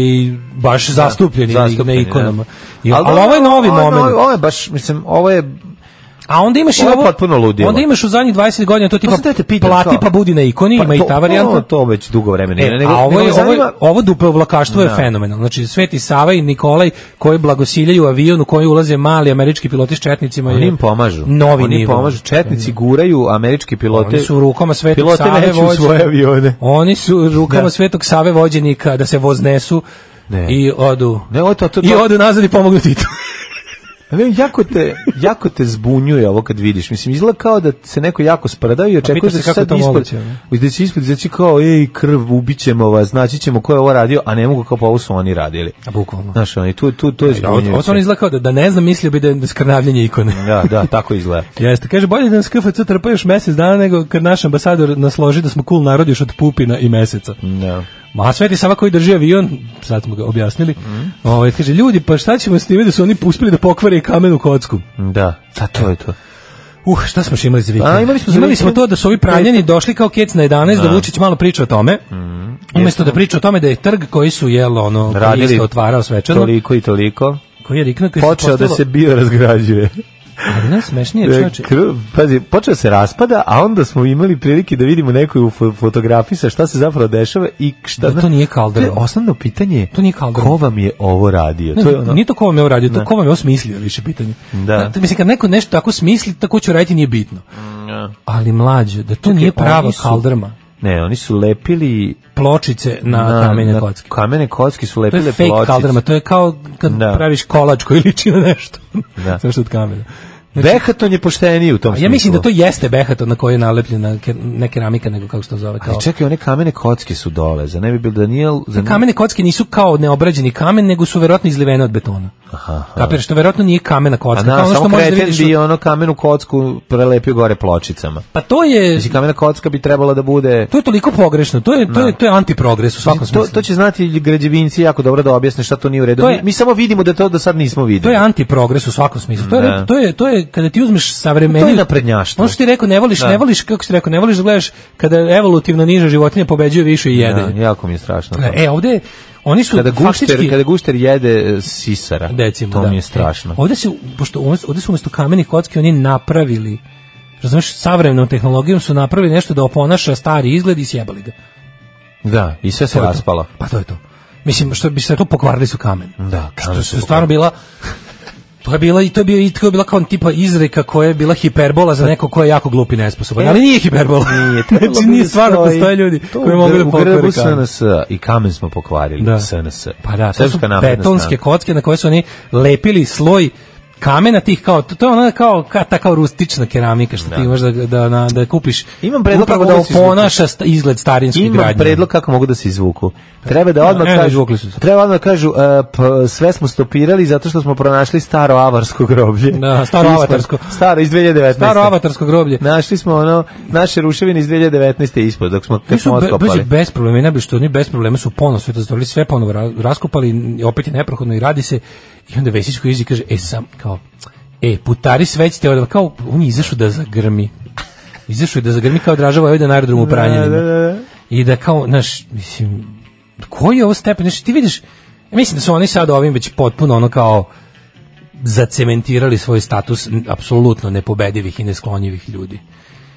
baš zastupljeni,
zastupljeni,
na ikonama.
da.
I- ali, ovo je novi
ovo
moment.
Ovo je baš, mislim, ovo je...
a onda imaš i
ovo je
ovo
potpuno ludilo.
Onda imaš u zadnjih 20 godina to tipa
sad da te pitam,
plati
kao-
pa budi na ikoni, ima i
to-
ta varijanta.
To, to već dugo vremena.
E,
ima, nego-
a ovo,
nego
je,
me
ovo, je,
zanima-
ovo duplo vlakaštvo je
Da.
fenomenalno. Znači, Sveti Sava i Nikolaj koji blagosiljaju avion u koji ulaze mali američki piloti s četnicima.
Oni
je
im pomažu.
Novi
Oni im
nivo.
pomažu. Četnici guraju američke pilote.
Oni su u rukama Svetog
pilote
Save
neću u
vođe-
svoje avione.
Oni su u rukama
Da.
Svetog Save vođenika da se voznesu
Ne.
i odu.
Ne, ovo je to, to,
I
to-
odu nazad i pomognu Titu.
Ali jako te, jako te zbunjuje ovo kad vidiš. Mislim, izgleda kao da se neko jako sprdao i očekuje
pitaš
da
Pa se
će
kako
sad
to
ispod,
moguće,
da će ispod izaći kao, ej, krv, ubićemo vas, znači ćemo ko je ovo radio, a ne mogu kao pa ovo su oni radili.
A bukvalno.
Znaš, oni, tu, tu, tu je
Da, ovo- Ovo
zbunjujuće.
stvarno izgleda kao da, da ne znam, mislio bi da je da je skrnavljenje ikone.
Da, da, tako izgleda.
Jeste, kaže, bolje da nas KFC trpa još mesec dana nego kad naš ambasador nas loži da smo cool narod još od Pupina i meseca.
Da.
Ma, a Sveti Sava koji drži avion, sad smo ga objasnili, ovaj, kaže, ljudi, pa šta ćemo s time da su oni uspeli da pokvare kamen u kocku?
Da, da, to je to.
Uh, šta smo još imali za vikend?
A, imali smo za vikend-
to da su ovi pravljeni došli kao kec na 11, da Vučić malo priča o tome, umjesto da priča o tome da je trg koji su, jel, ono, koji
Radili
isto otvarao svečano,
Toliko i toliko.
koji je riknuo, koji se
Počeo da
postavilo-
se bio razgrađuje.
Ali najsmešnije, čovječe,
Krv, E, pazi, počeo se raspada, a onda smo imali prilike da vidimo nekoju fo- fotografiji sa šta se zapravo dešava i šta...
Da to
zna-
nije Calderon.
To je osnovno pitanje je
To nije Calderon.
ko vam je ovo radio?
Ne,
to je ono,
Nije to ko vam je uradio, to ko vam je osmislio više pitanje.
Da.
Znate, mislim, kad neko nešto tako smisli, tako će uraditi, nije bitno. Ali mlađe, da to nije prava
Mm, oni su-
kaldrma.
ne, oni su lepili...
Pločice na, kamene kocke.
Kamene kocki su
To
lepile
je fake
Da, pločice.
kaldrma, to je kao kad
Da.
praviš kolač koji liči na nešto.
Da.
Sve što od kamena.
Behaton je pošteniji u tom
znači- A
smislu.
ja mislim da to jeste behaton na koji je nalepljena ke- ne keramika, nego kako se to zove. Kao...
Ali čekaj, one kamene kocke su dole, za ne bi bilo da nije... Za ne-
Pa Kamene kocke nisu kao neobrađeni kamen, nego su verovatno izlivene od betona.
Aha, aha.
Kapiraš, to verovatno nije kamena kocka.
A
kao
na,
ono što
samo
možeš da
kreten
vidiš
bi
u-
ono kamenu kocku prelepio gore pločicama.
Pa to je...
Znači, kamena kocka bi trebala da bude...
To je toliko pogrešno, to je, to je, to je antiprogres u svakom
Da. To,
smislu.
to će znati građevinci jako dobro da objasne šta to nije u redu.
To je-
mi, mi samo vidimo da to do sad nismo
To
videli.
je antiprogres u svakom smislu. To je,
Da.
to je, to je kada ti uzmeš savremeni...
To je naprednjaštvo.
Ono što ti rekao, ne voliš,
Da.
ne voliš, kako si rekao, ne voliš da gledaš kada evolutivno niža životinja pobeđuje više i jede.
Da, jako mi je strašno. to.
E, ovde, je- oni su
kada, gušter,
faktički...
kada gušter jede e, sisara,
Decimo,
to
da.
mi je strašno.
E, ovde, su, pošto, umjesto- ovde su umjesto kamenih kocki oni napravili, razumeš, savremenom tehnologijom su napravili nešto da oponaša stari izgled i sjebali ga.
Da, i sve se
To je to.
raspalo.
Pa to je to. Mislim, što bi se to pokvarili su kamen.
Da, kamen
Što
su
su stvarno bila... To je bila i to je bio i to je bila kao tipa izreka koja je bila hiperbola za neko ko je jako glup i nesposoban.
E,
Ali nije hiperbola.
Nije, trebalo
znači
bi
nije
da
stvarno
stoji.
postoje ljudi
To
koji mogu da
u grbu
pokvare kamen.
SNS i kamen smo pokvarili
Da.
SNS.
Pa da, to su
Srpska napredna
betonske
stranka.
kocke na koje su oni lepili sloj kamena tih kao to, to je ona kao ka, ta kao rustična keramika što ti imaš da da na, da kupiš.
Imam predlog
upravo
kako
da
da se izvuče.
oponaša sta- izgled starinskih
Imam
gradnji.
predlog kako mogu da se izvuku. Treba da odmah
Ne, ne,
kažu,
izvukli su se.
treba odmah da kažu e, p- sve smo stopirali zato što smo pronašli staro avarsko groblje.
Da, staro
Ispod-
avatarsko.
Staro iz 2019.
Staro avatarsko groblje.
Našli smo ono naše ruševine iz 2019. ispod dok smo
Oni
kad
su
smo
be, bez,
otkopali.
bez problema, ne bi što oni bez problema su ponos sve to zatvorili, sve ponovo ra- raskopali, n- opet je neprohodno i radi se. I onda Vesić koji izi kaže, e sam, kao, e, putari sveć ste ovdje, kao, on je izašao da zagrmi. Izašao je da zagrmi kao dražava ovdje na aerodromu u Pranjanima.
Da, da, da.
I da kao, znaš, mislim, koji je ovo stepen? Znaš, ti vidiš, ja mislim da su oni sad ovim već potpuno ono kao zacementirali svoj status n- apsolutno nepobedivih i nesklonjivih ljudi.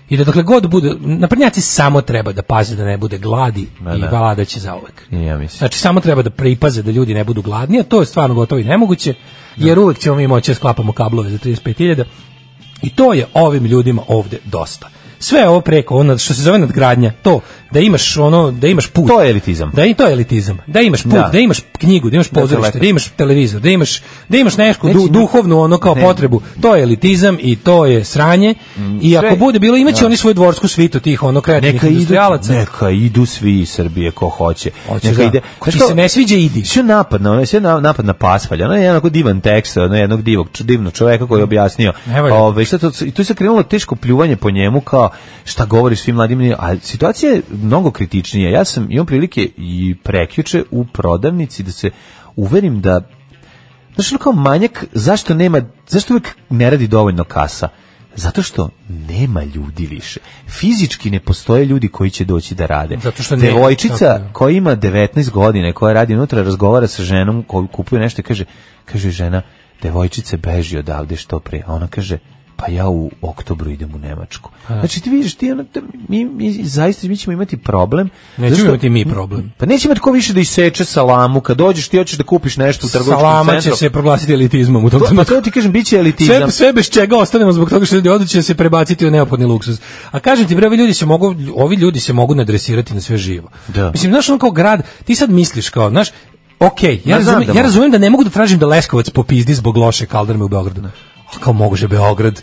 I da dokle god bude, naprednjaci samo treba da paze da ne bude gladi i
da.
vlada će zauvek.
I Ja mislim.
Znači samo treba da pripaze da ljudi ne budu gladni, a to je stvarno gotovo i nemoguće, jer uvek da ćemo mi moći da sklapamo kablove za 35.000 i to je ovim ljudima ovde dosta. sve ovo preko ono što se zove nadgradnja to da imaš ono da imaš put
to je elitizam
da i to je elitizam da imaš put da,
Da.
imaš knjigu da imaš
Da,
pozorište
telefon.
da imaš televizor da imaš da imaš nešku
Neće
du-
imati-
duhovnu ono kao
Ne. Mm.
potrebu to je elitizam i to je sranje i ako
sve-
bude bilo imaće
Da.
oni svoju dvorsku svitu tih ono kreativnih
neka idu,
industrijalaca
neka idu svi iz Srbije ko hoće.
Hoćeš,
neka
da.
ide.
Ko ti
Znaš
se ne sviđa, idi.
Sve napad na, sve na- napad na Paspalja. Ono je jedan onako divan tekst, ono je jednog divog, čo- divnog čoveka koji je objasnio.
Ne valja.
Ovaj šta to i tu se krenulo teško pljuvanje po njemu kao šta govoriš svim mladim, ljudima, a situacija je mnogo kritičnija. Ja sam imam prilike i prekjuče u prodavnici da se uverim da Znaš, ono kao manjak, zašto nema, zašto uvijek ne radi dovoljno kasa? Zato što nema ljudi više. Fizički ne postoje ljudi koji će doći da rade.
Zato što nema, tako
Devojčica
je.
koja ima 19 godina, i koja radi unutra, razgovara sa ženom, koju kupuje nešto i kaže, kaže žena, devojčice beži odavde što pre. A ona kaže, pa ja u oktobru idem u Nemačku. Znači ti vidiš, ti ono, da mi, mi, zaista mi ćemo imati problem.
Nećemo
Zašto-
imati mi problem.
Pa neće imati ko više da iseče salamu. Kad dođeš ti hoćeš da kupiš nešto u trgovačkom
salama će
centru.
se proglasiti elitizmom u tom
Pa
trenutku
to ti kažem, bit će elitizam.
sve, sve bez čega ostanemo zbog toga što ljudi odu će se prebaciti u neophodni luksuz. A kažem ti, bre, ovi ljudi se mogu, ovi ljudi se mogu nadresirati na sve živo.
Da.
Mislim, znaš, ono kao grad, ti sad misliš kao, znaš, ok, ja,
Ma, znam
razumem,
da
ja
mogu.
razumem da ne mogu da tražim da Leskovac popizdi zbog loše kaldrme u Beogradu. A kao moguće Beograd?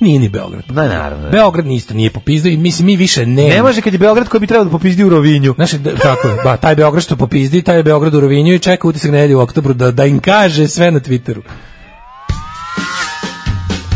Nije ni Beograd.
Da, naravno.
Beograd ni isto nije popizdio i mislim, mi više ne...
Ne može kad je Beograd koji bi trebao da popizdi u Rovinju.
Znaš, da- tako je, ba, taj Beograd što popizdi, taj je Beograd u Rovinju i čeka utisak nedelje u oktobru da, da im kaže sve na Twitteru.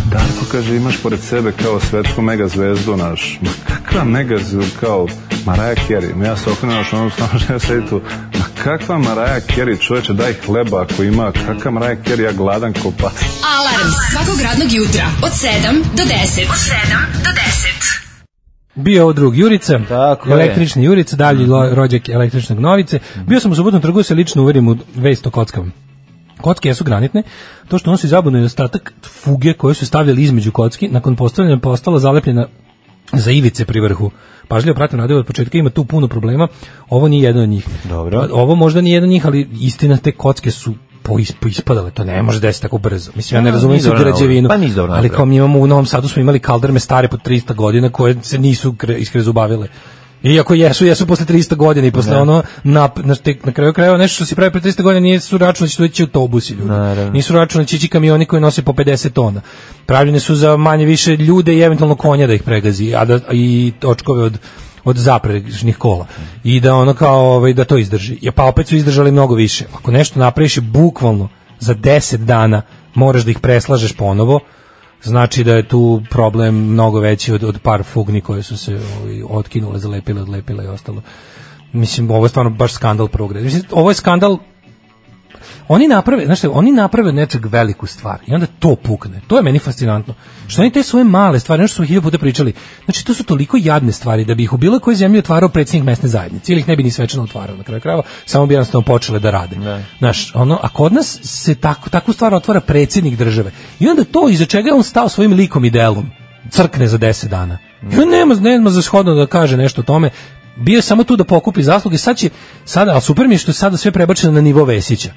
Darko kaže imaš pored sebe kao svetsku megazvezdu naš. Ma kakva megazvezdu kao Maraja Kerry. Ma ja se okrenem naš onom stanu žena sedi tu. Ma kakva Maraja Kerry čoveče daj hleba ako ima. Kakva Maraja Kerry ja gladan ko pas.
Alarm svakog radnog jutra od 7 do 10. Od 7 do 10.
Bio ovo drug Jurica,
Tako je. Mhm.
električni Jurica, dalji lo- rođak električnog novice. Bio sam u subotnom trgu da se lično uverim u vest o kockama. Kocke jesu granitne, to što nosi zabavno je ostatak fuge koje su stavljali između kocki, nakon postavljanja postala zalepljena za ivice pri vrhu. Pažljivo pratim radio od početka, ima tu puno problema, ovo nije jedan od njih.
Dobro.
Ovo možda nije jedan od njih, ali istina te kocke su pois- poispadale, to ne može desiti tako brzo. Mislim, ja ne
Ja,
razumijem
nisu
se
dobro
građevinu,
napravili. Pa nisu dobro
ali
napravili.
kao mi imamo u Novom Sadu smo imali kaldrme stare po 300 godina koje se nisu kre- iskrezubavile. Iako jesu, jesu posle 300 godina i posle ono na, na, tek, na kraju krajeva nešto što si pravi pre 300 godina nisu računali da će ići autobusi ljudi.
Naravno.
Nisu računali da će ići kamioni koji nose po 50 tona. Pravljene su za manje više ljude i eventualno konja da ih pregazi, a da, i točkove od od zaprežnih kola i da ono kao ovaj, da to izdrži. Ja pa opet su izdržali mnogo više. Ako nešto napraviš i bukvalno za 10 dana moraš da ih preslažeš ponovo, znači da je tu problem mnogo veći od, od par fugni koje su se ovaj, otkinule, zalepile, odlepile i ostalo. Mislim, ovo je stvarno baš skandal prvog reda. Mislim, ovo je skandal oni naprave, znači oni naprave od nečeg veliku stvar i onda to pukne. To je meni fascinantno. Što oni te svoje male stvari, nešto smo hiljadu puta pričali. Znači to su toliko jadne stvari da bi ih u bilo kojoj zemlji otvarao predsjednik mesne zajednice ili ih ne bi ni svečano otvarao na kraju krajeva, samo bi jednostavno počele da rade. Znaš, ono, a kod nas se tako, takvu stvar otvara predsjednik države. I onda to iza čega je on stao svojim likom i delom crkne za 10 dana. I on nema, nema za shodno da kaže nešto o tome. Bio je samo tu da pokupi zasluge. Sad će, sada, ali super mi je što je sada sve prebačeno na nivo Vesića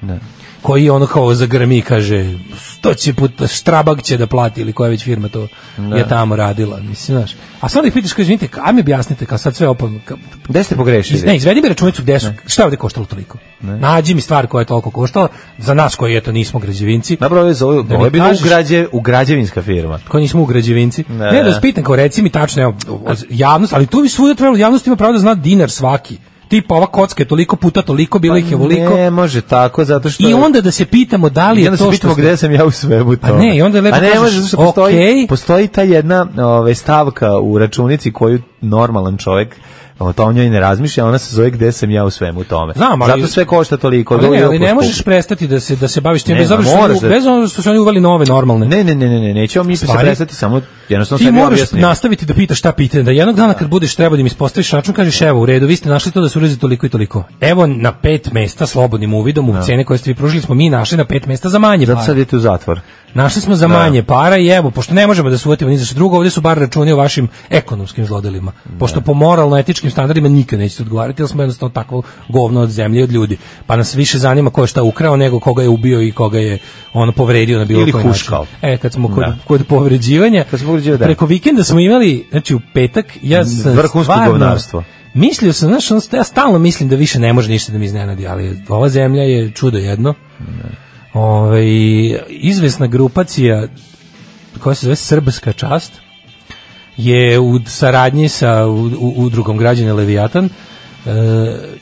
koji je ono kao zagrmi i kaže sto će puta štrabak će da plati ili koja već firma to je tamo radila mislim znaš a sad ih pitaš kao izvinite a mi objasnite kao sad sve opom ka-
Gde ste
iz,
pogrešili?
ne izvedi mi računicu gde su šta je ovde koštalo toliko nađi mi stvar koja je toliko koštala za nas koji eto nismo građevinci
Napravo je za ovo,
Da mi
ovo je bilo
kažeš-
u, građe, u građevinska firma.
koji nismo u građevinci. Ne,
Ne.
da vas pitam, kao reci mi tačno, evo, o- javnost, ali tu bi svuda trebalo, javnost ima pravo da zna dinar svaki. Tipa ova kocka je toliko puta, toliko, bilo
Pa
ih je voliko.
Ne može tako, zato što...
I onda da se pitamo da li
I
je
onda se
to što...
pitamo
ste-
gde sam ja u svemu tome.
ne, i onda lepo
A ne
kažeš,
može, zato što postoji,
okej.
postoji ta jedna ove, stavka u računici koju normalan čovjek o to o njoj ne razmišlja, ona se zove gde sam ja u svemu tome.
Znam, ali-
Zato sve košta toliko.
Ali ne,
dođe
ali ne
opus
možeš
puk.
prestati da se da se baviš tim
Ne,
bez obzira
ma
što
moraš
su-
da-
bez obzira što su oni uveli nove normalne.
Ne, ne, ne, ne, ne, nećemo mi se
Stvari-
prestati, samo jednostavno
Ti
sebi
moraš
objasnimo.
nastaviti da pitaš šta pitanje, da jednog dana kad budeš treba da mi ispostaviš račun, kažeš evo u redu, vi ste našli to da se urezi toliko i toliko. Evo na pet mesta slobodnim uvidom u cene koje ste vi pružili smo mi našli na pet mesta za manje
Da. Zato
para.
sad idete u zatvor.
Našli smo
Da.
za manje para i evo, pošto ne možemo da se uvatimo ni za što drugo, ovdje su bar računi o vašim ekonomskim zlodelima.
Da.
Pošto po moralno-etičkim standardima nikad nećete odgovarati, jer smo jednostavno takvo govno od zemlje i od ljudi. Pa nas više zanima ko je šta ukrao, nego koga je ubio i koga je ono povredio na bilo
Ili
koji
huškao.
način. E, kad smo kod,
Da.
kod povređivanja,
Kad smo utvrđio da.
Preko vikenda smo imali, znači u petak, ja sam
Vrhunsko
stvarno-
govnarstvo.
Mislio sam, znaš, ono, ja stalno mislim da više ne može ništa da mi iznenadi, ali ova zemlja je čudo jedno. Ove, izvesna grupacija koja se zove Srbska čast je u saradnji sa u- u- udrugom građane Leviatan e,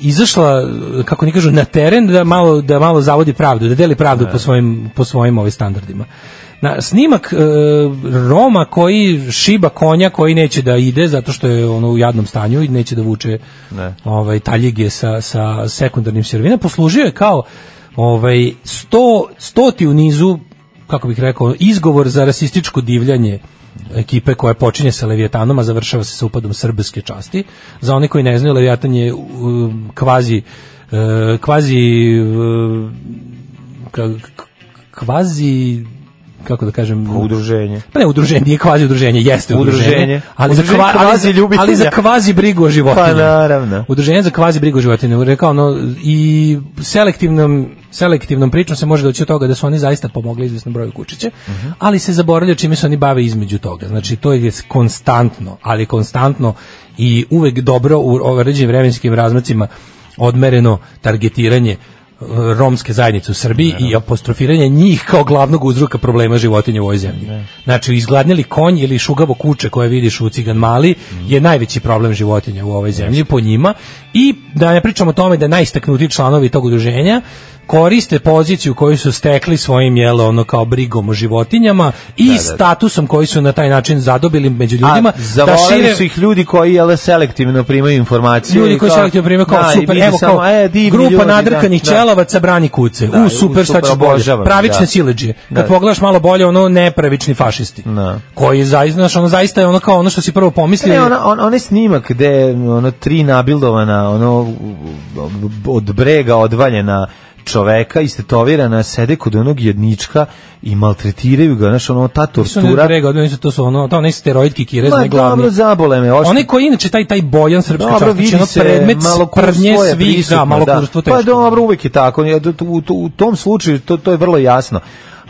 izašla kako ni kažu na teren da malo da malo zavodi pravdu, da deli pravdu po svojim po svojim ovim standardima. Na snimak e, Roma koji šiba konja koji neće da ide zato što je ono u jadnom stanju i neće da vuče
Ne.
ovaj taljige sa sa sekundarnim sirovinama poslužio je kao ovaj 100 stoti u nizu kako bih rekao izgovor za rasističko divljanje ekipe koja počinje sa Leviatanom, a završava se sa upadom srbske časti. Za one koji ne znaju, Leviatan je um, kvazi e, kvazi e, ka- k- kvazi kako da kažem
udruženje.
Pa ne udruženje, nije kvazi udruženje, jeste udruženje.
Udruženje.
ali,
Udruženje
za kva- ali
kvazi
za-
ljubitelja.
ali za kvazi brigu o životinjama.
Pa naravno.
Udruženje za kvazi brigu o životinjama. Rekao ono, i selektivnom, selektivnom pričom se može doći od toga da su oni zaista pomogli izvjesnom broju kučića,
Mhm.
ali se zaboravlja čime se oni bave između toga. Znači, to je konstantno, ali konstantno i uvek dobro u određenim vremenskim razmacima odmereno targetiranje e, romske zajednice u Srbiji i apostrofiranje njih kao glavnog uzroka problema životinja u ovoj zemlji. Znači, izgladnjeli konj ili šugavo kuće koje vidiš u Cigan Mali
Mhm.
je najveći problem životinja u ovoj zemlji po njima i da ne pričamo o tome da najistaknutiji članovi tog udruženja koriste poziciju koju su stekli svojim jelo ono kao brigom o životinjama i statusom koji su na taj način zadobili među ljudima
Da,
da
A, zavoleli su ih ljudi koji jele selektivno primaju informacije.
Ljudi
i
koji
kao-
selektivno primaju kao
Da, i
super,
vidi
evo
samo,
kao
e, divni
grupa
ljudi, da,
nadrkanih
da.
ćelavaca brani kuce.
Da,
u super, šta
super,
će bolje.
obožavam,
Pravične
da.
sileđe. Kad
Da.
pogledaš malo bolje, ono nepravični fašisti.
Da.
Koji zaista, znaš, ono zaista je ono kao ono što si prvo pomislio.
Ne, ona, on, onaj snimak gde ono tri nabildovana, ono od brega odvaljena čoveka istetovirana sede kod onog jednička i maltretiraju ga, znaš, ono ta
Nisu oni
tortura.
brega, oni su- to su ono, to onaj steroid kikirez,
Ma
onaj glavni.
dobro, zabole me. oštro.
Onaj koji je inače taj taj Bojan srpski
Dobro,
častić,
vidi
ono
se,
predmet
malokurstvo
prdnje
je
svih,
prisutno,
da, malo kurstvo
Pa dobro, uvek je tako. Ja, to- U, to- u tom slučaju to, to je vrlo jasno.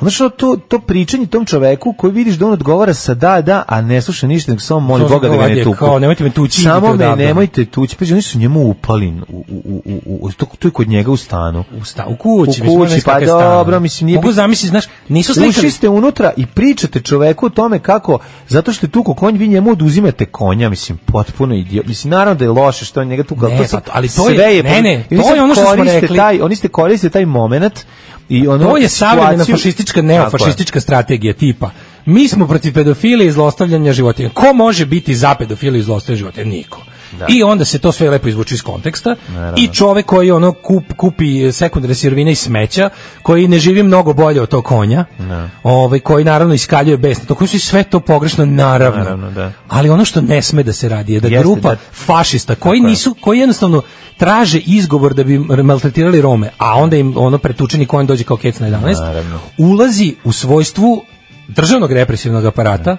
Znaš, ono, to, to pričanje tom čoveku koji vidiš da on odgovara sa da, da, a ne sluša ništa, nego samo moli
Samo
Boga da ga
ovdje,
ne tuku.
kao, nemojte me tući,
Samo
idite
me
odavde.
nemojte tući. Pazi, oni su njemu upali. U, u, u, u, u, to, to je kod njega u stanu.
U, sta, u kući,
U
mislim,
kući,
ono iz
pa
kakve stane.
dobro, mislim, nije
Mogu
bit-
zamisliti, znaš, nisu
Ušli
slikali,
ste unutra i pričate čoveku o tome kako, zato što je tuko konj, vi njemu oduzimate konja, mislim, potpuno idiot. Mislim, naravno da je loše što on njega tuka,
Ne,
ali to se,
pa to- ali to je-
sve
ne,
pun-
ne,
i
to
sad
je ono što smo
koriste
rekli.
Taj, oni ste koriste taj moment i ono
To je savremena
situaciju-
fašistička,
Tako je.
neofašistička strategija tipa. Mi smo protiv pedofilije i zlostavljanja životinja. Ko može biti za pedofiliju i zlostavljanje životinja? Niko.
Da.
I onda se to sve lepo izvuče iz konteksta i čovek koji ono kup, kupi sekundarne sirovine i smeća, koji ne živi mnogo bolje od tog konja,
Da.
ovaj, koji naravno iskaljuje besno, to koji su sve to pogrešno, naravno.
Naravno, da.
Ali ono što ne sme da se radi je da
Jeste,
grupa
da.
fašista koji nisu koji jednostavno traže izgovor da bi r- maltretirali Rome, a onda im ono pretučeni konj dođe kao kec na 11.
Naravno.
Ulazi u svojstvu državnog represivnog aparata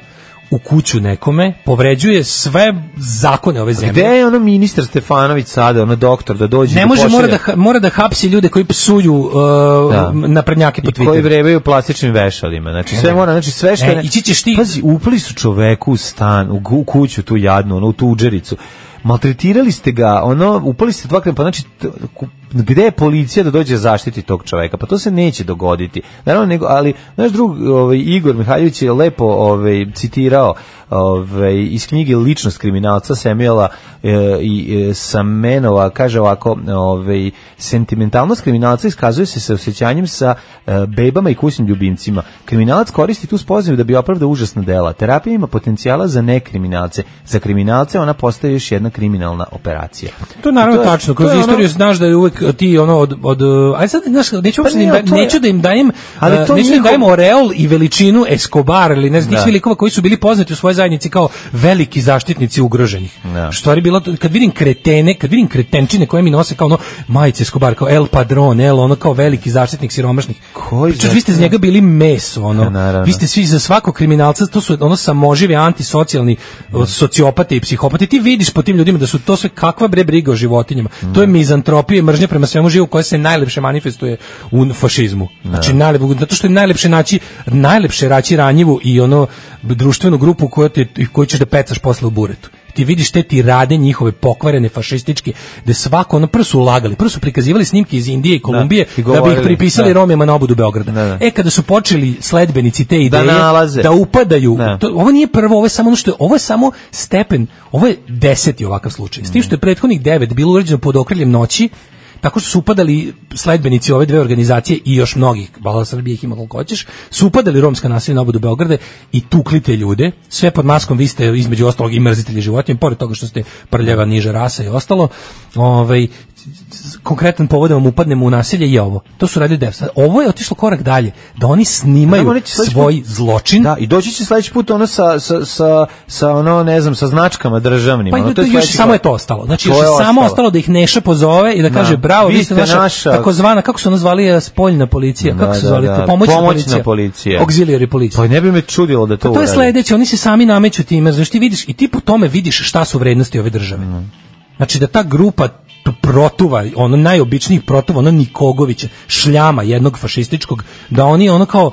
u kuću nekome, povređuje sve zakone ove zemlje.
Gde je ono ministar Stefanović sada, ono doktor, da dođe i
Ne
da
može, mora
pošalje-
da, ha- mora da hapsi ljude koji psuju uh,
Da.
naprednjake po
koji
Twitteru.
vrebaju plastičnim vešalima. Znači sve mora, znači sve što
Ne,
ne-
ići ćeš ti.
Pazi, upali su čoveku u stan, u, gu- u kuću tu jadnu, ono, u tu uđericu. Maltretirali ste ga, ono, upali ste dva krema, pa znači, t- ku- gde je policija da dođe zaštiti tog čoveka? Pa to se neće dogoditi. Naravno, nego, ali, naš drug, ovaj, Igor Mihajlović je lepo ovaj, citirao ovaj, iz knjige Ličnost kriminalca Samuela e, i e, Samenova, kaže ovako, ovaj, sentimentalnost kriminalca iskazuje se sa osjećanjem sa e, bebama i kućnim ljubimcima. Kriminalac koristi tu spoznaju da bi opravdao užasna dela. Terapija ima potencijala za nekriminalce. Za kriminalce ona postaje još jedna kriminalna operacija.
To je naravno
I to je-
tačno,
to
kroz
je ono-
istoriju znaš da je uvek ti ono od, od uh, aj sad znaš, neću uopšte da im
nije,
da,
Pa to je-
neću da im dajem
Ali
uh,
to
neću da im
njihov-
dajem oreol i veličinu Escobar ili ne znam tih
Da.
svih likova koji su bili poznati u svojoj zajednici kao veliki zaštitnici ugroženih.
Da.
Što je bilo to- kad vidim kretene, kad vidim kretenčine koje mi nose kao ono majice Escobar kao El Padron, El ono kao veliki zaštitnik siromašnih.
Koji
Pričaš, vi ste za njega bili meso ono.
Naravno.
Vi ste svi za svakog kriminalca, to su ono samoživi antisocijalni o, da
Da.
sociopati i psihopati. Ti vidiš po tim ljudima da su to sve kakva bre briga o životinjama. To je mizantropija i mržnja prema svemu živu koja se najlepše manifestuje u fašizmu. Znači
Da.
najlepše zato što je najlepše naći najlepše raći ranjivu i ono društvenu grupu koju ti koju ćeš da pecaš posle u buretu. Ti vidiš te ti rade njihove pokvarene fašističke, da svako ono prvo su lagali, prvo su prikazivali snimke iz Indije i
i
Kolumbije da, bi ih
govorili,
pripisali
da.
Romima na obodu Beograda.
da.
E kada su počeli sledbenici te
Da
ideje
nalaze.
da upadaju. To, ovo nije prvo, ovo je samo ono što je, ovo je samo stepen, ovo je deseti ovakav slučaj. S tim što je prethodnih devet bilo urađeno pod okriljem noći, tako što su upadali sledbenici ove dve organizacije i još mnogih, Bala Srbije ih ima koliko hoćeš, su upadali u romska naselja na obodu Beograde i tukli te ljude, sve pod maskom, vi ste između ostalog i mrzitelji životinja, pored toga što ste prljava niža rasa i ostalo, ovaj, konkretan povod da vam upadnemo u nasilje je ovo. To su radili devs. Ovo je otišlo korak dalje, da oni snimaju
Da, oni će sledeći
svoj
put-
zločin.
Da, i doći će sledeći put ono sa, sa, sa, sa ono, ne znam, sa značkama državnim.
Pa
ono,
i to,
je
još
sledeći
samo je
korak.
to ostalo. Znači
To
još je
je
samo ostalo da ih Neša pozove i da
Da.
kaže bravo, vi ste naša, takozvana kako su ono zvali eh, spoljna policija, kako
Da,
se
da,
zvali
da.
to? pomoćna,
Pomoćna policija.
auxiliary policija.
Pa ne bi me čudilo da to
Pa to je
uradi.
sledeće, oni se sami nameću time, znači ti vidiš i ti po tome vidiš šta su vrednosti ove države.
Mhm.
Znači da ta grupa tu protuva, ono najobičnijih protuva, ono Nikogovića, šljama jednog fašističkog, da oni ono kao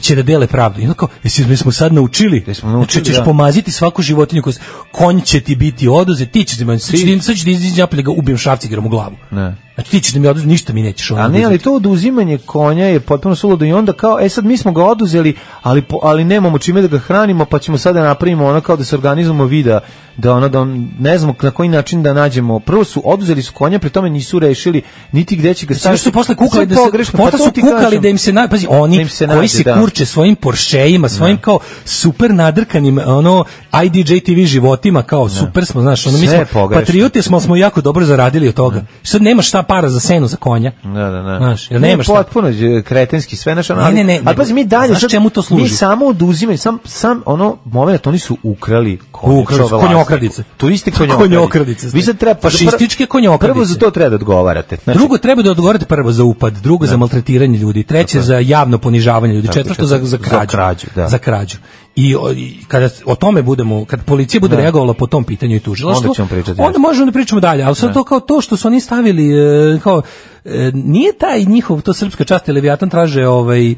će da dele pravdu. I ono kao, jesi, mi smo sad naučili, znači,
naučili,
ćeš
da.
pomaziti svaku životinju koja se, konj će ti biti oduze, ti ćeš da sad ću ti- sad ću ti izaći napolje da ga ubijem šrafcigerom u glavu.
Ne.
Znači ti ćeš da mi oduzeti, ništa mi nećeš. ono
A ne,
oduzeti.
ali to oduzimanje konja je potpuno suludo i onda kao, e sad mi smo ga oduzeli, ali, po- ali nemamo čime da ga hranimo, pa ćemo sada napravimo ono kao da se organizujemo vida, da ono, da on- ne znamo na koji način da nađemo. Prvo su oduzeli su konja, pri tome nisu rešili niti gde će ga
Znači,
staviti.
još su posle kukali
Sve
da se
pogrešno,
posle
pa to
su
ti
kukali
kažem.
da im se na pazi oni
Da im se
koji
nađe,
se
da.
kurče svojim Porscheima, svojim kao super nadrkanim ono IDJ TV životima kao super smo, znaš, ono mi
Da. Sve
smo
je pogrešno.
patrioti smo, ali smo jako dobro zaradili od toga. Sad nema šta para za senu za konja.
Da, da, da.
Znaš, jer
Ne,
nema šta.
potpuno je kretenski sve naš
Ne, ne, ne,
Ali pazi mi dalje
znaš
sad-
čemu to služi?
Mi samo oduzimaju sam sam ono momenat oni su ukrali konje,
Ukrali su
čovela-
konjokradice.
To isti konjokradice.
Konjokradice ste.
Vi sad treba pa
Fašističke konjokradice.
Prvo za to treba da odgovarate. Znači, Da.
drugo treba da odgovorite prvo za upad, drugo za maltretiranje ljudi, treće za javno ponižavanje ljudi,
Tako je,
četvrto za za
za
krađu.
krađu, da.
Za krađu. I, o- i kada s- o tome budemo, kad policija bude
Da.
reagovala po tom pitanju i tužilaštvo,
Onda ćemo pričati
onda
nešto.
možemo da pričamo dalje, ali sad
Da.
to kao to što su oni stavili e, kao e, nije taj njihov to srpska čast i Leviatan traže ovaj e,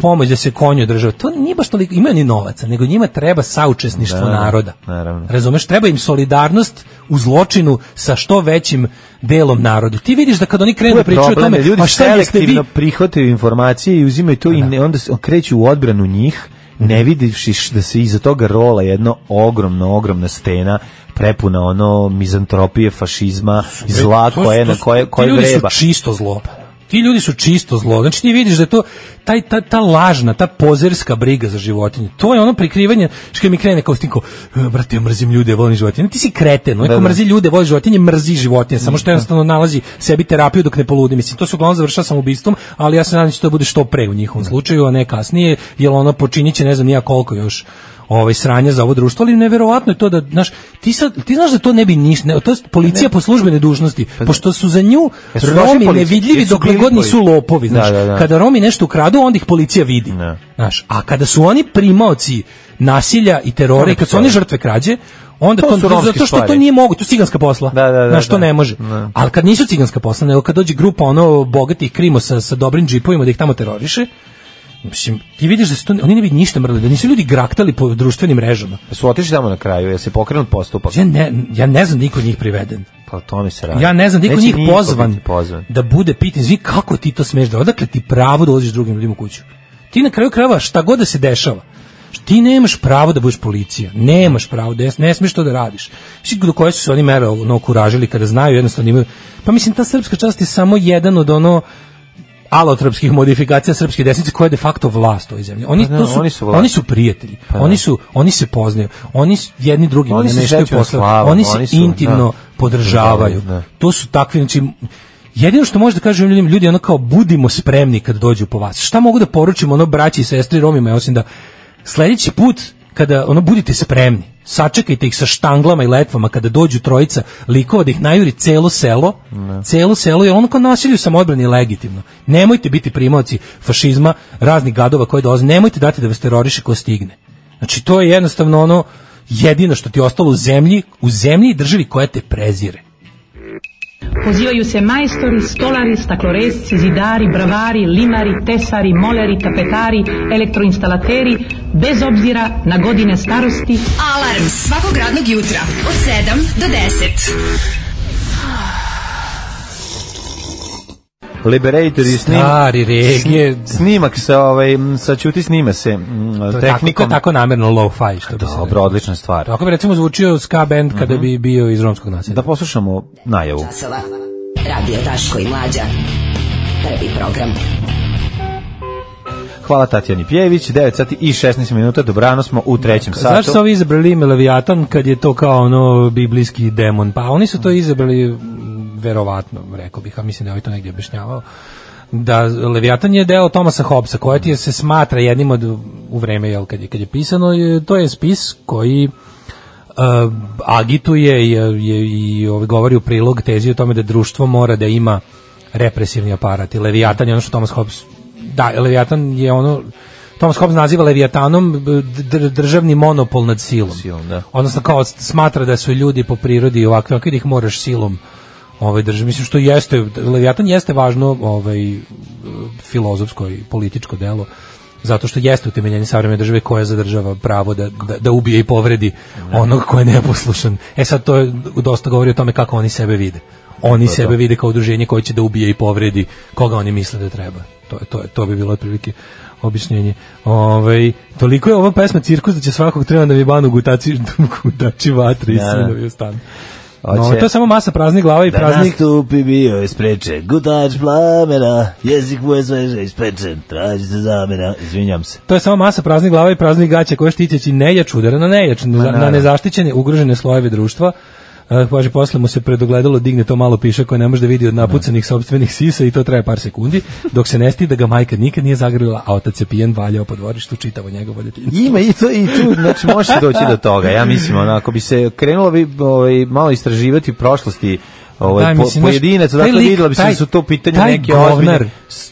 pomoć da se konju države. To nije baš toliko ima ni novaca, nego njima treba saučesništvo
Da,
naroda.
naravno.
Razumeš, treba im solidarnost u zločinu sa što većim delom naroda. Ti vidiš da kad oni krenu
Tu
da
je
pričaju o
problem,
tome,
jer ljudi
pa šta jeste vi? Da,
selektivno prihvataju informacije i uzimaju to i ne, onda se kreću u odbranu njih, ne
Mhm.
vidivši š- da se iza toga rola jedno ogromno, ogromna stena prepuna ono mizantropije, fašizma, zla
E, To su-
koje,
to
na
su-
koje, koje
ti ljudi
vreba.
su čisto zlo. Ti ljudi su čisto zlo. Znači ti vidiš da je to taj, ta, ta lažna, ta pozerska briga za životinje. To je ono prikrivanje, što kad mi krene kao stinko, "E, brate, ja mrzim ljude, ja volim životinje. Ti si kreten, onaj
Da,
ko
da.
mrzi ljude, voli životinje, mrzi životinje, samo što jednostavno nalazi sebi terapiju dok ne poludi. Mislim, to se uglavnom završava samoubistvom, ali ja se nadam da će to bude što pre u
Da.
njihovom slučaju, a ne kasnije, jer ono počinit će ne znam nija koliko još ovaj sranja za ovo društvo, ali neverovatno je to da znaš, ti sad ti znaš da to ne bi ništa, ne, to je policija po službenoj dužnosti,
Pa da.
pošto su za nju
Jesu došli
Romi
policija?
nevidljivi
Jesu
dokle
bili
god nisu
policija?
lopovi, znaš.
Da, da, da.
Kada Romi nešto ukradu, onda ih policija vidi.
Ne.
Znaš, a kada su oni primaoci nasilja i terora,
To ne
i kad su oni
postoji.
žrtve krađe, onda
To
to,
su romske
zato što to
stvari.
nije mogu, to je ciganska posla.
Da, da, da,
znaš, to
da.
ne može.
Ne.
Ali kad nisu ciganska posla, nego kad dođe grupa ono bogatih krimosa sa dobrim džipovima da ih tamo teroriše, Mislim, ti vidiš da su to, oni ne bi ništa mrli, da nisu ljudi graktali po društvenim mrežama.
Su otišli tamo na kraju, je se pokrenut postupak.
Ja ne, ja ne znam da niko od njih priveden.
Pa o tome se radi.
Ja ne znam, niko
Neće
njih
niko
pozvan,
biti pozvan.
da bude pitan, izvini, kako ti to smeš da, odakle ti pravo da ulaziš drugim ljudima u kuću? Ti na kraju krajeva šta god da se dešava, ti nemaš pravo da budeš policija, nemaš pravo, da, ne smeš to da radiš. Mislim, do koje su se oni mere ono, kuražili kada znaju, jednostavno imaju, pa mislim, ta srpska čast je samo jedan od ono, alotropskih modifikacija srpske desnice koja je de facto vlast u ovoj zemlji. Oni,
Pa da,
to su, oni,
oni
su
su vlast.
prijatelji.
Pa da.
oni, su, oni se poznaju. Oni s- jedni drugima
Oni
ne
se
meštaju
sećaju
posle.
slava,
Oni se
oni su,
intimno
da.
podržavaju.
Da.
To su takvi, znači, jedino što može da kažem ljudima, ljudi ono kao budimo spremni kad dođu po vas. Šta mogu da poručim ono braći i sestri Romima, osim da sledeći put kada ono budite spremni, sačekajte ih sa štanglama i letvama kada dođu trojica likova da ih najuri celo selo, celo selo, jer ono kao nasilju samoodbrani je legitimno. Nemojte biti primaoci fašizma, raznih gadova koje dolaze, nemojte dati da vas teroriše ko stigne. Znači to je jednostavno ono jedino što ti je ostalo u zemlji, u zemlji i državi koja te prezire.
Pozivaju se majstori, stolari, stakloresci, zidari, bravari, limari, tesari, moleri, tapetari, elektroinstalateri, bez obzira na godine starosti.
Alarm svakog radnog jutra od 7 do 10.
Liberator i snim,
Stari regije.
snimak sa ovaj m, sa ćuti snima se m,
To je tako, to
tehnikom.
je tako namerno lo-fi što bi se
Dobro, odlična stvar.
Tako bi recimo zvučio ska band kada
Mhm.
bi bio iz romskog naselja.
Da poslušamo najavu.
Časova. Radio Daško i Mlađa. Prvi program.
Hvala Tatjani Pjević, 9 sati i 16 minuta, dobrano smo u trećem satu.
Zašto su ovi izabrali ime Leviatan kad je to kao ono biblijski demon? Pa oni su to izabrali m, verovatno, rekao bih, a mislim da je ovaj to negdje objašnjavao da Leviatan je deo Tomasa Hobbesa, koja ti je se smatra jednim od u vreme jel, kad je kad je pisano, je, to je spis koji uh, agituje i, eh, je, i ovaj, govori u prilog tezi o tome da društvo mora da ima represivni aparat i Leviatan je ono što Thomas Hobbes da, Leviatan je ono Thomas Hobbes naziva Leviatanom d- d- državni monopol nad silom. Odnosno kao smatra da su ljudi po prirodi ovakvi, ovakvi da ih moraš silom ovaj drži mislim što jeste Leviatan jeste važno ovaj eh, filozofsko i političko delo zato što jeste utemeljenje savremene države koja zadržava pravo da, da, da ubije i povredi onog ko je neposlušan. E sad to je, dosta govori o tome kako oni sebe vide. Oni
To je to.
sebe vide kao udruženje koje će da ubije i povredi koga oni misle da treba. To, je, to, je, to bi bilo otprilike objašnjenje. Ovaj toliko je ova pesma cirkus da će svakog treba da mi banu gutači, gutači vatre i
Da, da.
sinovi u stanu.
Hoće-
No, to je samo masa praznih glava i
Da
praznih
nastupi bio je sprečen, gutač plamena, jezik mu je sveže ispečen, traži se zamena, izvinjam se.
To je samo masa praznih glava i praznih gaća koje štiteći nejač udara na nejač, na, na
naravno.
nezaštićene, ugrožene slojeve društva. Eh, Kaže, posle mu se predogledalo, digne to malo piše koje ne može da vidi od napucanih sopstvenih sisa i to traje par sekundi, dok se ne sti da ga majka nikad nije zagrlila, a otac je pijen valjao po dvorištu čitavo njegovo djetinjstvo.
Ima i to i tu, znači može se doći do toga. Ja mislim onako ako bi se krenulo bi ovaj malo istraživati prošlosti ovaj
Da,
po,
mislim, znaš,
pojedinac,
taj
dakle
lik,
vidjelo bi se
taj-
da su to pitanje
taj
neke
govnar,
ozbiljne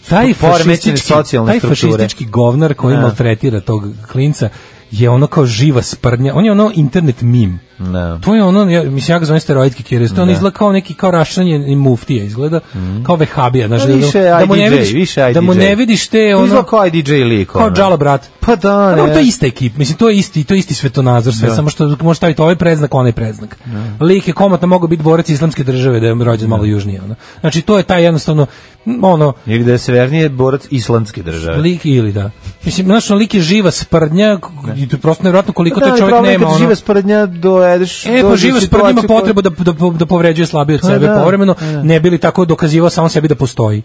taj
poremećene
fašistički,
socijalne
taj
strukture.
fašistički govnar koji
Da.
maltretira tog klinca je ono kao živa sprdnja, on je ono internet mim.
Da.
To je ono, ja, mislim, ja ga zovem steroidki kirest, on
Da.
izgleda kao neki kao rašanje muftija, izgleda kao vehabija, znaš,
Pa
da,
više
da mu ne
IDJ,
vidiš,
više IDJ.
da mu ne vidiš te,
To
ono,
izgleda Pa kao IDJ lik.
kao
ono.
džala brat.
Pa da,
Pa dobro,
ne.
to je ista ekipa, mislim, to je isti, to je isti svetonazor, sve,
Da.
samo što možeš staviti ovaj predznak, onaj predznak. Lik je komotno mogao biti borac islamske države da je rođen malo južnije. Ono. Znači, to je taj jednostavno, m, ono,
Ili da je severnije borac islandske države.
lik ili da. Mislim, znaš, ono, lik je živa sprdnja, k- i to je prosto nevjerojatno
Pa
koliko
da,
taj
ali
čovjek
problem je
nema.
kad
Ono,
živa sprednja dojedeš
E, pa
dođe
živa
u
sprdnja ima
situaciju koja-
potrebu da, da, da povređuje slabije od
Pa
sebe
da,
povremeno,
pa da.
ne bili tako dokazivao samo sebi da postoji.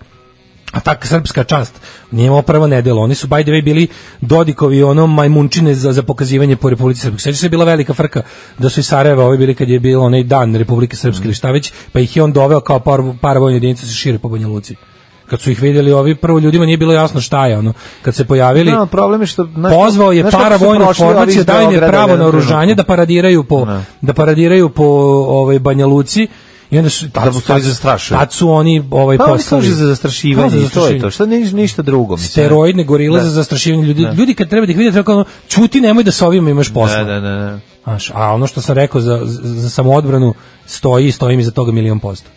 A tak srpska čast nije imao prvo nedelo. Oni su by the way bili Dodikovi ono majmunčine za, za pokazivanje po Republici Srpskoj. Sveća se je bila velika frka da su iz Sarajeva ovi bili kad je bio onaj dan Republike Srpske ili šta već, pa ih je on doveo kao par, paravojnu jedinicu da se šire po Banja Luci. Kad su ih vidjeli ovi, prvo ljudima nije bilo jasno šta je ono. Kad se pojavili,
Da, problem je što znaš,
pozvao je
znaš kako su
paravojnu
prošli ovi
formaciju,
iz
dao im je
Beograda
pravo
jedan
na
trenutak?
oružanje da paradiraju po
Ne.
da paradiraju po ovaj Banja Luci i onda su tad,
Da mu
su-
stvari
tad-
zastrašuju.
Tad su oni ovaj
Pa oni
poslali-
služe za
Kao
zastrašivanje, i to je to. Šta ni, ništa drugo. mislim.
Steroidne gorile
Da.
za zastrašivanje ljudi.
Da.
Ljudi kad treba da ih vidite, kao ono, čuti, nemoj da s ovim imaš
Da,
posla.
da, da, da.
Znaš, a ono što sam rekao za, za, za samoodbranu stoji i stoji mi za toga milion posto.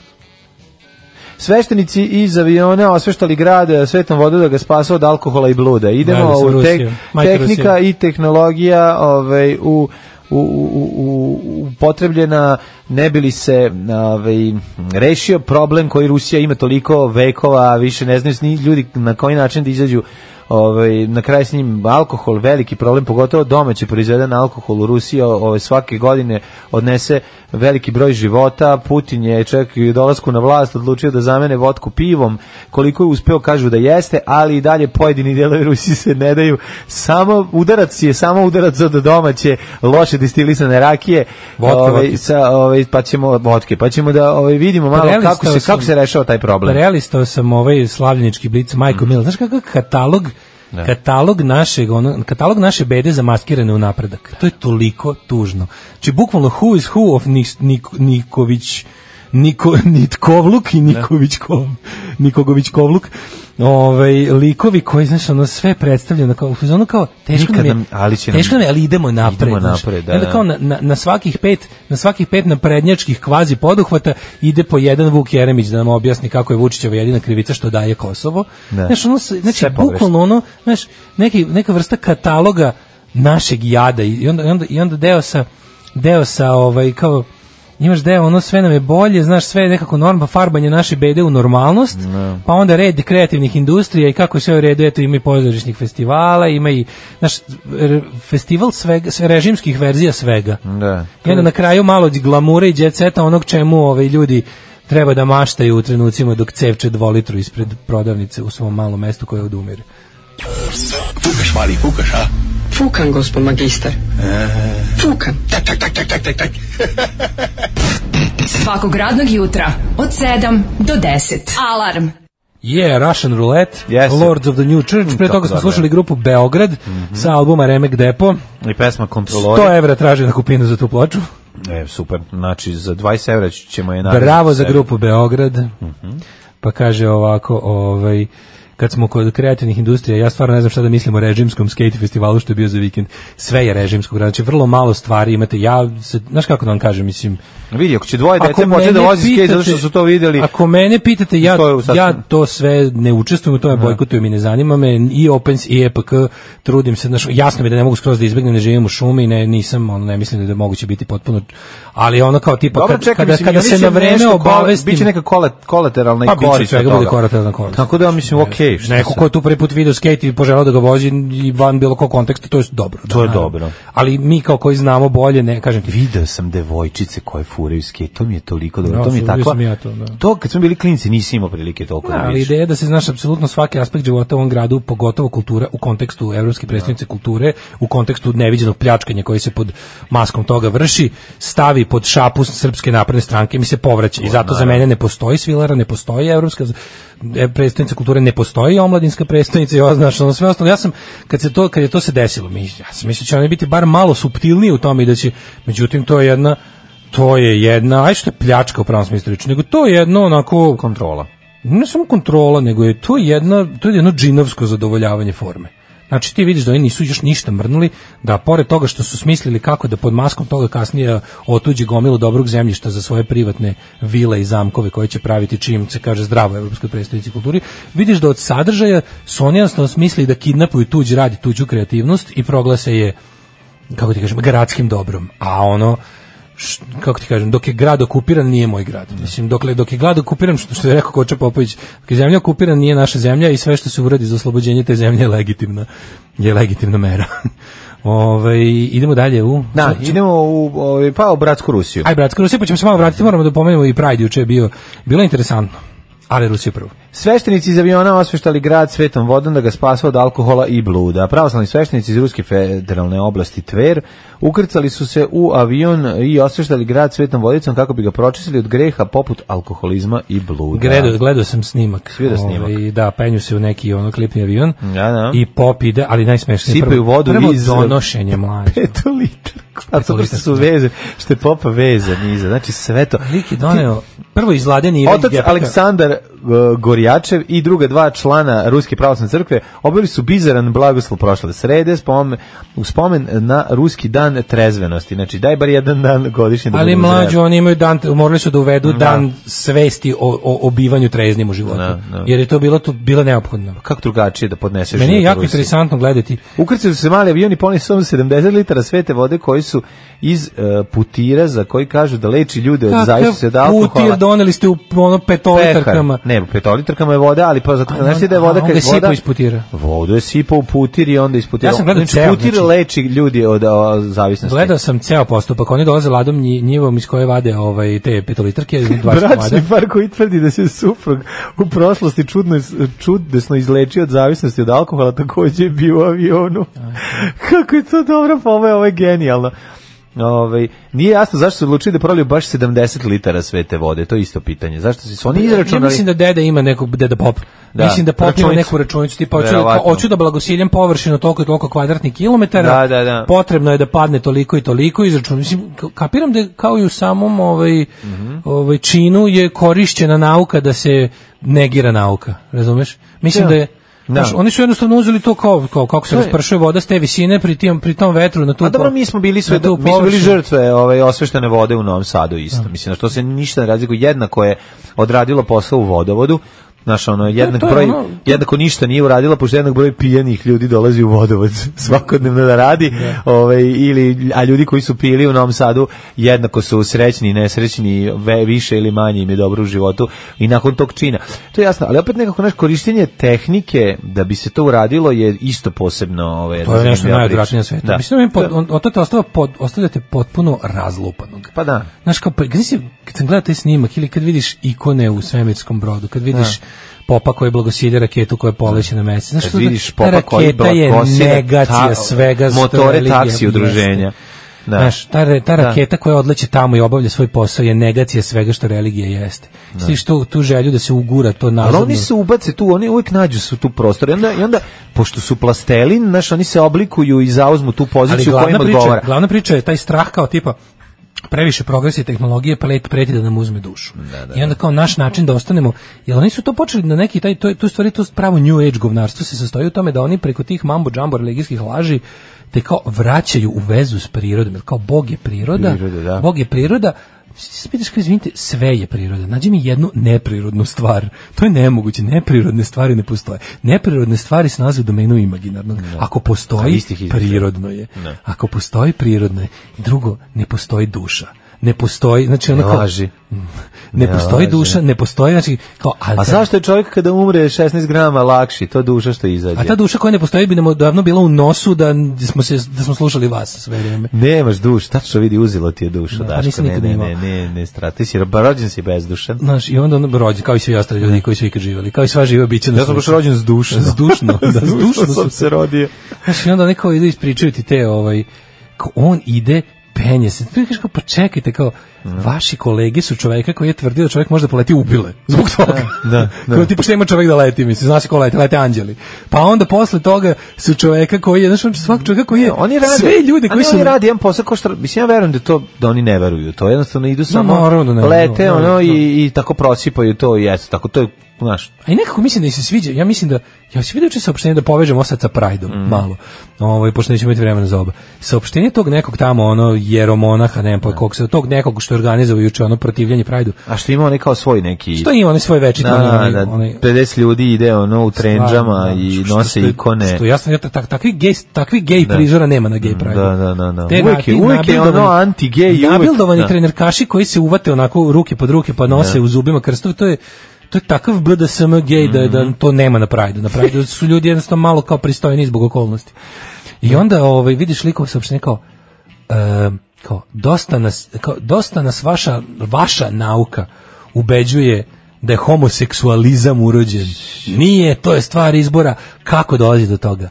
Sveštenici iz aviona osveštali grad eh, svetom vodu da ga spasu od alkohola i bluda.
Da,
Idemo
da sam
u tek-
Rusija. Majka
tehnika
Rusija.
i tehnologija ovaj, u u, u, u, upotrebljena ne bi li se ovaj, rešio problem koji Rusija ima toliko vekova, a više ne znaju s ni ljudi na koji način da izađu ovaj, na kraj s njim alkohol, veliki problem, pogotovo domaći proizveden alkohol u Rusiji o- ovaj, svake godine odnese veliki broj života, Putin je čak i u dolasku na vlast odlučio da zamene vodku pivom, koliko je uspeo kažu da jeste, ali i dalje pojedini delovi Rusije se ne daju, samo udarac je, samo udarac od domaće loše destilisane rakije,
Vodke,
ovaj,
vodke.
sa, ovaj, pa ćemo vodke, pa ćemo da ovaj, vidimo malo
Prelistao
kako se,
sam-
kako se rešava taj problem. Mm.
Prelistao sam ovaj slavljenički blic Majko Mila. Znaš kakav katalog
Da.
katalog našeg ono, katalog naše bede zamaskirane
Da.
u Znači, napredak. To je toliko tužno. Či bukvalno who is who of Nis- Nik- Niković Niko, Nitkovluk
Da.
i Niković Kov, Nikogović Kovluk. Ovaj likovi koji znaš ono sve predstavljeno kao u fazonu kao teško nam je,
Nikad nam- ali će nam-
teško nam je, ali idemo napred.
Idemo
znaš.
napred, da,
I onda
da.
kao na, na, na svakih pet, na svakih pet naprednjačkih kvazi poduhvata ide po jedan Vuk Jeremić da nam objasni kako je Vučićeva jedina krivica što daje Kosovo.
Da.
Znaš, ono, se- znači,
Sve pogrešno.
bukvalno ono, znaš, neki, neka vrsta kataloga našeg jada i onda, i onda, i onda deo sa, deo sa, ovaj, kao, imaš deo, ono, sve nam je bolje, znaš, sve je nekako norma, farbanje naše bede u normalnost,
Da.
pa onda red kreativnih industrija i kako je sve u redu, eto, ima i pozorišnih festivala, ima i, znaš, r- festival svega, sve- režimskih verzija svega.
Da.
I onda na kraju malo glamura i djeceta onog čemu ovaj ljudi treba da maštaju u trenucima dok cevče dvolitru ispred prodavnice u svom malom mestu koje odumire.
Fukaš, mali, fukaš, a?
Fukan, gospod magister.
Fukan. E. Tak, tak, tak, tak, tak, tak, tak.
Svakog radnog jutra od 7 do 10. Alarm.
Yeah, Russian Roulette, Lords of the New Church, pre
kako
toga smo
dobro.
slušali grupu Beograd sa albuma Remek Depo,
I pesma Kontrolori.
100 evra traži na kupinu za tu ploču,
E, super. Znači, za 20 evra ćemo je naravno.
bravo za grupu Beograd, pa kaže ovako, ovaj, kad smo kod kreativnih industrija, ja stvarno ne znam šta da mislim o režimskom skate festivalu što je bio za vikend. Sve je režimskog, znači vrlo malo stvari imate. Ja, se, znaš kako da vam kažem, mislim,
Vidi, ako će dvoje dece
mene
početi da vozi skate zato što
pitate-
su to videli. pa
Ako mene pitate, ja,
To je u sasvim- Da.
ja to sve ne učestvujem, u tome bojkotujem i ne zanima me, i Opens i EPK, trudim se, znaš, jasno mi je da ne mogu skroz da izbjegnem, ne živim u šumi, ne, nisam, ono, ne mislim da je moguće biti potpuno, ali ono kao tipa,
Dobro,
kad-
čekaj,
pa kada,
mislim,
kada
ja
se
mislim
na vreme
nešto kola-
obavestim,
Biće neka kola, kolateralna
pa
i korist
biće
od
svega, bude
toga.
koratelna korist.
Tako da, mislim, okej. Okay,
Neko ko je tu prvi put video skate i poželao da ga vozi i van bilo kog konteksta, to je dobro.
To je
naravno.
dobro.
Ali mi kao koji znamo bolje, ne kažem ti,
Video sam devojčice koje furaju skate, to mi je toliko dobro,
Da,
to mi je
vidio
tako.
sam ja to, da.
To kad smo bili klinci nisi imao prilike toliko da,
Da, ali
vidiš.
ideja je da se znaš apsolutno svaki aspekt života u ovom gradu, pogotovo kultura u kontekstu evropske predstavnice kulture, u kontekstu neviđenog pljačkanja koji se pod maskom toga vrši, stavi pod šapu srpske napredne stranke i mi se povraća. I zato za mene ne postoji Svilara, ne postoji evropska e, predstavnica kulture, ne postoji omladinska predstavnica i ovo, znaš, ono sve ostalo. Ja sam, kad, se to, kad je to se desilo, mi, ja sam mislio da će oni biti bar malo suptilniji u tome i da će, međutim, to je jedna to je jedna, aj što je pljačka u pravom smislu reči, nego to je jedno onako
kontrola
ne samo kontrola, nego je to jedna, to je jedno džinovsko zadovoljavanje forme. Znači ti vidiš da oni nisu još ništa mrnuli, da pored toga što su smislili kako da pod maskom toga kasnije otuđe gomilu dobrog zemljišta za svoje privatne vile i zamkove koje će praviti čim se kaže zdravo evropskoj predstavnici kulturi, vidiš da od sadržaja su oni jednostavno smislili da kidnapuju tuđi rad i tuđu kreativnost i proglase je kako ti kažem, gradskim dobrom. A ono, š- kako ti kažem, dok je grad okupiran, nije moj grad.
Da.
Mislim, dokle, dok je grad okupiran, što, što je rekao Koča Popović, dok je zemlja okupiran, nije naša zemlja i sve što se uradi za oslobođenje te zemlje je legitimna, je legitimna mera. Ove, idemo dalje u... Znači,
Da, idemo u, ovaj, pa u bratsku Rusiju.
Aj, bratsko, Rusija, pa ćemo se malo vratiti, moramo da pomenemo i Pride, juče je bio, bilo je interesantno, ali Rusija prvo.
Sveštenici iz aviona osveštali grad svetom vodom da ga spasu od alkohola i bluda. Pravoslavni sveštenici iz Ruske federalne oblasti Tver ukrcali su se u avion i osveštali grad svetom vodicom kako bi ga pročistili od greha poput alkoholizma i bluda.
Gledao, gledao sam snimak.
Vidio Da. snimak.
Ovaj, da, penju se u neki ono klipni avion.
Da, da.
I pop ide, ali najsmešnije. je
Sipaju
prvo-
vodu
prvo
iz-
donošenje mlađe.
Petolitar. A to pa što su veze, što je popa vezan iza. Znači sve to.
Lik je doneo prvo iz ladeni ili
Otac Aleksandar uh, Gorjačev i druga dva člana Ruske pravoslavne crkve obili su bizaran blagoslov prošle srede spome, u spomen na Ruski dan trezvenosti. Znači, daj bar jedan dan godišnje da
Ali
budemo
mlađu,
zreli.
oni imaju dan, morali su da uvedu dan svesti o, o, o bivanju treznim u životu.
Da, da.
Jer je to bilo, to bilo neophodno.
Kako drugačije da podneseš
Meni je
život u
jako
Rusiji?
interesantno gledati.
Ukrcali su se mali avioni poneli su samo 70 litara svete vode koji su iz uh, putira za koji kažu da leči ljude od zavisnosti od
Kakav
da alkohola.
putir doneli ste u ono petolitarkama.
Pehar. Ne, u petolitrkama je voda, ali pa zato znaš ti da je voda
a,
kad je
onda je
voda
sipao iz putira.
Vodu je sipao u putir i onda isputira.
Ja sam gledao ceo,
putir
znači.
leči ljudi od o, zavisnosti.
Gledao sam ceo postupak. Oni dolaze ladom nji- njivom iz koje vade ovaj, te petolitarke. 20 komada.
Bračni par koji tvrdi da se suprug u prošlosti čudno, iz- čudesno izlečio od zavisnosti od alkohola, takođe je bio u avionu. Kako je to dobro, pa ovo je, ovo je genijalno. Ovaj nije jasno zašto su odlučili da proliju baš 70 litara sve te vode, to je isto pitanje. Zašto su oni
Ja
izračunali?
mislim da deda ima neku deda pop.
Da,
mislim da pop
računicu.
ima neku računicu tipa hoću, da,
Verovatno.
hoću da blagosiljam površinu toliko i toliko kvadratnih kilometara.
Da, da, da.
Potrebno je da padne toliko i toliko izračun. Mislim ka- kapiram da je kao i u samom ovaj
Mhm.
ovaj činu je korišćena nauka da se negira nauka, razumeš? Mislim
Da.
da je
Da.
znaš, oni su jednostavno uzeli to kao, kao kako se
To je-
raspršuje voda s te visine pri tom pri tom vetru na tu.
A dobro,
po-
mi smo bili sve,
na tu
mi smo bili
površinu. Da.
žrtve ovaj, osveštene vode u Novom Sadu isto. Mislim, na što se ništa ne razlikuje. Jednako je odradilo posao u vodovodu, Znaš, ono, jednak
Da, to je
broj,
ono-
jednako ništa nije uradila, pošto jednak broj pijenih ljudi dolazi u vodovod svakodnevno da radi, ovaj, ili, a ljudi koji su pili u Novom Sadu jednako su srećni i nesrećni, ve- više ili manje im je dobro u životu i nakon tog čina. To je jasno, ali opet nekako naš korištenje tehnike da bi se to uradilo je isto posebno... Ovaj,
To je Pa nešto
zanimljiva priča.
najodvratnije na svetu.
Da.
Mislim da mi pod, on, od toga ostava pod, ostavljate potpuno razlupanog.
Pa da.
Znaš, kao, pa, kad, si, kad sam gledao taj snimak ili kad vidiš ikone u svemirskom brodu, kad vidiš
Da.
popa koji blagosilje raketu koja poleće na mesec. Znaš,
Kad
to da-
vidiš
ta
popa koji
raketa je
blagosire
negacija
ta-
svega. što
motore
religija
taksi udruženja.
jeste.
Da.
Znaš, ta, re- ta
Da.
raketa koja odleće tamo i obavlja svoj posao je negacija svega što religija jeste.
Da.
Sviš tu, tu želju da se ugura to
Ali
nazadno.
oni se ubace tu, oni uvijek nađu su tu prostor. I onda, i onda pošto su plastelin, znaš, oni se oblikuju i zauzmu tu poziciju koja
glavna
im
priča,
odgovara.
Glavna priča je taj strah kao tipa previše progresa i tehnologije pret, preti da nam uzme dušu. I onda kao naš način da ostanemo, jer oni su to počeli na neki taj, to, tu stvari, to pravo new age govnarstvo se sastoji u tome da oni preko tih mambo džambo religijskih laži te kao vraćaju u vezu s prirodom, jer kao Bog je priroda,
Priroda, da.
Bog je priroda, se pitaš kao, izvinite, sve je priroda. Nađi mi jednu neprirodnu stvar. To je nemoguće. Neprirodne stvari ne postoje. Neprirodne stvari se nalaze u domenu imaginarnog. Ako
A
postoji,
Da. istih izmišlja.
prirodno je.
Ne.
Ako postoji prirodno je. Drugo, ne postoji duša. Ne postoji, znači ono
Ne
kao-
laži.
Ne,
Ne
postoji
laži.
duša, ne postoji, znači kao
A zašto je čovjek kada umre 16 grama lakši? To duša što izađe.
A ta duša koja ne postoji bi nam davno bila u nosu da smo se da smo slušali vas sve vrijeme.
Nemaš duš, tačno vidi, uzelo ti je dušu,
Ne,
Daško,
Da, pa nisam
ne,
nikad
ne,
imao.
ne, ne, ne, stra. Ti si rob- rođen si bezdušan.
Znaš, i onda ono rođen, kao i svi ostali ljudi koji su ikad živjeli, kao i sva živa bića na
Ja sam baš
svetu.
rođen zdušno.
Zdušno, da,
Zdušno
zdušno
sam
su-
se rodio.
Znaš, i onda neko ide ispričaju ti te, ovaj, kao on ide, penje se. Ti kažeš kao, pa čekajte, kao,
Mhm.
vaši kolege su čoveka koji je tvrdio da čovjek može da poleti u bile. Zbog toga.
da, da.
Kao tipa što ima čovjek da leti, mislim, zna se ko leti, lete anđeli. Pa onda posle toga su čoveka koji je, znaš, on svak čoveka koji je,
E, Oni rade,
sve ljude
ali
koji su...
oni rade jedan posao kao što mislim ja verujem da to da oni ne veruju. To jednostavno idu samo
naravno da ne veruju,
lete
naravno,
ono
to.
i, i tako prosipaju to i eto tako to je znaš.
A i nekako mislim da im se sviđa, ja mislim da, ja se vidio juče saopštenje da povežemo sad sa Prideom,
Mhm.
malo, ovaj, pošto nećemo imati vremena za oba. Saopštenje tog nekog tamo, ono, jeromonaha, ne znam
Da.
pa kog se, tog nekog što je organizovao juče, ono, protivljanje Prideu,
A što ima onaj kao svoj neki
što ima onaj svoj večiti,
Da,
onaj,
da,
onaj,
50 ljudi ide ono u
stvarno,
trendžama
da,
i
što- što-
nose
što-
ikone.
Što jasno, ja, tak, takvi gej, takvi gej
Da.
prizora nema na gej Prideu.
Da, da, da, da.
Te
Uvijek je-
na- ti
uvijek je ono
nabildovani-
anti-gay i uvijek-
Nabildovani
da.
trenerkaši koji se uvate onako ruke pod ruke pa nose
Da.
u zubima krstove, to je to je takav BDSM gej da,
Mhm.
da to nema na Prideu. Na Prideu su ljudi jednostavno malo kao pristojni zbog okolnosti. I onda ovaj, vidiš likov saopštenje kao, e, kao, dosta nas, kao, dosta nas vaša, vaša nauka ubeđuje da je homoseksualizam urođen. Nije, to je stvar izbora. Kako dolazi do toga?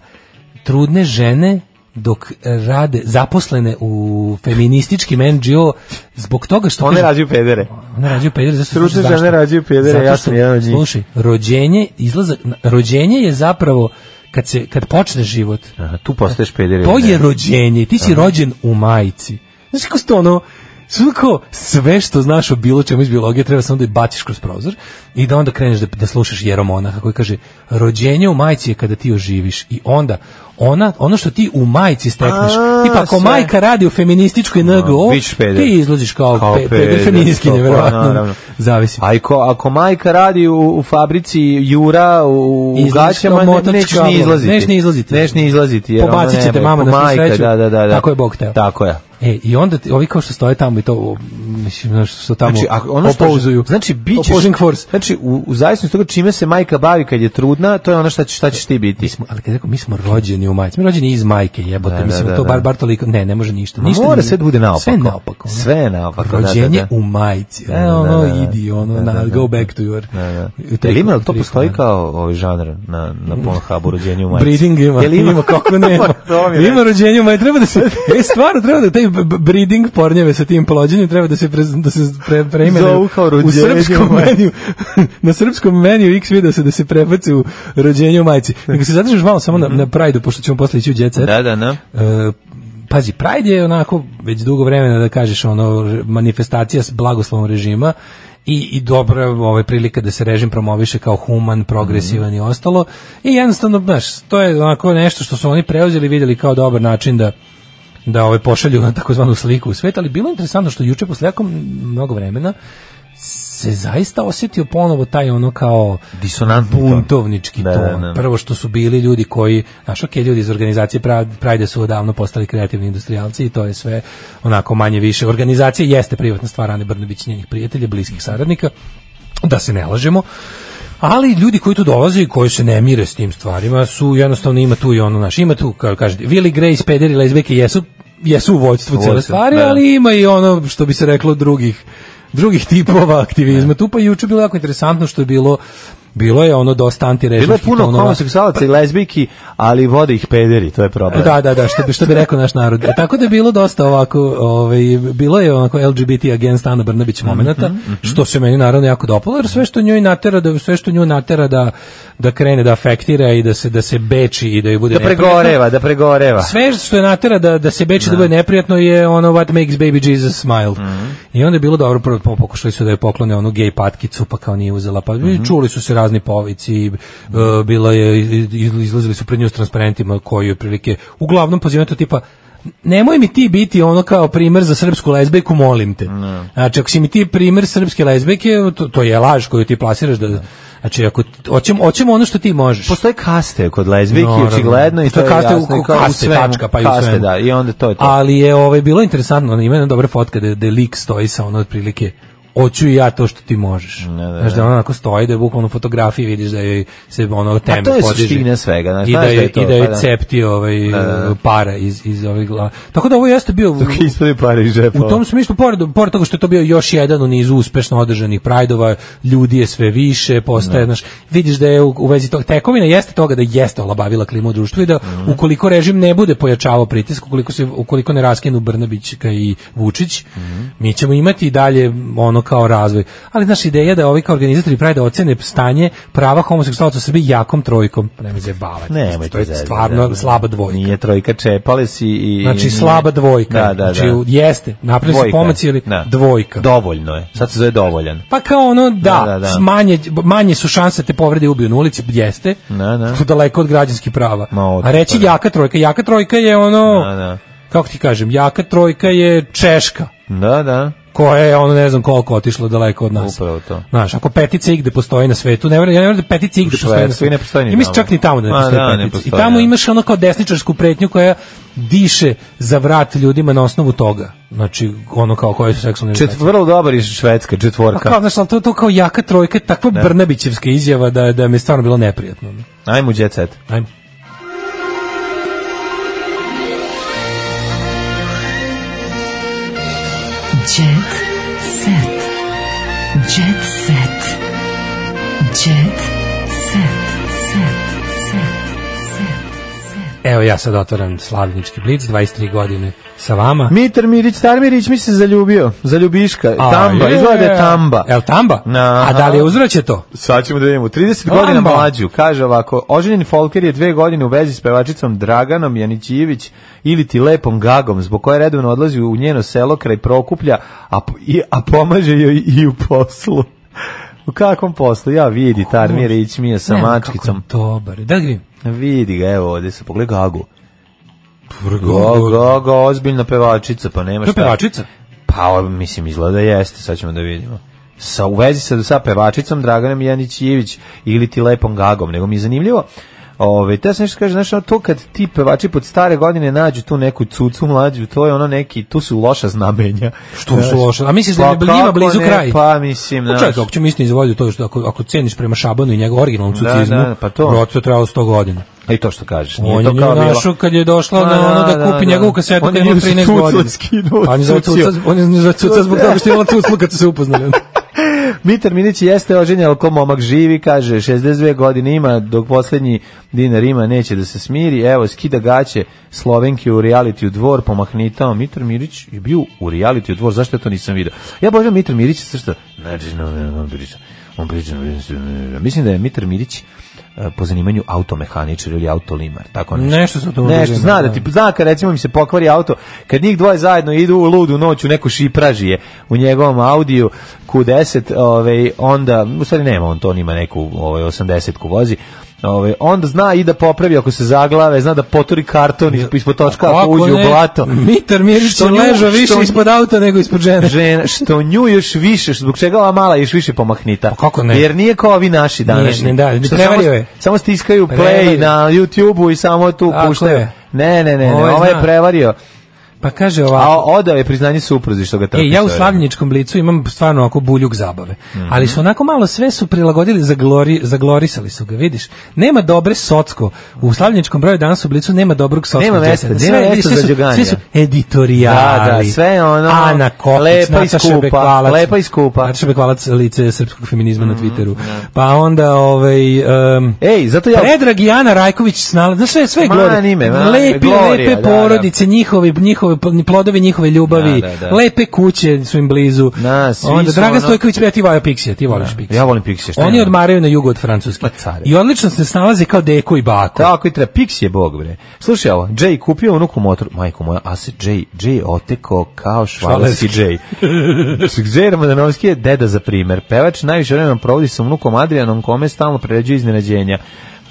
Trudne žene dok rade zaposlene u feminističkim NGO zbog toga što
One
kaže-
rađaju pedere.
one rađaju pedere zato što
Trudne
slušaj
žene
zašto?
rađaju pedere,
Zato
ja
što-
sam jedan od njih.
Slušaj, rođenje, izlazak, na- rođenje je zapravo kad se kad počne život.
Aha, tu postaješ peder.
e, To
ili ne?
je rođenje, ti
Da.
si rođen u majici. Znaš kako ste ono, sve kao, sve što znaš o bilo čemu iz biologije treba samo da je baciš kroz prozor i da onda kreneš da, da slušaš Jeromonaha koji kaže rođenje u majici je kada ti oživiš i onda ona, ono što ti u majici stekneš,
A,
tipa ako
sve.
majka radi u feminističkoj NGO,
bićeš peder.
ti izlaziš kao,
Kao
pe, peder,
peder,
feministkinje,
to, pa,
verovatno.
naravno.
Zavisi.
A ako, ako majka radi u, u fabrici Jura u, u
Izlaziš kao
gaćama, ne-
motač
nećeš ni
kablova.
izlaziti.
Nećeš ni izlaziti.
Nećeš ni izlaziti. jer ono
Pobacit će
ne
te
bi-
mama na svu
majka,
sreću.
Da, da, da, da.
Tako je Bog teo.
Tako je.
E, i onda ti, ovi kao što stoje tamo i to, o, mislim, znaš, što tamo
Znači, ako ono što
opouzuju.
znači bićeš
Opposing force.
Znači u, u zavisnosti od toga čime se majka bavi kad je trudna, to je ono šta će šta ćeš ti biti.
Mi smo, ali kad rekao, mi smo rođeni u majci, mi smo rođeni iz majke, jebote,
Da, da,
mislim,
da,
to
da.
bar, bar toliko, ne, ne može ništa.
Ma
ništa
mora
nije-
sve da bude naopako.
Sve je naopako. ono.
Sve je naopako, da, da,
Rođenje
da.
u majci, e,
da, da,
ono,
da, da.
idi, ono,
Da, da,
na,
da.
go back to your...
Da, da.
u taj-
Jel ima to
prihod,
postoji
da.
kao ovaj žanr na na Pornhubu rođenje u majci?
Breeding ima,
Jel
ima, kako nema.
Pa, to mi je
ima rođenje u majci, treba da se, e, stvarno, treba da taj b- b- breeding pornjeve sa tim plođenjem treba da se pre, da se pre, preimenuju
Zovu kao
u
rođenje
srpskom
u majici.
meniju. na srpskom meniju X video se da se prebaci u rođenje u majici. Nego se zadržiš malo samo na, na Pride-u, pošto ćemo posle ići u Jet Set.
Mhm. Da, da, da.
E, pazi, Pride je onako već dugo vremena da kažeš ono re- manifestacija s blagoslovom režima i, i dobra je ovaj, prilika da se režim promoviše kao human, progresivan i ostalo. I jednostavno, znaš, to je onako nešto što su oni preuzeli i vidjeli kao dobar način da da ovaj pošalju na takozvanu sliku u svet, ali bilo je interesantno što juče posle jako mnogo vremena se zaista osjetio ponovo taj ono kao
disonantni
buntovnički
Da,
ton.
da, da.
Prvo što su bili ljudi koji, znaš, ok, ljudi iz organizacije Pra- Pride su odavno postali kreativni industrijalci i to je sve onako manje više. Organizacija jeste privatna stvar Ane Brnabić i njenih prijatelja, bliskih saradnika, da se ne lažemo. Ali ljudi koji tu dolaze i koji se ne mire s tim stvarima su jednostavno ima tu i ono naš, ima tu, kao kažete, Willy Grace, pederi, lezbeke jesu, jesu u vođstvu cele
Vođstvo,
stvari,
da.
ali ima i ono što bi se reklo drugih drugih tipova aktivizma. Tu pa juče bilo jako interesantno što je bilo bilo je ono dosta antirežimskih
Bilo je puno
tonova.
homoseksualaca i lezbijki, ali vode ih pederi, to je problem.
Da, da, da, što bi, što bi rekao naš narod. E, Tako da je bilo dosta ovako, ovaj, bilo je onako LGBT against Ana Brnabić
Mhm,
momenata, što se meni naravno jako dopalo, jer sve što njoj natera da, sve što nju natera da, da krene, da afektira i da se, da se beči i da joj bude
Da
neprijatno.
pregoreva, da pregoreva.
Sve što je natera da, da se beči da Mhm. bude neprijatno je ono what makes baby Jesus smile. I onda je bilo dobro, prvo po- pokušali su da je poklone onu gej patkicu, pa kao nije uzela. Pa i čuli su se razni povici, e, bila je, i- i- izlazili su pred nju s transparentima koji je prilike, uglavnom pozivaju to tipa nemoj mi ti biti ono kao primer za srpsku lezbejku, molim te. Znači, ako si mi ti primer srpske lezbejke, to, to je laž koju ti plasiraš da... Znači, ako, hoćemo, hoćemo ono što ti možeš.
Postoje kaste kod lezbijki,
Naravno.
očigledno, i to
Postoje
je
kaste u-
jasno. i
u
kao
kaste,
svemu.
tačka, pa i u
Kaste,
svemu.
da, i onda to je to.
Ali je ovaj bilo interesantno, ona ima jedna dobra fotka da da lik stoji sa ono otprilike hoću i ja to što ti možeš.
da,
Znaš da ona onako stoji, da je bukvalno fotografije vidiš da joj se ono teme
to je
podiže.
suština svega, znaš,
I da
znaš da
je,
je to,
i da
pa
je
da.
cepti ovaj, para iz, iz ovih glava. Tako da ovo jeste bio...
Dok ispravi pare iz džepa.
U tom smislu, pored, pored toga što je to bio još jedan u nizu uspešno održanih prajdova, ljudi je sve više, postaje, znaš, vidiš da je u, u vezi tog, tekovina jeste toga da jeste olabavila klimu u društvu i da ukoliko režim ne bude pojačavao pritisk, ukoliko, se, ukoliko ne raskinu Brnabićka i Vučić, mi ćemo imati i dalje ono kao razvoj. Ali, znaš, ideja da ovi kao organizatori prajda ocene stanje prava homoseksualaca u Srbiji jakom trojkom, pa nemoj zajebavati.
Nemoj
to je
te zezati,
stvarno
da.
slaba dvojka.
Nije trojka čepales i... i
Znači
nije-
slaba dvojka.
Da, da, da.
znači jeste, napravili su
Dvojka.
pomaci ili
Da.
dvojka.
Dovoljno je. Sad se zove dovoljan.
Pa kao ono, da,
Da, da, da.
s- Manje, manje su šanse da te povrede i ubiju na ulici, jeste,
Da, da.
tu daleko od građanskih prava.
Ma,
A
odlično,
reći
da.
jaka trojka, jaka trojka je ono,
Da, da.
kako ti kažem, jaka trojka je Češka,
Da, da.
koja je ono ne znam koliko otišla daleko od nas.
Upravo to.
Znaš, ako petica igde postoji na svetu, ne vjerujem, ja ne vjerujem da petica igde postoji na
Švedskoj
svetu.
ne postoji ni
Ja mislim
tamo.
čak ni tamo da ne
Ma,
postoji
da, ne
petica. I
postoji,
tamo
da.
imaš ono kao desničarsku pretnju koja diše za vrat ljudima na osnovu toga. Znači, ono kao koje su seksualne
Čet,
orijentacije.
vrlo dobar iz Švedska,
Pa
četvorka.
Znači. kao, znaš, ali to, to kao jaka trojka, je takva
Da.
Brnabićevska izjava da, da mi je stvarno bilo neprijatno.
Ajmo, jet set.
Ajmo.
Jet set. Jet set. Jet set. Set. Set. Set.
Evo ja sad otvaram Slavnički blic, 23 godine sa vama.
Mitar Mirić, star Mirić mi se zaljubio. Zaljubiška.
A,
tamba,
je.
izgleda da je tamba.
El tamba?
Na.
A da li je uzvraće to?
Sad ćemo da vidimo. 30
Lamba.
godina mlađu, kaže ovako, oženjen Folker je dve godine u vezi s pevačicom Draganom Janićijević ili ti lepom gagom, zbog koje redovno odlazi u njeno selo kraj Prokuplja, a, po- i, a pomaže joj i u poslu. U kakvom poslu? Ja vidi, Tarmirić mi je sa
Ne,
mačkicom.
kako Dobar. je. Da li vidim?
Vidi ga, evo ovde se pogledaj gagu. Gago, gago, ozbiljna pevačica, pa nema
To je
šta.
pevačica?
Pa, o, mislim, izgleda jeste, sad ćemo da vidimo. Sa, u vezi sa, sa pevačicom Draganom Janićijević ili ti lepom gagom, nego mi je zanimljivo. Ove, te sam nešto kaže, znaš, ono, to kad ti pevači pod stare godine nađu tu neku cucu mlađu, to je ono neki, tu su loša znamenja.
Što su loše? A misliš da je
Pa
njima
kako
blizu
ne,
kraj?
Pa, mislim,
Pa
znaš.
čekaj, ako ćemo istini izvoditi to što ako, ako ceniš prema Šabanu i njegov originalnom
Da,
cucizmu,
da, pa to.
brate, je trajalo 100 godina.
I E, to što kažeš. Nije
On je
to
nju
kao bilo-
našao kad je došla
Pa,
na ono da kupi njegovu kasetu
On
kad
je
je imao
nju sa
13
cucla
godina.
skinuo,
Pa on je zvao
cucio.
cuca- on je zvao cuca zbog toga što je imala cuclu kad su se upoznali.
Mitar Minić jeste oženjen, ali ko momak živi, kaže, 62 godine ima, dok posljednji dinar ima, neće da se smiri. Evo, skida gaće Slovenke u reality u dvor, pomahnitao. Mitar Mirić je bio u reality u dvor, zašto ja to nisam vidio? Ja božem Mitar Mirić, sve što... Znači, no, no, no, priča. On priča, no, mislim da je Mitar Mirić e, po zanimanju automehaničar ili autolimar, tako nešto.
Nešto sa to
Nešto zna da ti zna kad recimo mi se pokvari auto, kad njih dvoje zajedno idu u ludu noć u neku šipražije u njegovom Audiju Q10, ovaj onda u stvari nema on to, on ima neku ovaj 80 ku vozi. Ovaj onda zna i da popravi ako se zaglave, zna da poturi karton isp- ispod točka ako
Kako
uđe u
ne?
blato.
Mitar Mirić
Što
je
nju-
ležao više
što-
ispod auta nego ispod žene.
žena što nju još više što- zbog čega ova mala još više pomahnita kako
Pa ne?
jer nije kao ovi naši današnji
Nije, ne, da,
Što
prevario
samo,
je.
samo stiskaju play
Prevario.
na YouTubeu i samo tu
Tako
puštaju
je.
ne ne ne, ne
Ovo je
ovaj je
znak.
prevario
Pa kaže
a
ovako.
odao je priznanje supruzi što ga trpi
E, ja u
sve.
slavljeničkom blicu imam stvarno oko buljuk zabave.
Mhm.
Ali su onako malo sve su prilagodili, zaglori, zaglorisali su ga, vidiš. Nema dobre socko. U slavljeničkom broju danas u blicu nema dobrog socko.
Nema mesta, nema mesta za đuganje.
Svi su editorijali.
Da, da, sve je ono,
Ana Kopić,
lepa i
Nataša
skupa,
Bekvalac.
lepa i skupa. Mhm, da.
Nataša Bekvalac, lice srpskog feminizma na Twitteru. Pa onda, ovaj... Um,
Ej, zato ja-
Predrag i Ana Rajković snala, znaš sve, sve je
Ma,
glori.
anime, ma,
lepe,
Gloria,
lepe
da, da.
porodice, njihove, njihove, plodovi njihove ljubavi,
Da, da, da.
lepe kuće su im blizu.
Na, svi
Onda
su
Dragan
ono- Da,
Stojković, pa ja ti voliš Pixija, ti voliš Pixija.
ja Pa volim Pixije šta
Oni
ima?
odmaraju na jugu od Francuske. I odlično se snalaze kao deko i bako.
Tako i treba, Pix je bog bre. Slušaj ovo, Jay kupio unuku motor, majko moja, a se Jay, Jay oteko kao švalerski Jay. Jay Ramadanovski je deda za primer. Pevač najviše vremena provodi sa unukom Adrianom, kome stalno prerađuje iznenađenja.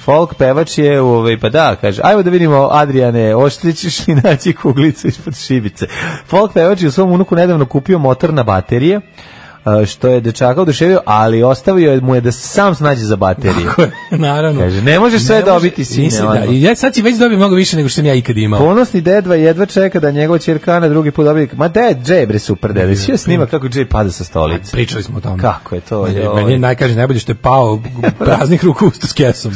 Folk pevač je, ovaj, pa da, kaže, ajmo da vidimo, Adriane, oštećeš li naći kuglicu ispod šibice. Folk pevač je u svom unuku nedavno kupio motor na baterije, eh, što je dečaka oduševio, ali ostavio je mu je da sam snađe za baterije.
Naravno.
Kaže, ne možeš sve
može-
dobiti, sine,
Nisi, da,
ono.
i ja sad si već dobio mnogo više nego što sam ja ikad imao.
Ponosni dedva jedva čeka da njegova ćerka Ana drugi put dobije. Ma ded, Jay bre super deda. Sve snima kako Jay pada sa stolice.
Pričali smo o tome.
Kako je ovaj. to?
Meni je-
joj.
Meni je najkaže najbolje što je pao praznih ruku usta s kesom.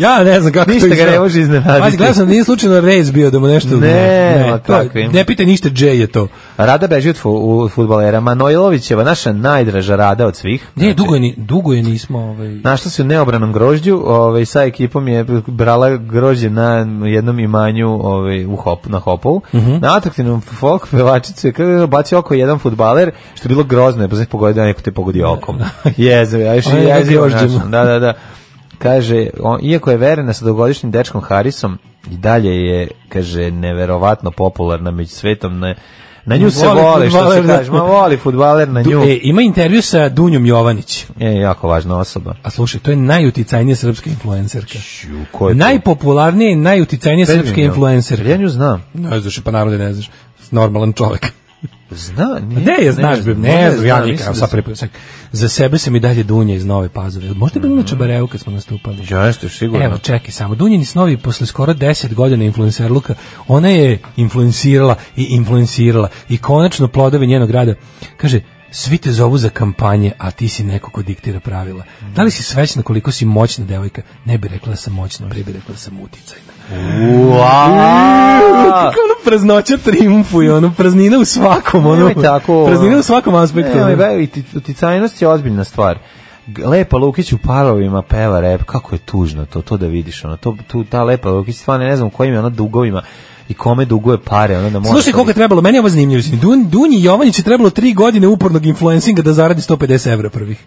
Ja ne znam kako
Ništa
to
ga
izgleda.
ne može iznenaditi.
Pazi, gledao sam da nije slučajno Rez bio da mu nešto...
Ne, ma
to je-
kakvi.
ne pita ništa, Jay je to.
Rada beži od fu, futbalera. Manojlovićeva, naša najdraža rada od svih.
Ne, dugo je, ni- dugo je nismo... Ovaj,
Našla se u neobranom grožđu, ovaj, sa ekipom je brala grožđe na jednom imanju ovaj, u hop, na Hopovu.
Mhm.
Na atraktivnom folk pevačicu je kada bacio oko jedan futbaler, što je bilo grozno, jer se pogodio da neko te pogodi okom. Jezo, ja još
Ono je
i jezivo
grožđem.
našao. Da, da, da. Kaže, on, iako je verena sa dogodišnjim dečkom Harisom, i dalje je, kaže, neverovatno popularna među svetom, ne, na nju se
Voli
vole, što se
fudbaler, da.
kaže, ma voli futbaler na nju.
Du- e, ima intervju sa Dunjom Jovanić.
E, jako važna osoba.
A slušaj, to je najuticajnija srpska influencerka.
Ko je to?
Najpopularnija i najuticajnija
Predivno.
srpska influencerka.
Ja nju znam.
Ne znaš, pa naravno da ne znaš. Normalan čovjek.
Zna, nije.
Ne, je, znaš, ne, ne znam, ja
mislim
nikam,
da
sad
sam-
prepisak. Za sebe sam i dalje Dunja iz Nove Pazove. Možda je bilo na Čabareu kad smo nastupali?
Jeste, sigurno.
Evo, čekaj samo. Dunjini snovi posle skoro 10 godina influencerluka, ona je influencirala i influencirala i konačno plodovi njenog rada. Kaže, svi te zovu za kampanje, a ti si neko ko diktira pravila. Da li si svećna koliko si moćna devojka? Ne bi rekla da sam moćna, pre bi rekla da sam uticajna.
Uaa!
Kako ono praznoća triumfuje, ono praznina u svakom, ono,
Nemoj tako.
praznina u svakom aspektu.
Ne,
ono.
ne, uticajnost je ozbiljna stvar. G- Lepa Lukić u parovima peva rep, kako je tužno to, to da vidiš, ono, to, tu, ta Lepa Lukić, stvarno ne znam kojim je ona dugovima i kome duguje pare, ono da može...
Slušaj koliko je trebalo, meni je ovo zanimljivo. mislim, Dun, Dunji Jovanić je trebalo tri godine upornog influencinga da zaradi 150 evra prvih.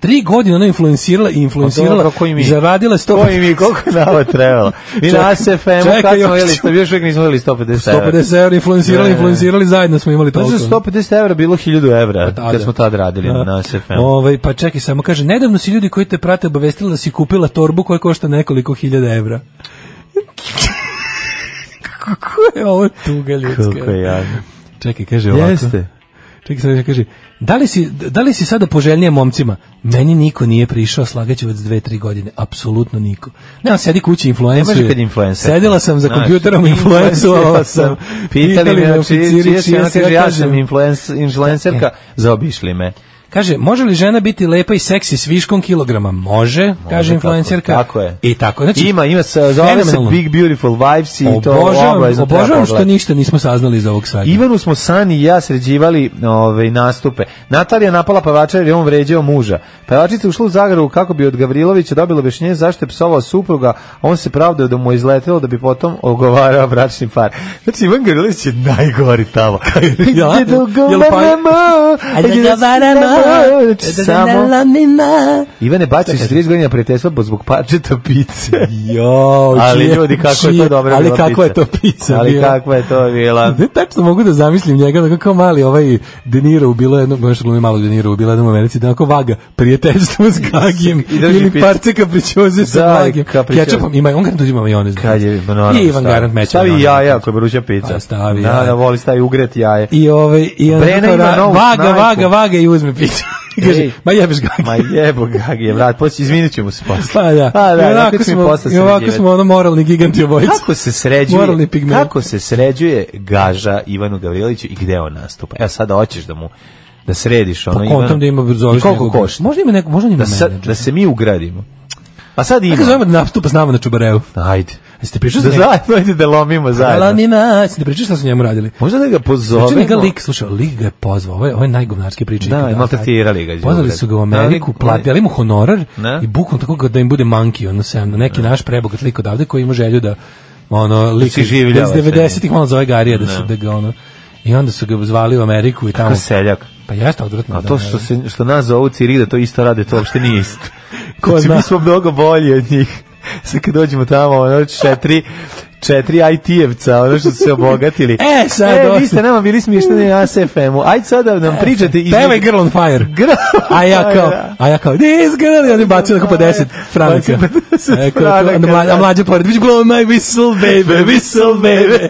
Tri godine ona influencirala i
Mhm. Pa
influencirala
dobro, koji mi?
i zaradila 150
Koji mi, koliko je nama trebalo? Mi
Čekaj,
na SFM-u, kad
čekaj,
smo
još
vidjeli,
ćemo-
još uvijek nismo vidjeli 150 evra.
150 evra influencirali,
Ne, ne.
influencirali, zajedno smo imali toliko.
Znači, 150 evra bilo 1000 evra,
da,
kad
da.
smo tad radili
Da.
na SFM-u.
Ovaj, pa čekaj, samo kaže, nedavno si ljudi koji te prate obavestili da si kupila torbu koja košta nekoliko hiljada evra. Kako je ovo tuga ljudska?
Kako je jadno.
Čekaj, kaže ovako.
Jeste.
Čekaj, sad kaže, da li, si, da li si sada poželjnije momcima? Meni niko nije prišao, slagaću već dve, tri godine. Apsolutno niko. Ne, on sedi kući, influensuje.
Ne može kad je influencer.
Sedela sam za
Znaš,
kompjuterom, influensovala sam.
Pitali me,
me
znači,
oficiri,
čije si
čija
ona
si,
kaže, ja
kažem,
sam influens- influencerka, zaobišli me.
Kaže, može li žena biti lepa i seksi s viškom kilograma? Može, kaže influencerka.
Tako je.
I tako. Znači,
ima, ima se, zove se
fenomenalno.
Big Beautiful Vibes i to
Obožavam,
obavezno treba
obožavam što
pogledati.
ništa nismo saznali iz ovog svega.
Ivanu smo Sani i ja sređivali ove, nastupe. Natalija napala pevača jer je on vređao muža. Pevačica je ušla u Zagravu kako bi od Gavrilovića dobila objašnjenje zašto je psovao supruga, a on se pravdao da mu je izletelo da bi potom ogovarao bračni par. Znači, Ivan Gavrilović je najgori tamo.
Ja?
Ajde da ogovaramo, ajde da sviramo.
da
Znači, samo... Ivane Bacić, 30 godina prijateljstva zbog parčeta pice.
Jo,
ali
čije-
ljudi, kako je to
čije-
dobro
ali
bila
kako je
pizza.
to pizza
Ali
bila.
kakva je to bila.
Ne, tačno mogu da zamislim njega, onako kao mali ovaj De Niro bilo jedno, ono što glumi malog De Niro bilo jednom u Americi, da onako vaga prijateljstvo s Gagijem
I drži
ili
pizzu.
parce kapričoze sa
Da,
Gagijem.
kapričoze.
Kečapom, ima, on garant uzima majonez.
Kad je, ma naravno,
I Ivan
stavi.
Garant meće.
Stavi
majonez.
jaja ako je vruća pizza.
Pa, stavi
da,
jaja.
Da, voli stavi ugret jaje.
I ovaj i on
Brena
onako
ima
ra-
novu
vaga,
snajku.
vaga, vaga i uzme piću. I kaže,
Ej.
ma jebeš Gagi.
Ma jebo gagi je, vrat, poći, izvinit ćemo se posle.
Pa da.
Pa da,
I
tako
onako
ćemo
smo,
posle
i ovako
sređivati.
smo ono moralni giganti obojica.
Kako se sređuje,
Moralni pigmej.
kako se sređuje gaža Ivanu Gavriloviću i gde on nastupa? Evo sada hoćeš da mu da središ ono
Pa
Ivanu.
kontam da ima
I
zoveš
koliko
nekog-
košta?
Možda ima neko, možda ima
Da, sa,
menadžer.
da se mi ugradimo. Pa sad ima.
Kako zovemo da nastupa s nama na Čubarevu?
Ajde.
Jeste pričali
Da
sa njim?
zajedno, ajde da lomimo zajedno.
Alanina, jeste da pričali šta su njemu radili?
Možda da ga
Znači mi ga
pozovemo.
lik, slušaj, lik ga je pozvao, ovo je, ovo je najgovnarski priča.
Da, i maltretirali ga, đubre.
Pozvali su ga u Ameriku,
Da, ali-
platili ali mu honorar
Ne.
i bukvalno tako kao da im bude manki, ono sam, neki naš prebogat lik odavde koji ima želju da ono, lik
si življava
iz
Da se.
90-ih malo zove Garija da, su, da ga ono, i onda su ga zvali u Ameriku i tamo.
Kako seljak.
Pa jeste odvratno.
A
da,
to
ne,
što, se, što nas zovu Cirida, to isto rade, to uopšte nije isto.
Ko
znači,
zna?
mi smo mnogo bolji od njih. Sad kad dođemo tamo, ono, četiri, četiri IT-evca, ono što su se obogatili.
E, sad
E,
dosta.
vi ste nama bili smiješteni na SFM-u. Ajde sad da nam pričate. iz-
e, Pevaj Girl on Fire. a ja kao,
da.
a ja kao, this girl, i onda bacio tako po 10 franaka.
Bacio po 10
E, kao,
franaka,
onda mlađa,
da.
a mlađa pored, bitch, blow my whistle, baby, whistle, baby.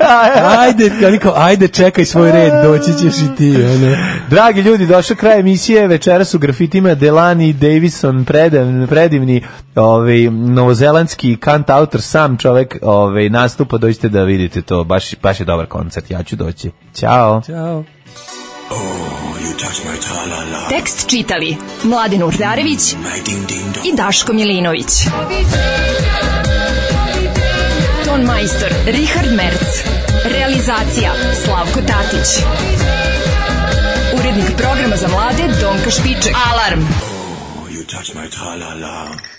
Ajde, oni kao, ajde, čekaj svoj red, doći ćeš i ti. Ono.
Dragi ljudi, došao kraj emisije, večeras u grafitima Delani Davison, predivni, predivni ovaj, novozelandski kantautor, sam čovek ovaj, nastupa, dođite da vidite to, baš, baš je dobar koncert, ja ću doći. Ćao.
Ćao.
Tekst čitali Mladin Urdarević i Daško Milinović. Ton majstor Richard Merc. Realizacija Slavko Tatić. Urednik programa za mlade Donka Špiček. Alarm!
You touch my tra-la-la.